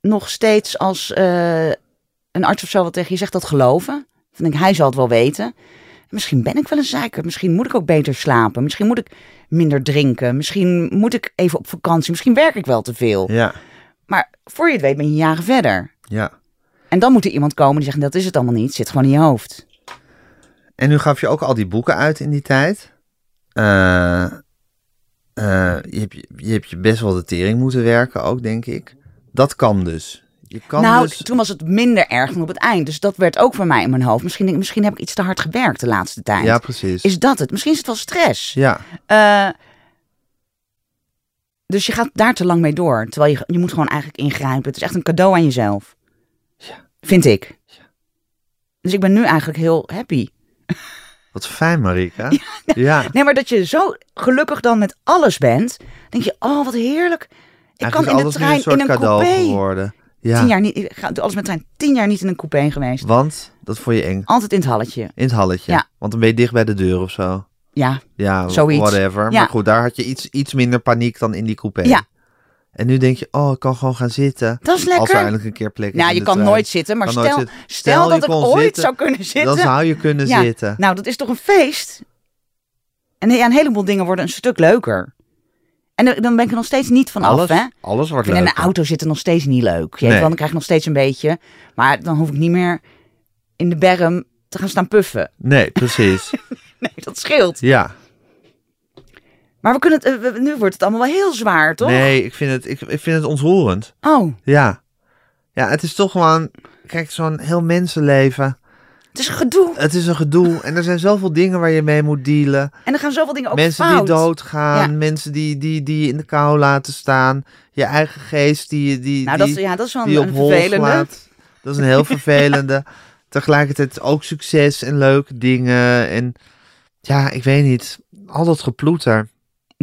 Speaker 3: nog steeds als eh, een arts of zo wat tegen je zegt dat geloven. Dan denk ik, hij zal het wel weten. Misschien ben ik wel een zeikert. Misschien moet ik ook beter slapen. Misschien moet ik minder drinken. Misschien moet ik even op vakantie. Misschien werk ik wel te veel.
Speaker 2: Ja,
Speaker 3: Maar voor je het weet ben je jaren verder.
Speaker 2: ja.
Speaker 3: En dan moet er iemand komen die zegt, dat is het allemaal niet. Zit gewoon in je hoofd.
Speaker 2: En nu gaf je ook al die boeken uit in die tijd. Eh, eh, je, hebt, je- je hebt je best wel de tering moeten werken ook, denk ik. Dat kan dus. Je kan
Speaker 3: nou,
Speaker 2: dus...
Speaker 3: toen was het minder erg dan op het eind. Dus dat werd ook voor mij in mijn hoofd. Misschien, denk ik, misschien heb ik iets te hard gewerkt de laatste tijd.
Speaker 2: Ja, precies.
Speaker 3: Is dat het? Misschien is het wel stress.
Speaker 2: Ja,
Speaker 3: Eh, dus je gaat daar te lang mee door. Terwijl je, je moet gewoon eigenlijk ingrijpen. Het is echt een cadeau aan jezelf. Vind ik. Dus ik ben nu eigenlijk heel happy.
Speaker 2: wat fijn, Marika. Ja,
Speaker 3: Nee, maar dat je zo gelukkig dan met alles bent. denk je, oh wat heerlijk. Ik
Speaker 2: eigenlijk
Speaker 3: kan
Speaker 2: is
Speaker 3: in de
Speaker 2: alles nu
Speaker 3: trein,
Speaker 2: een soort
Speaker 3: in een
Speaker 2: cadeau
Speaker 3: coupé.
Speaker 2: geworden. Ja,
Speaker 3: Tien jaar niet, ik ga doe alles met trein. Tien jaar niet in een coupé geweest.
Speaker 2: want dat vond je eng.
Speaker 3: Altijd in het halletje.
Speaker 2: In het halletje.
Speaker 3: Ja.
Speaker 2: Want dan ben je dicht bij de deur of zo.
Speaker 3: Ja,
Speaker 2: Ja,
Speaker 3: Zoiets.
Speaker 2: whatever.
Speaker 3: Ja.
Speaker 2: Maar goed, daar had je iets, iets minder paniek dan in die coupé.
Speaker 3: Ja.
Speaker 2: En nu denk je, oh, ik kan gewoon gaan zitten.
Speaker 3: dat is
Speaker 2: Als er
Speaker 3: lekker.
Speaker 2: eindelijk een keer plek is
Speaker 3: Nou,
Speaker 2: in
Speaker 3: je
Speaker 2: de
Speaker 3: kan
Speaker 2: trein.
Speaker 3: nooit zitten, maar
Speaker 2: Kan
Speaker 3: stel,
Speaker 2: nooit zitten.
Speaker 3: stel,
Speaker 2: Stel, je
Speaker 3: dat ik
Speaker 2: kon
Speaker 3: ooit
Speaker 2: zitten,
Speaker 3: zou kunnen zitten.
Speaker 2: Dan zou je kunnen
Speaker 3: Ja.
Speaker 2: zitten.
Speaker 3: Nou, dat is toch een feest? En ja, een heleboel dingen worden een stuk leuker. En dan- dan ben ik er nog steeds niet van
Speaker 2: Alles,
Speaker 3: af, hè?
Speaker 2: alles wordt
Speaker 3: Ik vind in
Speaker 2: leuk.
Speaker 3: een auto zitten nog steeds niet leuk. Je
Speaker 2: Nee.
Speaker 3: weet wel, dan krijg je nog steeds een beetje. Maar dan hoef ik niet meer in de berm te gaan staan puffen.
Speaker 2: Nee, precies.
Speaker 3: Nee, dat scheelt.
Speaker 2: ja.
Speaker 3: Maar we kunnen het, eh, we- nu wordt het allemaal wel heel zwaar, toch?
Speaker 2: Nee, ik vind, het, ik, ik vind het ontroerend.
Speaker 3: Oh,
Speaker 2: Ja. Ja, het is toch gewoon... Kijk, zo'n heel mensenleven.
Speaker 3: het is gedoe.
Speaker 2: Het is een gedoe. En er zijn zoveel dingen waar je mee moet dealen.
Speaker 3: En er gaan zoveel dingen ook
Speaker 2: mensen
Speaker 3: fout.
Speaker 2: die doodgaan,
Speaker 3: Ja.
Speaker 2: mensen die, die, die je in de kou laten staan, je eigen geest die, die,
Speaker 3: nou, dat,
Speaker 2: die,
Speaker 3: is- ja, dat is wel
Speaker 2: die
Speaker 3: een,
Speaker 2: op
Speaker 3: een
Speaker 2: hol
Speaker 3: vervelende.
Speaker 2: slaat. Dat is een heel vervelende. Tegelijkertijd ook succes en leuke dingen. En ja, ik weet niet. Al dat geploeter.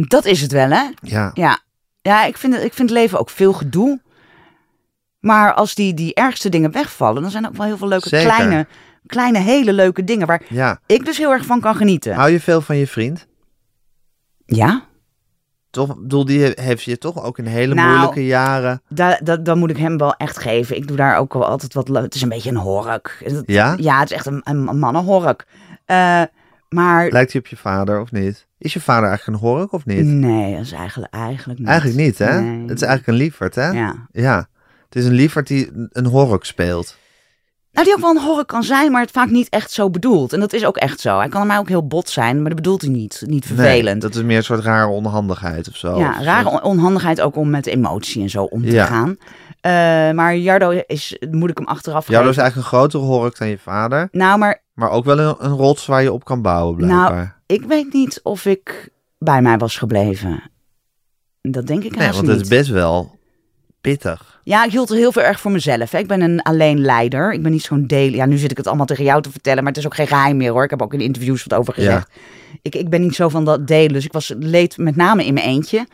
Speaker 3: Dat is het wel, hè?
Speaker 2: Ja,
Speaker 3: Ja, ja ik, vind het, ik vind het leven ook veel gedoe. Maar als die, die ergste dingen wegvallen, dan zijn er ook wel heel veel leuke,
Speaker 2: Zeker.
Speaker 3: kleine, kleine, hele leuke dingen waar
Speaker 2: ja.
Speaker 3: ik dus heel erg van kan genieten.
Speaker 2: Hou je veel van je vriend?
Speaker 3: Ja,
Speaker 2: Toch, ik bedoel, die he- heeft je toch ook in hele
Speaker 3: Nou,
Speaker 2: moeilijke jaren.
Speaker 3: daar, dat, dan moet ik hem wel echt geven. Ik doe daar ook wel altijd wat leuk. Het is een beetje een hork. Het-
Speaker 2: Ja?
Speaker 3: Ja, het is echt een, een, een mannenhork. Eh, maar
Speaker 2: Lijkt hij op je vader of niet? Is je vader eigenlijk een hork of niet?
Speaker 3: nee, dat is eigenlijk, eigenlijk niet.
Speaker 2: Eigenlijk niet, hè?
Speaker 3: Nee.
Speaker 2: Het is eigenlijk een lieverd, hè?
Speaker 3: Ja.
Speaker 2: Ja, het is een lieverd die een hork speelt.
Speaker 3: Nou, die ook wel een horror kan zijn, maar het vaak niet echt zo bedoeld. En dat is ook echt zo. Hij kan mij ook heel bot zijn, maar dat bedoelt hij niet. Niet
Speaker 2: Nee,
Speaker 3: vervelend.
Speaker 2: dat is meer een soort rare onhandigheid of Oh, zo. Of
Speaker 3: ja,
Speaker 2: een
Speaker 3: rare
Speaker 2: soort-
Speaker 3: on- onhandigheid ook om met emotie en zo om te
Speaker 2: Ja.
Speaker 3: gaan. Eh, maar Jardo is, moet ik hem achteraf
Speaker 2: Jouw is
Speaker 3: geven.
Speaker 2: eigenlijk een grotere hork dan je vader,
Speaker 3: Nou, maar
Speaker 2: maar ook wel een, een rots waar je op kan bouwen
Speaker 3: Nou,
Speaker 2: blijkbaar.
Speaker 3: ik weet niet of ik bij mij was gebleven. Dat denk ik
Speaker 2: nee,
Speaker 3: haast
Speaker 2: want
Speaker 3: niet.
Speaker 2: het is best wel pittig.
Speaker 3: Ja, ik hield er heel veel erg voor mezelf. hè. Ik ben een alleenleider. Ik ben niet zo'n deel. Ja, nu zit ik het allemaal tegen jou te vertellen, maar het is ook geen geheim meer hoor. Ik heb ook in interviews wat over gezegd. Ik, ik ben niet zo van dat delen. Dus ik was leed met name in mijn eentje.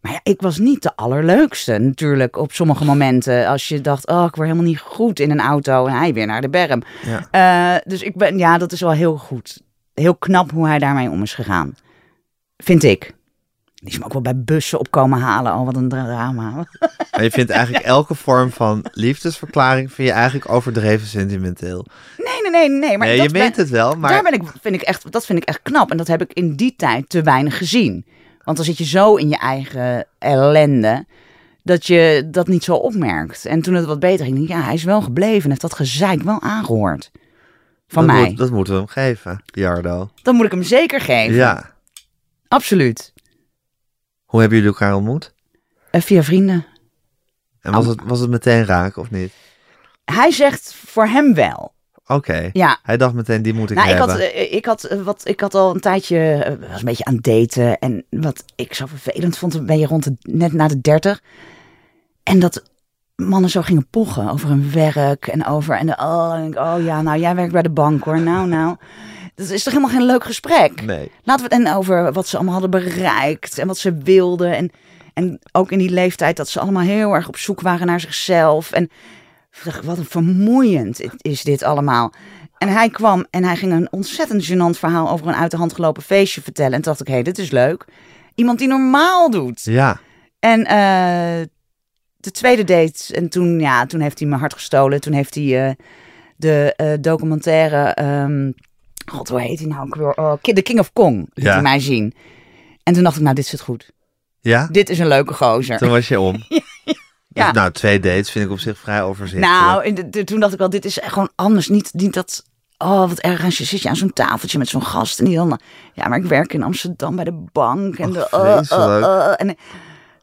Speaker 3: Maar ja, ik was niet de allerleukste natuurlijk op sommige momenten. Als je dacht, oh, ik word helemaal niet goed in een auto. En hij weer naar de berm.
Speaker 2: Ja.
Speaker 3: Eh, dus ik ben, ja, dat is wel heel goed. Heel knap hoe hij daarmee om is gegaan. Vind ik. Die is me ook wel bij bussen op komen halen. Oh, wat een drama.
Speaker 2: Maar je vindt eigenlijk elke vorm van liefdesverklaring vind je eigenlijk overdreven sentimenteel.
Speaker 3: Nee, nee, nee, nee. Maar
Speaker 2: nee,
Speaker 3: dat
Speaker 2: je
Speaker 3: ben-
Speaker 2: meent het wel, maar
Speaker 3: Daar ben ik, vind ik echt, dat vind ik echt knap. En dat heb ik in die tijd te weinig gezien. Want dan zit je zo in je eigen ellende. dat je dat niet zo opmerkt. En toen het wat beter ging, dacht ik, ja, hij is wel gebleven en heeft dat gezeik wel aangehoord. Van
Speaker 2: dat
Speaker 3: mij.
Speaker 2: Moet, dat moeten we hem geven, Jardo.
Speaker 3: Dan moet ik hem zeker geven.
Speaker 2: Ja.
Speaker 3: Absoluut.
Speaker 2: Hoe hebben jullie elkaar ontmoet?
Speaker 3: En via vrienden.
Speaker 2: En was het, was het meteen raak of niet?
Speaker 3: Hij zegt voor hem wel.
Speaker 2: Oké.
Speaker 3: Ja,
Speaker 2: Hij dacht meteen, die moet ik
Speaker 3: nou, ik
Speaker 2: hebben.
Speaker 3: had, eh, ik, had, eh, wat, ik had al een tijdje, eh, was een beetje aan het daten. En wat ik zo vervelend vond, ben je rond de, net na de dertig. En dat mannen zo gingen pochen over hun werk en over. En de, oh, en ik, oh ja, nou jij werkt bij de bank hoor. Nou, nou. Dat is toch helemaal geen leuk gesprek?
Speaker 2: Nee.
Speaker 3: Laten we het en over wat ze allemaal hadden bereikt en wat ze wilden. En, en ook in die leeftijd dat ze allemaal heel erg op zoek waren naar zichzelf. En vraag, wat een vermoeiend is dit allemaal. En hij kwam en hij ging een ontzettend gênant verhaal over een uit de hand gelopen feestje vertellen. En toen dacht ik, hé, dit is leuk. Iemand die normaal doet.
Speaker 2: Ja.
Speaker 3: En eh, de tweede date. En toen, ja, toen heeft hij mijn hart gestolen. Toen heeft hij eh, de eh, documentaire. ehm, God, hoe heet hij nou? ook weer? Oh, Ki- The King of Kong. liet
Speaker 2: Ja.
Speaker 3: hij mij zien. En toen dacht ik, nou, dit zit goed.
Speaker 2: Ja?
Speaker 3: Dit is een leuke gozer.
Speaker 2: Toen was je om.
Speaker 3: Ja.
Speaker 2: Dus, nou, twee dates vind ik op zich vrij overzichtelijk.
Speaker 3: Nou, en de- de- toen dacht ik wel, dit is gewoon anders. Niet, niet dat, oh wat erg. En je zit je aan zo'n tafeltje met zo'n gast. En die dan, ja, maar ik werk in Amsterdam bij de bank. En
Speaker 2: Och,
Speaker 3: de, oh, oh,
Speaker 2: vreselijk.
Speaker 3: oh. En ik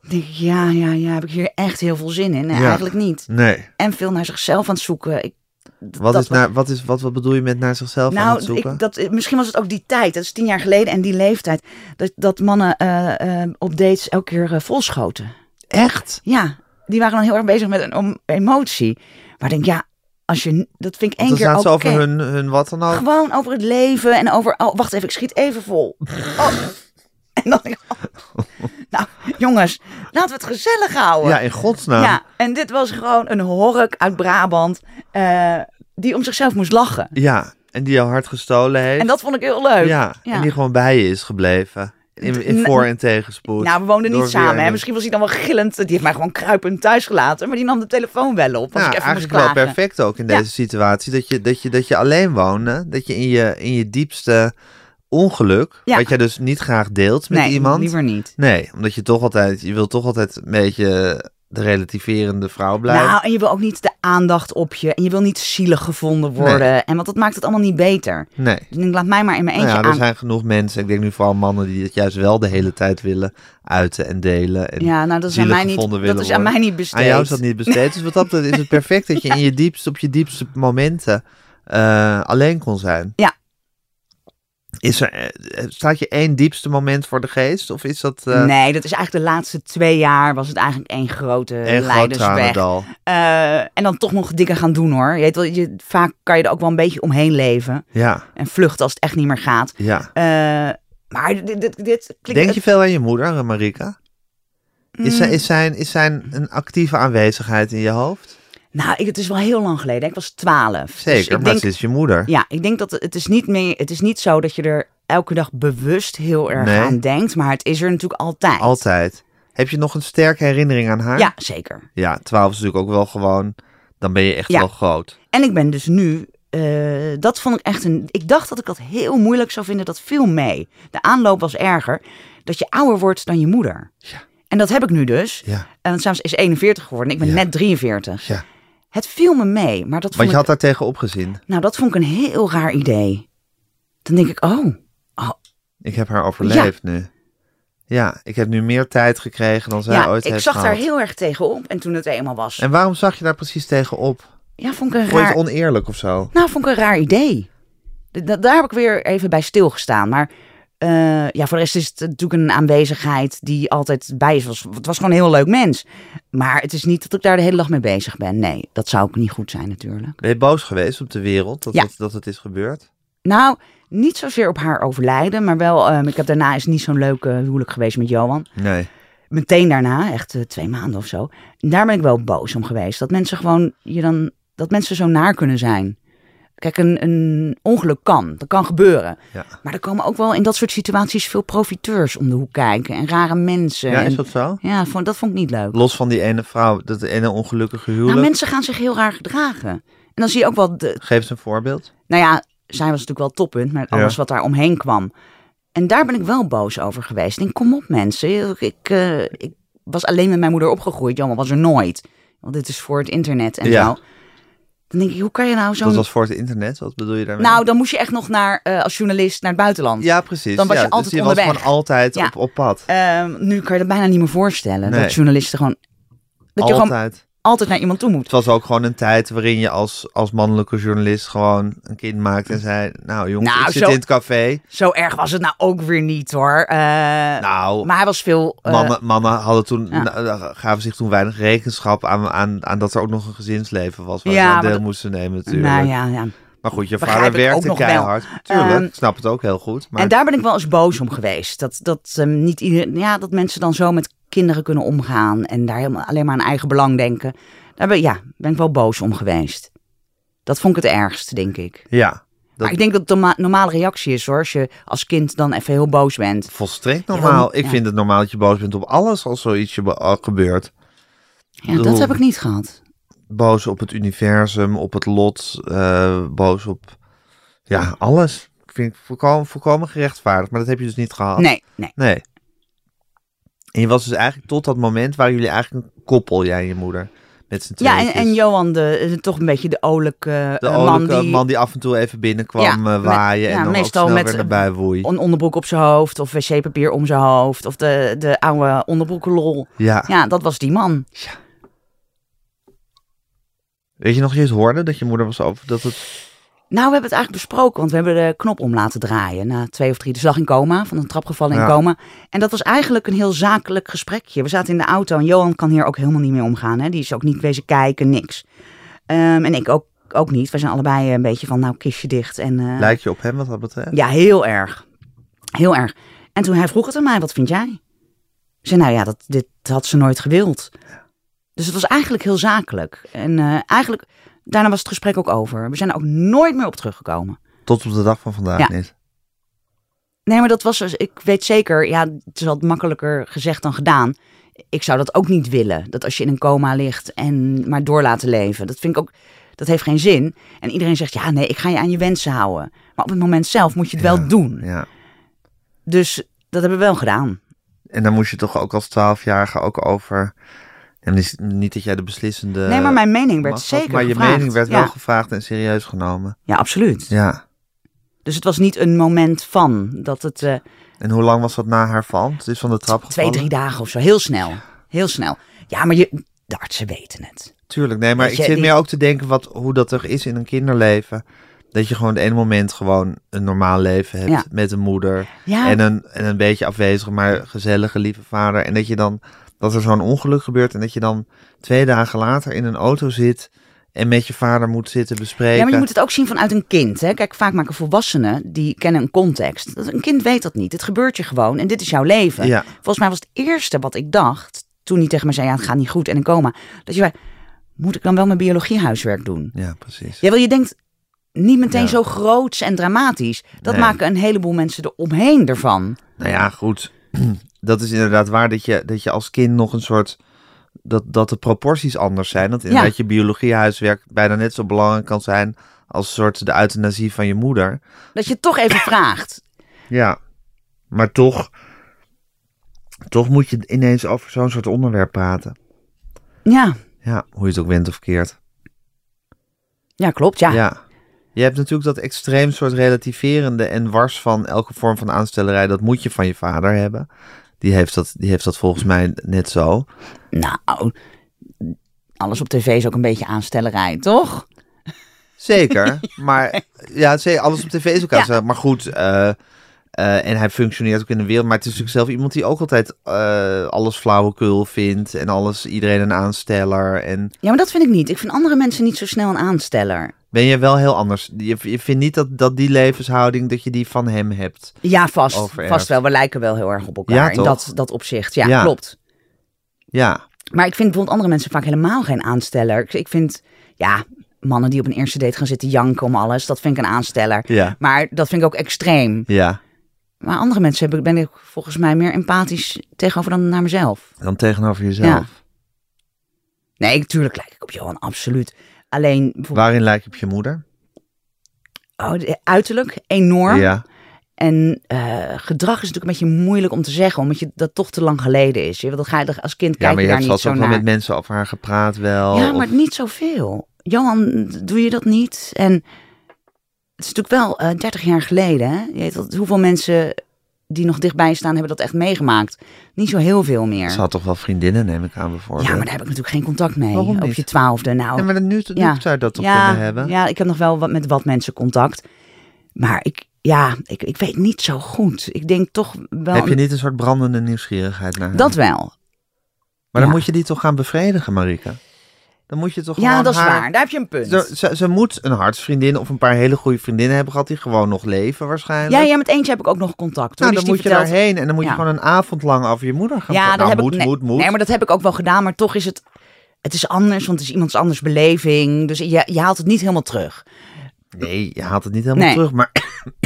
Speaker 3: denk, ja, ja, ja, heb ik hier echt heel veel zin in? Nee,
Speaker 2: Ja.
Speaker 3: eigenlijk niet.
Speaker 2: Nee.
Speaker 3: En veel naar zichzelf aan het zoeken. Ik,
Speaker 2: Wat,
Speaker 3: dat
Speaker 2: is naar, wat, is, wat, wat bedoel je met naar zichzelf aan het
Speaker 3: nou,
Speaker 2: zoeken?
Speaker 3: ik, dat, misschien was het ook die tijd. Dat is tien jaar geleden en die leeftijd. Dat, dat mannen eh, eh, op dates elke keer eh, volschoten.
Speaker 2: Echt?
Speaker 3: Ja, die waren dan heel erg bezig met een om- emotie. Maar ik denk, ja, als je, n- dat vind ik één
Speaker 2: Want dan
Speaker 3: keer
Speaker 2: zaten
Speaker 3: oké.
Speaker 2: ze over hun, hun wat dan ook.
Speaker 3: Gewoon over het leven en over... Oh, wacht even, ik schiet even vol. Oh. En dan denk ik, oh. Nou, jongens, laten we het gezellig houden.
Speaker 2: Ja, in godsnaam.
Speaker 3: Ja, en dit was gewoon een hork uit Brabant... eh, die om zichzelf moest lachen.
Speaker 2: Ja, En die jouw hart gestolen heeft.
Speaker 3: En dat vond ik heel leuk.
Speaker 2: ja. En die gewoon bij je is gebleven. In, in
Speaker 3: N-
Speaker 2: voor- en tegenspoed.
Speaker 3: Nou, we woonden
Speaker 2: Door
Speaker 3: niet
Speaker 2: weer
Speaker 3: samen. Hè?
Speaker 2: een-
Speaker 3: Misschien was hij dan wel gillend. Die heeft mij gewoon kruipend thuis gelaten. Maar die nam de telefoon wel op. Als
Speaker 2: Nou,
Speaker 3: ik even moest
Speaker 2: eigenlijk wel
Speaker 3: klagen.
Speaker 2: perfect ook in
Speaker 3: Ja.
Speaker 2: deze situatie. Dat je, dat je, dat je alleen woonde. Dat je in je, in je diepste ongeluk,
Speaker 3: Ja.
Speaker 2: wat jij dus niet graag deelt met
Speaker 3: nee,
Speaker 2: iemand.
Speaker 3: liever niet.
Speaker 2: Nee, omdat je toch altijd, je wilt toch altijd een beetje de relativerende vrouw blijven.
Speaker 3: Nou, en je wil ook niet de aandacht op je. En je wil niet zielig gevonden worden. En want dat maakt het allemaal niet beter.
Speaker 2: nee.
Speaker 3: Dus ik denk, laat mij maar in mijn
Speaker 2: Nou ja,
Speaker 3: eentje
Speaker 2: er
Speaker 3: aan.
Speaker 2: zijn genoeg mensen, ik denk nu vooral mannen, die het juist wel de hele tijd willen uiten en delen. En
Speaker 3: Ja, nou, dat is, aan
Speaker 2: zielig
Speaker 3: mij niet,
Speaker 2: gevonden
Speaker 3: dat
Speaker 2: willen
Speaker 3: is aan mij
Speaker 2: worden.
Speaker 3: niet besteed.
Speaker 2: Aan jou is dat niet besteed. Dus wat dat betreft is het perfect dat je in je diepst, op je diepste momenten eh, alleen kon zijn.
Speaker 3: Ja.
Speaker 2: Is er, eh, staat je één diepste moment voor de geest? Of is dat eh
Speaker 3: Nee, dat is eigenlijk de laatste twee jaar was het eigenlijk één grote
Speaker 2: een groot
Speaker 3: leidersweg.
Speaker 2: tranendal?
Speaker 3: Eh, en dan toch nog dingen gaan doen hoor. Je weet wel, je, vaak kan je er ook wel een beetje omheen leven.
Speaker 2: Ja,
Speaker 3: En vluchten als het echt niet meer gaat.
Speaker 2: ja.
Speaker 3: Eh, maar dit, dit, dit klinkt...
Speaker 2: Denk je veel aan je moeder, eh, Marika? Is, zij,
Speaker 3: Mm.
Speaker 2: is, zijn, is zijn een actieve aanwezigheid in je hoofd?
Speaker 3: Nou, ik, het is wel heel lang geleden. Ik was twaalf.
Speaker 2: Zeker,
Speaker 3: Dus ik
Speaker 2: maar
Speaker 3: denk,
Speaker 2: ze is je moeder.
Speaker 3: Ja, ik denk dat het- het is niet meer... Het is niet zo dat je er elke dag bewust heel erg
Speaker 2: Nee.
Speaker 3: aan denkt. Maar het is er natuurlijk altijd.
Speaker 2: Altijd. Heb je nog een sterke herinnering aan haar?
Speaker 3: Ja, zeker.
Speaker 2: Ja, 12 is natuurlijk ook wel gewoon. Dan ben je echt
Speaker 3: Ja.
Speaker 2: wel groot.
Speaker 3: En ik ben dus nu... eh, dat vond ik echt een... Ik dacht dat ik dat heel moeilijk zou vinden. Dat viel mee. De aanloop was erger. Dat je ouder wordt dan je moeder.
Speaker 2: Ja.
Speaker 3: En dat heb ik nu dus.
Speaker 2: Ja.
Speaker 3: En want Sam's is 41 geworden. Ik ben
Speaker 2: Ja.
Speaker 3: net 43.
Speaker 2: ja.
Speaker 3: Het viel me mee. Maar dat vond
Speaker 2: Want
Speaker 3: ik...
Speaker 2: je had daar tegen opgezien.
Speaker 3: Nou, dat vond ik een heel raar idee. Dan denk ik, oh,
Speaker 2: Ik heb haar overleefd nu. Ja, ik heb nu meer tijd gekregen dan zij
Speaker 3: ja,
Speaker 2: ooit
Speaker 3: ik
Speaker 2: heeft
Speaker 3: zag daar
Speaker 2: gehad.
Speaker 3: heel erg tegenop. En toen het eenmaal was,
Speaker 2: En waarom zag je daar precies tegen op?
Speaker 3: ja, vond ik een
Speaker 2: Vond je
Speaker 3: raar,
Speaker 2: het oneerlijk of zo?
Speaker 3: nou, vond ik een raar idee. Da- da- daar heb ik weer even bij stilgestaan. Maar eh, ja, voor de rest is het natuurlijk een aanwezigheid die altijd bij is. Was- Het was gewoon een heel leuk mens. Maar het is niet dat ik daar de hele dag mee bezig ben. Nee, dat zou ook niet goed zijn natuurlijk.
Speaker 2: Ben je boos geweest op de wereld dat,
Speaker 3: Ja.
Speaker 2: dat, dat het is gebeurd?
Speaker 3: Nou, niet zozeer op haar overlijden. Maar wel, ehm, ik heb daarna is niet zo'n leuke huwelijk geweest met Johan.
Speaker 2: Nee.
Speaker 3: meteen daarna, echt eh, twee maanden of zo. En daar ben ik wel boos om geweest. Dat mensen gewoon je dan, dat mensen zo naar kunnen zijn. Kijk, een, een ongeluk kan, dat kan gebeuren.
Speaker 2: Ja.
Speaker 3: Maar er komen ook wel in dat soort situaties veel profiteurs om de hoek kijken en rare mensen.
Speaker 2: Ja,
Speaker 3: en,
Speaker 2: is dat zo?
Speaker 3: ja vond, dat vond ik niet leuk.
Speaker 2: Los van die ene vrouw, dat ene ongelukkige huwelijk.
Speaker 3: Nou, mensen gaan zich heel raar gedragen. En dan zie je ook wel, de,
Speaker 2: Geef eens een voorbeeld.
Speaker 3: nou ja, zij was natuurlijk wel het toppunt, maar alles
Speaker 2: Ja.
Speaker 3: wat daar omheen kwam. En daar ben ik wel boos over geweest. Ik denk, kom op mensen, ik, ik, eh, ik was alleen met mijn moeder opgegroeid. Jammer was er nooit. Want dit is voor het internet en
Speaker 2: Ja.
Speaker 3: zo. Dan denk ik, hoe kan je nou
Speaker 2: Dat
Speaker 3: zo'n...
Speaker 2: was voor het internet, wat bedoel je daarmee?
Speaker 3: Nou, dan moest je echt nog naar, eh, als journalist naar het buitenland.
Speaker 2: ja, precies.
Speaker 3: dan was
Speaker 2: ja,
Speaker 3: je altijd
Speaker 2: dus je
Speaker 3: onderweg.
Speaker 2: was gewoon altijd
Speaker 3: Ja.
Speaker 2: op, op pad.
Speaker 3: Ehm, nu kan je dat bijna niet meer voorstellen.
Speaker 2: Nee.
Speaker 3: Dat journalisten gewoon... Dat je gewoon
Speaker 2: altijd.
Speaker 3: altijd naar iemand toe moet.
Speaker 2: Het was ook gewoon een tijd waarin je als, als mannelijke journalist gewoon een kind maakte en zei... Nou jongens,
Speaker 3: Nou,
Speaker 2: ik zit
Speaker 3: zo-
Speaker 2: in het café.
Speaker 3: Zo erg was het nou ook weer niet hoor. Eh,
Speaker 2: Nou,
Speaker 3: maar hij was veel... eh,
Speaker 2: mannen, mannen hadden toen,
Speaker 3: ja.
Speaker 2: na- eh, gaven zich toen weinig rekenschap aan, aan, aan dat er ook nog een gezinsleven was. Waar
Speaker 3: Ja,
Speaker 2: ze aan
Speaker 3: maar
Speaker 2: deel
Speaker 3: dat-
Speaker 2: moesten nemen natuurlijk.
Speaker 3: nou ja, ja.
Speaker 2: Maar goed, je
Speaker 3: Begrijp
Speaker 2: vader
Speaker 3: ik ook
Speaker 2: werkte
Speaker 3: nog wel.
Speaker 2: keihard. Tuurlijk,
Speaker 3: Ehm,
Speaker 2: ik snap het ook heel goed. Maar
Speaker 3: En daar ben ik wel eens boos om geweest. Dat, dat, ehm, niet ieder, ja, dat mensen dan zo met kinderen kunnen omgaan. En daar helemaal, alleen maar aan eigen belang denken. Daar ben, ja, ben ik wel boos om geweest. Dat vond ik het ergst, denk ik.
Speaker 2: ja, dat
Speaker 3: Maar ik denk dat het een ma- normale reactie is hoor. Als je als kind dan even heel boos bent.
Speaker 2: volstrekt
Speaker 3: want-
Speaker 2: normaal. ik
Speaker 3: ja.
Speaker 2: vind het normaal dat je boos bent op alles als zoiets je be- eh, gebeurt.
Speaker 3: Ja, dat
Speaker 2: Oeh.
Speaker 3: heb ik niet gehad.
Speaker 2: Boos op het universum, op het lot, eh, boos op ja, alles. Ik vind het volkomen, volkomen gerechtvaardigd, maar dat heb je dus niet gehad.
Speaker 3: Nee, nee.
Speaker 2: Nee. En je was dus eigenlijk tot dat moment waar jullie eigenlijk een koppel, jij en je moeder, met z'n tweeën.
Speaker 3: Ja, en, en Johan, de, eh, toch een beetje de olijke,
Speaker 2: De
Speaker 3: eh,
Speaker 2: man,
Speaker 3: man die
Speaker 2: man die af en toe even
Speaker 3: Ja,
Speaker 2: binnenkwam eh,
Speaker 3: met-
Speaker 2: waaien
Speaker 3: ja,
Speaker 2: en dan
Speaker 3: meestal
Speaker 2: ook snel
Speaker 3: met-
Speaker 2: weer naar buiten woei.
Speaker 3: een onderbroek op zijn hoofd. Of wc-papier om zijn hoofd. Of de, de oude onderbroekenlol.
Speaker 2: Ja.
Speaker 3: Ja, dat was die man.
Speaker 2: Weet je nog, je het hoorde dat je moeder was over dat het...
Speaker 3: Nou, we hebben het eigenlijk besproken, want we hebben de knop om laten draaien na twee of drie. Dus lag in coma, van een trapgevallen in
Speaker 2: Ja.
Speaker 3: coma. En dat was eigenlijk een heel zakelijk gesprekje. We zaten in de auto en Johan kan hier ook helemaal niet mee omgaan. Hè? Die is ook niet wezen kijken, niks. Ehm, en ik ook, ook niet. We zijn allebei een beetje van, nou, kistje dicht. En, eh,
Speaker 2: Lijkt je op hem wat dat betreft?
Speaker 3: ja, heel erg. Heel erg. En toen hij vroeg het aan mij, wat vind jij? Ik zei, nou ja, dat, dit had ze nooit gewild. Dus het was eigenlijk heel zakelijk. En eh, eigenlijk, daarna was het gesprek ook over. We zijn er ook nooit meer op teruggekomen.
Speaker 2: Tot op de dag van vandaag
Speaker 3: Ja.
Speaker 2: niet.
Speaker 3: Nee, maar dat was, dus- ik weet zeker, ja, het is wat makkelijker gezegd dan gedaan. Ik zou dat ook niet willen. Dat als je in een coma ligt en maar door laten leven. Dat vind ik ook, dat heeft geen zin. En iedereen zegt, ja, nee, ik ga je aan je wensen houden. Maar op het moment zelf moet je het wel doen.
Speaker 2: Ja.
Speaker 3: Dus dat hebben we wel gedaan.
Speaker 2: En dan moest je toch ook als twaalfjarige ook over... En is niet dat jij de beslissende...
Speaker 3: nee, maar mijn mening werd
Speaker 2: macht had,
Speaker 3: zeker
Speaker 2: Eh, Maar je
Speaker 3: gevraagd.
Speaker 2: mening werd
Speaker 3: ja.
Speaker 2: wel gevraagd en serieus genomen.
Speaker 3: Ja, absoluut.
Speaker 2: Ja.
Speaker 3: Dus het was niet een moment van dat het eh,
Speaker 2: En hoe lang was dat na haar val? Het is van de trap
Speaker 3: twee,
Speaker 2: gevallen?
Speaker 3: drie dagen of zo. Heel snel. Heel snel. Ja, maar je, de artsen weten het.
Speaker 2: Tuurlijk, nee, maar
Speaker 3: Weet
Speaker 2: ik
Speaker 3: je,
Speaker 2: zit
Speaker 3: die-
Speaker 2: meer ook te denken wat, hoe dat er is in een kinderleven. Dat je gewoon het ene moment gewoon een normaal leven hebt
Speaker 3: Ja.
Speaker 2: met een moeder.
Speaker 3: Ja.
Speaker 2: En, een, en een beetje afwezige, maar gezellige, lieve vader. En dat je dan, dat er zo'n ongeluk gebeurt. En dat je dan twee dagen later in een auto zit. En met je vader moet zitten bespreken.
Speaker 3: Ja, maar je moet het ook zien vanuit een kind. Hè? Kijk, vaak maken volwassenen, die kennen een context. Dat- Een kind weet dat niet. Het gebeurt je gewoon en dit is jouw leven.
Speaker 2: Ja.
Speaker 3: Volgens mij was het eerste wat ik dacht, toen hij tegen me zei, ja, het gaat niet goed en een coma. Dat je zei, moet ik dan wel mijn biologiehuiswerk doen?
Speaker 2: Ja, precies.
Speaker 3: Ja, wel, je denkt niet meteen
Speaker 2: Ja.
Speaker 3: zo groots en dramatisch. Dat
Speaker 2: Nee.
Speaker 3: maken een heleboel mensen eromheen ervan.
Speaker 2: Nou ja, goed. Dat is inderdaad waar dat je, dat je als kind nog een soort. Dat, dat de proporties anders zijn. Dat inderdaad je biologiehuiswerk bijna net zo belangrijk kan zijn. als soort de euthanasie van je moeder.
Speaker 3: Dat je het toch even vraagt.
Speaker 2: Ja. Maar toch. Toch moet je ineens over zo'n soort onderwerp praten.
Speaker 3: Ja,
Speaker 2: Ja, hoe je het ook went of keert.
Speaker 3: ja klopt. Ja.
Speaker 2: Ja. Je hebt natuurlijk dat extreem soort relativerende en wars van elke vorm van aanstellerij. Dat moet je van je vader hebben. Die heeft dat, die heeft dat volgens mij net zo.
Speaker 3: Nou, alles op tv is ook een beetje aanstellerij, toch?
Speaker 2: Zeker, maar ja, zeker, alles op tv is ook
Speaker 3: Ja.
Speaker 2: aan. Maar goed, eh, eh, en hij functioneert ook in de wereld. Maar het is natuurlijk zelf iemand die ook altijd eh, alles flauwekul vindt. En alles, iedereen een aansteller. En
Speaker 3: Ja, maar dat vind ik niet. Ik vind andere mensen niet zo snel een aansteller.
Speaker 2: ben je wel heel anders. Je, je vindt niet dat, dat die levenshouding, dat je die van hem hebt.
Speaker 3: Ja, vast.
Speaker 2: Overerfd.
Speaker 3: Vast wel. We lijken wel heel erg op elkaar
Speaker 2: Ja,
Speaker 3: in
Speaker 2: toch?
Speaker 3: dat, dat opzicht. Ja,
Speaker 2: Ja.
Speaker 3: klopt.
Speaker 2: Ja,
Speaker 3: Maar ik vind bijvoorbeeld andere mensen vaak helemaal geen aansteller. Ik- Ik vind, ja, mannen die op een eerste date gaan zitten janken om alles, dat vind ik een aansteller.
Speaker 2: Ja.
Speaker 3: Maar dat vind ik ook extreem.
Speaker 2: ja.
Speaker 3: Maar andere mensen heb ik, ben ik volgens mij meer empathisch tegenover dan naar mezelf.
Speaker 2: Dan tegenover jezelf.
Speaker 3: Nee, natuurlijk lijk ik op Johan, absoluut. Alleen, bijvoorbeeld-
Speaker 2: Waarin lijkt je op je moeder?
Speaker 3: oh, de- uiterlijk enorm.
Speaker 2: Ja,
Speaker 3: En eh, gedrag is natuurlijk een beetje moeilijk om te zeggen, omdat je dat toch te lang geleden is. Je, dat ga je er als kind
Speaker 2: Ja,
Speaker 3: kijken
Speaker 2: maar je hebt
Speaker 3: daar niet
Speaker 2: vast
Speaker 3: zo
Speaker 2: ook wel
Speaker 3: naar.
Speaker 2: met mensen over haar gepraat wel.
Speaker 3: Ja,
Speaker 2: of-
Speaker 3: maar niet zoveel. Johan, doe je dat niet? En het is natuurlijk wel eh 30 jaar geleden. Hè? Je weet wel, hoeveel mensen die nog dichtbij staan hebben dat echt meegemaakt? Niet zo heel veel meer.
Speaker 2: Ze had toch wel vriendinnen, neem ik aan, bijvoorbeeld.
Speaker 3: Ja, maar daar heb ik natuurlijk geen contact mee.
Speaker 2: Waarom
Speaker 3: Op
Speaker 2: niet?
Speaker 3: je twaalfde. Nou,
Speaker 2: Ja, maar dan nu, nu
Speaker 3: Ja.
Speaker 2: zou je dat toch
Speaker 3: ja,
Speaker 2: kunnen hebben?
Speaker 3: ja, ik heb nog wel wat, met wat mensen contact. Maar ik, ja, ik, ik weet niet zo goed. Ik denk toch wel...
Speaker 2: Heb je niet een soort brandende nieuwsgierigheid naar haar?
Speaker 3: Dat wel.
Speaker 2: Maar dan
Speaker 3: Ja.
Speaker 2: moet je die toch gaan bevredigen, Marike? Dan moet je toch
Speaker 3: Ja,
Speaker 2: gewoon
Speaker 3: dat is
Speaker 2: haar-
Speaker 3: waar. Daar heb je een punt.
Speaker 2: Ze, ze, ze moet een hartsvriendin of een paar hele goede vriendinnen hebben gehad die gewoon nog leven waarschijnlijk.
Speaker 3: Ja, ja, met eentje heb ik ook nog contact.
Speaker 2: Nou,
Speaker 3: Hoor. Dus
Speaker 2: dan
Speaker 3: die
Speaker 2: moet je
Speaker 3: vertelt-
Speaker 2: daarheen en dan moet je
Speaker 3: Ja.
Speaker 2: gewoon een avond lang over je moeder gaan
Speaker 3: Ja,
Speaker 2: praten.
Speaker 3: dat
Speaker 2: Nou,
Speaker 3: heb
Speaker 2: moet,
Speaker 3: ik. Nee,
Speaker 2: moet, moet.
Speaker 3: nee, maar dat heb ik ook wel gedaan. Maar toch is het. Het is anders, want het is iemands anders beleving. Dus je, je haalt het niet helemaal terug.
Speaker 2: Nee, je haalt het niet helemaal
Speaker 3: Nee.
Speaker 2: terug, maar ik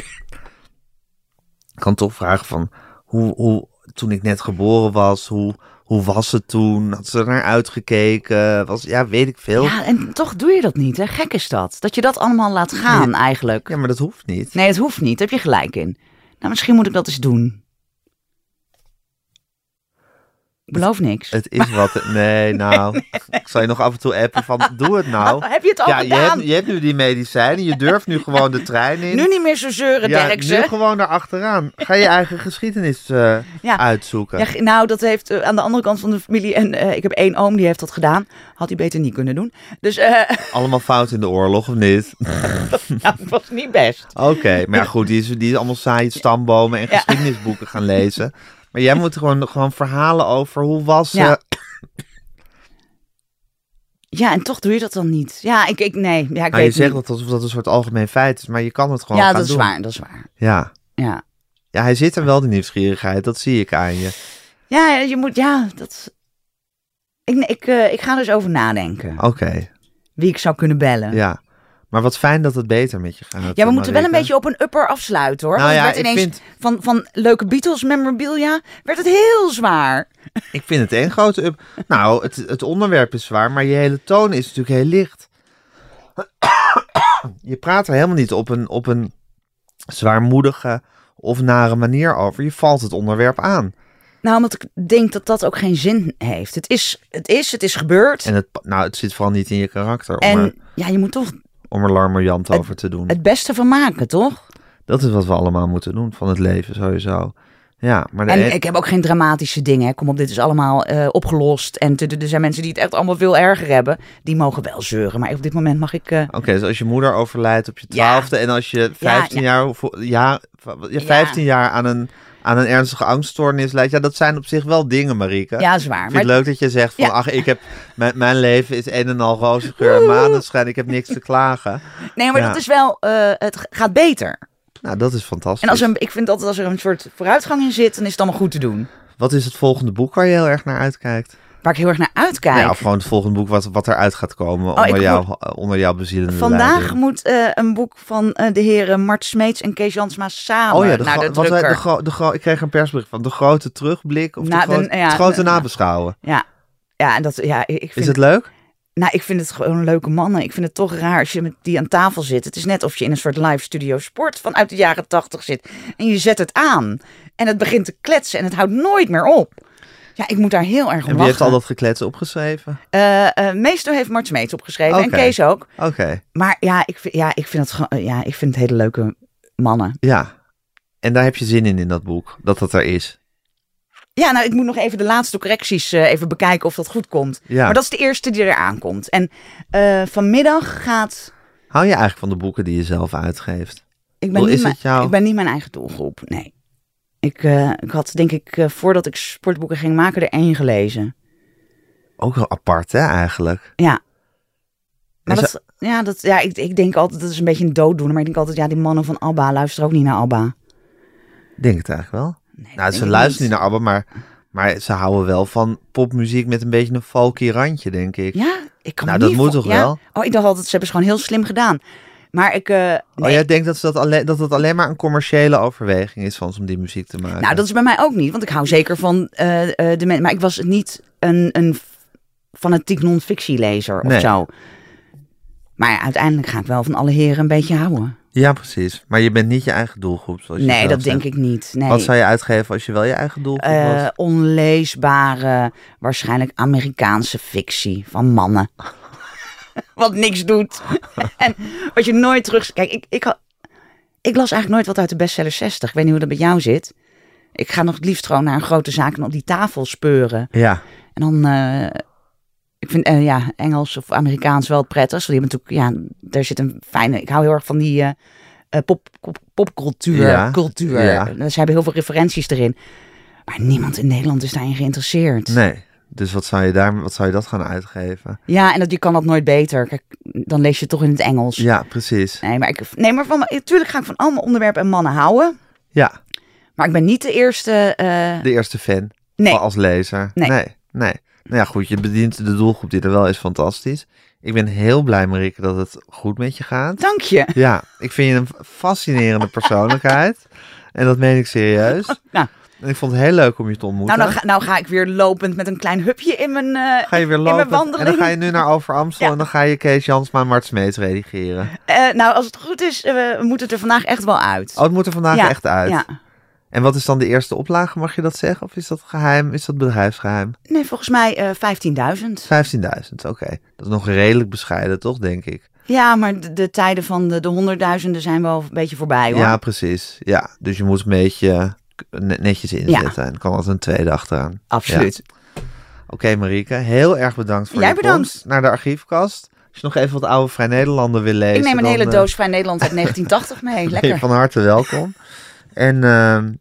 Speaker 2: kan toch vragen van hoe, hoe toen ik net geboren was, hoe, hoe was het toen? Had ze er naar uitgekeken? Was, ja, weet ik veel. Ja.
Speaker 3: Ja, en toch doe je dat niet. Hè? Gek is dat. Dat je dat allemaal laat gaan eigenlijk.
Speaker 2: maar dat hoeft niet.
Speaker 3: Nee, het hoeft niet. Daar heb je gelijk in. Nou, misschien moet ik dat eens doen. Ik beloof niks.
Speaker 2: Het is wat. Nee, nou. Ik zal je nog af en toe appen van doe het nou.
Speaker 3: Oh, heb je het al
Speaker 2: Ja, je
Speaker 3: gedaan?
Speaker 2: hebt, je hebt nu die medicijnen. Je durft nu gewoon de trein in.
Speaker 3: Nu niet meer zo zeuren,
Speaker 2: ja, nu
Speaker 3: Derksen.
Speaker 2: gewoon daarachteraan. Ga je eigen geschiedenis eh,
Speaker 3: Ja.
Speaker 2: uitzoeken.
Speaker 3: Ja, ge- nou, dat heeft eh, aan de andere kant van de familie. En eh, ik heb één oom die heeft dat gedaan. Had hij beter niet kunnen doen. Dus eh
Speaker 2: Allemaal fout in de oorlog, of niet?
Speaker 3: ja, het was niet best.
Speaker 2: Oké, maar ja, goed, die is, die is allemaal saaie stambomen en geschiedenisboeken gaan lezen. Maar jij moet gewoon, gewoon verhalen over hoe was
Speaker 3: Ja.
Speaker 2: ze.
Speaker 3: Ja, en toch doe je dat dan niet. Ja, ik, ik nee. Ja,
Speaker 2: Nou, je
Speaker 3: ik weet
Speaker 2: zegt
Speaker 3: niet.
Speaker 2: dat alsof dat een soort algemeen feit is, maar je kan het gewoon
Speaker 3: ja,
Speaker 2: gaan
Speaker 3: dat is
Speaker 2: doen.
Speaker 3: waar, dat is waar.
Speaker 2: Ja.
Speaker 3: Ja,
Speaker 2: ja, hij zit er wel, de nieuwsgierigheid, dat zie ik aan je.
Speaker 3: ja je moet, ja, dat... Ik, ik, eh, ik ga er eens over nadenken.
Speaker 2: Oké,
Speaker 3: Wie ik zou kunnen bellen. Ja,
Speaker 2: Oh. ja. Maar wat fijn dat het beter met je gaat.
Speaker 3: we moeten wel
Speaker 2: Marike.
Speaker 3: een beetje op een upper afsluiten, hoor.
Speaker 2: Nou
Speaker 3: Want het
Speaker 2: ja,
Speaker 3: werd
Speaker 2: ik
Speaker 3: ineens
Speaker 2: vind-
Speaker 3: van, van leuke Beatles memorabilia werd het heel zwaar.
Speaker 2: Ik vind het één grote up. Nou, het, het onderwerp is zwaar, maar je hele toon is natuurlijk heel licht. Je praat er helemaal niet op een, op een zwaarmoedige of nare manier over. Je valt het onderwerp aan.
Speaker 3: Nou, omdat ik denk dat dat ook geen zin heeft. Het is, het is, het is gebeurd. En,
Speaker 2: En het, nou, het zit vooral niet in je karakter om er,
Speaker 3: ja, je moet toch
Speaker 2: om er larmoyant over te doen.
Speaker 3: het beste van maken, toch?
Speaker 2: Dat is wat we allemaal moeten doen van het leven sowieso. Ja, maar de
Speaker 3: En
Speaker 2: een-
Speaker 3: ik heb ook geen dramatische dingen. hè. Kom op, dit is allemaal eh, opgelost. En t- t- er zijn mensen die het echt allemaal veel erger hebben. Die mogen wel zeuren. Maar op dit moment mag ik... eh,
Speaker 2: Oké, dus als je moeder overlijdt op je
Speaker 3: Ja.
Speaker 2: twaalfde en als je 15 jaar, vo- ja, v- ja, 15 jaar aan een, aan een ernstige angststoornis leidt, ja, dat zijn op zich wel dingen, Marieke.
Speaker 3: ja, zwaar.
Speaker 2: Ik
Speaker 3: Maar
Speaker 2: vind het leuk dat je zegt van,
Speaker 3: Ja.
Speaker 2: ach, ik heb, mijn, mijn leven is een en al roze geur en maneschijn, ik heb niks te klagen.
Speaker 3: nee, maar
Speaker 2: ja.
Speaker 3: dat is wel... eh, het g- gaat beter.
Speaker 2: Nou, dat is fantastisch.
Speaker 3: En als er, ik vind altijd als er een soort vooruitgang in zit... dan is het allemaal goed te doen.
Speaker 2: Wat is het volgende boek waar je heel erg naar uitkijkt? Nou
Speaker 3: Waar ik heel erg naar uitkijk.
Speaker 2: Ja, of gewoon het volgende boek wat, wat eruit gaat komen onder,
Speaker 3: Oh, ik
Speaker 2: jou, onder jouw bezielende
Speaker 3: Vandaag
Speaker 2: leiding.
Speaker 3: moet eh, een boek van eh, de heren Mart Smeets en Kees Jansma samen
Speaker 2: Oh ja, de
Speaker 3: naar
Speaker 2: gro-
Speaker 3: Nou, de
Speaker 2: wat zei-
Speaker 3: drukker.
Speaker 2: de gro- de gro- ik kreeg een persbericht van de grote terugblik of
Speaker 3: Nou,
Speaker 2: de,
Speaker 3: de-
Speaker 2: grote-
Speaker 3: ja,
Speaker 2: het grote
Speaker 3: de-
Speaker 2: nabeschouwen.
Speaker 3: Ja. Ja, en dat, ja, ik vind
Speaker 2: Is het leuk?
Speaker 3: Nou, ik vind het gewoon leuke mannen. Ik vind het toch raar als je met die aan tafel zit. Het is net of je in een soort live studio sport vanuit de jaren tachtig zit. En je zet het aan. En het begint te kletsen en het houdt nooit meer op. Ja, ik moet daar heel erg om
Speaker 2: En wie
Speaker 3: lachen.
Speaker 2: heeft al dat gekletsen opgeschreven?
Speaker 3: Eh, eh, meestal heeft Mart Smeets opgeschreven en
Speaker 2: Oké.
Speaker 3: Kees ook.
Speaker 2: Oké,
Speaker 3: Maar ja ik, vind- ja, ik vind het gewoon, ja, ik vind het hele leuke mannen.
Speaker 2: ja. En daar heb je zin in, in dat boek, dat dat er is.
Speaker 3: Ja, nou, ik moet nog even de laatste correcties eh, even bekijken of dat goed komt.
Speaker 2: Ja.
Speaker 3: Maar dat is de eerste die eraan komt. En eh, vanmiddag gaat...
Speaker 2: Hou je eigenlijk van de boeken die je zelf uitgeeft?
Speaker 3: Ik
Speaker 2: Wel,
Speaker 3: ben,
Speaker 2: is
Speaker 3: niet mijn,
Speaker 2: het jouw-
Speaker 3: ik ben niet mijn eigen doelgroep, nee. Ik, eh, ik had denk ik, eh, voordat ik sportboeken ging maken, er één gelezen.
Speaker 2: Ook wel apart, hè, eigenlijk?
Speaker 3: Ja. Maar
Speaker 2: En
Speaker 3: dat, ja, dat, ja ik, ik denk altijd, dat is een beetje een dooddoener. Maar ik denk altijd, ja, die mannen van ABBA luisteren ook niet naar ABBA.
Speaker 2: Ik Denk het eigenlijk wel.
Speaker 3: Nee, dat
Speaker 2: nou,
Speaker 3: denk
Speaker 2: ze
Speaker 3: ik
Speaker 2: luisteren niet naar ABBA, maar, maar ze houden wel van popmuziek met een beetje een folky randje, denk ik.
Speaker 3: Ja, ik kan
Speaker 2: Nou,
Speaker 3: me
Speaker 2: dat
Speaker 3: niet
Speaker 2: moet
Speaker 3: voor-
Speaker 2: toch
Speaker 3: ja?
Speaker 2: wel?
Speaker 3: Oh, ik dacht altijd, ze hebben het gewoon heel slim gedaan. Maar ik... eh, nee.
Speaker 2: Oh, jij denkt dat, ze dat, alleen, dat het alleen maar een commerciële overweging is van ze om die muziek te maken?
Speaker 3: Nou, dat is bij mij ook niet, want ik hou zeker van eh, eh, de mensen. Maar ik was niet een, een f- fanatiek non-fictielezer of
Speaker 2: Nee.
Speaker 3: zo. Maar ja, uiteindelijk ga ik wel van alle heren een beetje houden.
Speaker 2: Ja, precies. Maar je bent niet je eigen doelgroep. Zoals Dus je
Speaker 3: nee,
Speaker 2: zelf
Speaker 3: dat
Speaker 2: zegt.
Speaker 3: denk ik niet. Nee.
Speaker 2: Wat zou je uitgeven als je wel je eigen doelgroep
Speaker 3: Eh,
Speaker 2: was?
Speaker 3: onleesbare, waarschijnlijk Amerikaanse fictie van mannen. wat niks doet. en wat je nooit terug... Kijk, ik, ik, had- ik las eigenlijk nooit wat uit de bestseller 60. Ik weet niet hoe dat met jou zit. Ik ga nog het liefst gewoon naar een grote zaak en op die tafel speuren.
Speaker 2: Ja,
Speaker 3: En dan... eh, ik vind eh, ja, Engels of Amerikaans wel het prettigst. Want die hebben natuurlijk... Ja, daar zit een fijne... Ik hou heel erg van die... eh, eh, pop, pop, popcultuur.
Speaker 2: Ja,
Speaker 3: Cultuur. Dus
Speaker 2: ja.
Speaker 3: Ze hebben heel veel referenties erin. Maar niemand in Nederland is daarin geïnteresseerd.
Speaker 2: nee. Dus wat zou je, daar, wat zou je dat gaan uitgeven?
Speaker 3: Ja, en dat, je kan dat nooit beter. Kijk, dan lees je het toch in het Engels.
Speaker 2: Ja, precies.
Speaker 3: Nee, maar, ik, nee, maar van, natuurlijk ga ik van allemaal onderwerpen en mannen houden.
Speaker 2: Ja,
Speaker 3: Maar ik ben niet de eerste. eh,
Speaker 2: de eerste fan.
Speaker 3: nee,
Speaker 2: als lezer.
Speaker 3: Nee.
Speaker 2: nee. nee. Nou ja, goed, je bedient de doelgroep die er wel is fantastisch. Ik ben heel blij, Marieke, dat het goed met je gaat.
Speaker 3: dank je.
Speaker 2: Ja, ik vind je een fascinerende persoonlijkheid. En dat meen ik serieus.
Speaker 3: Nou.
Speaker 2: En ik vond het heel leuk om je te ontmoeten.
Speaker 3: Nou, dan ga, nou ga ik weer lopend met een klein hupje in mijn. eh,
Speaker 2: ga je weer
Speaker 3: mijn
Speaker 2: lopen. En dan
Speaker 3: wandeling.
Speaker 2: ga je nu naar Over Amstel
Speaker 3: Ja.
Speaker 2: en dan ga je Kees Jansma en Mart Smeets redigeren.
Speaker 3: eh, nou, als het goed is, eh, we moeten het er vandaag echt wel uit.
Speaker 2: Oh, het moet er vandaag
Speaker 3: Ja,
Speaker 2: echt uit.
Speaker 3: Ja.
Speaker 2: En wat is dan de eerste oplage, mag je dat zeggen? Of is dat geheim? Is dat bedrijfsgeheim? 15.000,
Speaker 3: Nee, volgens mij eh 15.000.
Speaker 2: oké. Dat is nog redelijk bescheiden, toch, denk ik?
Speaker 3: Ja, maar de, de tijden van de, de honderdduizenden zijn wel een beetje voorbij hoor.
Speaker 2: Ja, precies. Ja, dus je moet een beetje eh, ne- netjes inzetten. En dan kan altijd een tweede achteraan.
Speaker 3: absoluut.
Speaker 2: Oké, Marieke, heel erg bedankt voor
Speaker 3: Jij
Speaker 2: je
Speaker 3: bedankt.
Speaker 2: komst naar de archiefkast. Als je nog even wat oude Vrij Nederlander wil lezen...
Speaker 3: ik neem een
Speaker 2: dan,
Speaker 3: hele
Speaker 2: eh,
Speaker 3: doos Vrij Nederland uit 1980 mee.
Speaker 2: ben je
Speaker 3: Lekker.
Speaker 2: van harte welkom. en ehm,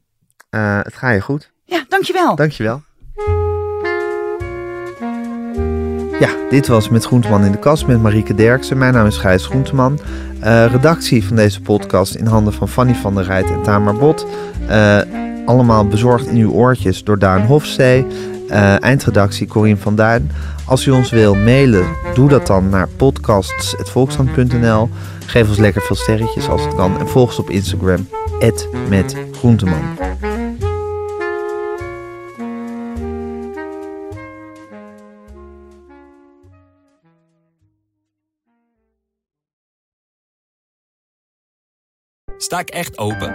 Speaker 2: eh, het gaat je goed.
Speaker 3: Ja, dankjewel.
Speaker 2: Dankjewel. Ja, dit was Met Groenteman in de Kast met Marieke Derksen. Mijn naam is Gijs Groenteman. Eh, redactie van deze podcast in handen van Fanny van der Rijt en Tamar Bot. Eh, allemaal bezorgd in uw oortjes door Daan Hofstee. Eh, eindredactie Corien van Duin. Als u ons wil mailen, doe dat dan naar podcasts.volkshand.nl. Geef ons lekker veel sterretjes als het kan. En volg ons op Instagram, @metgroenteman.
Speaker 1: Sta ik echt open?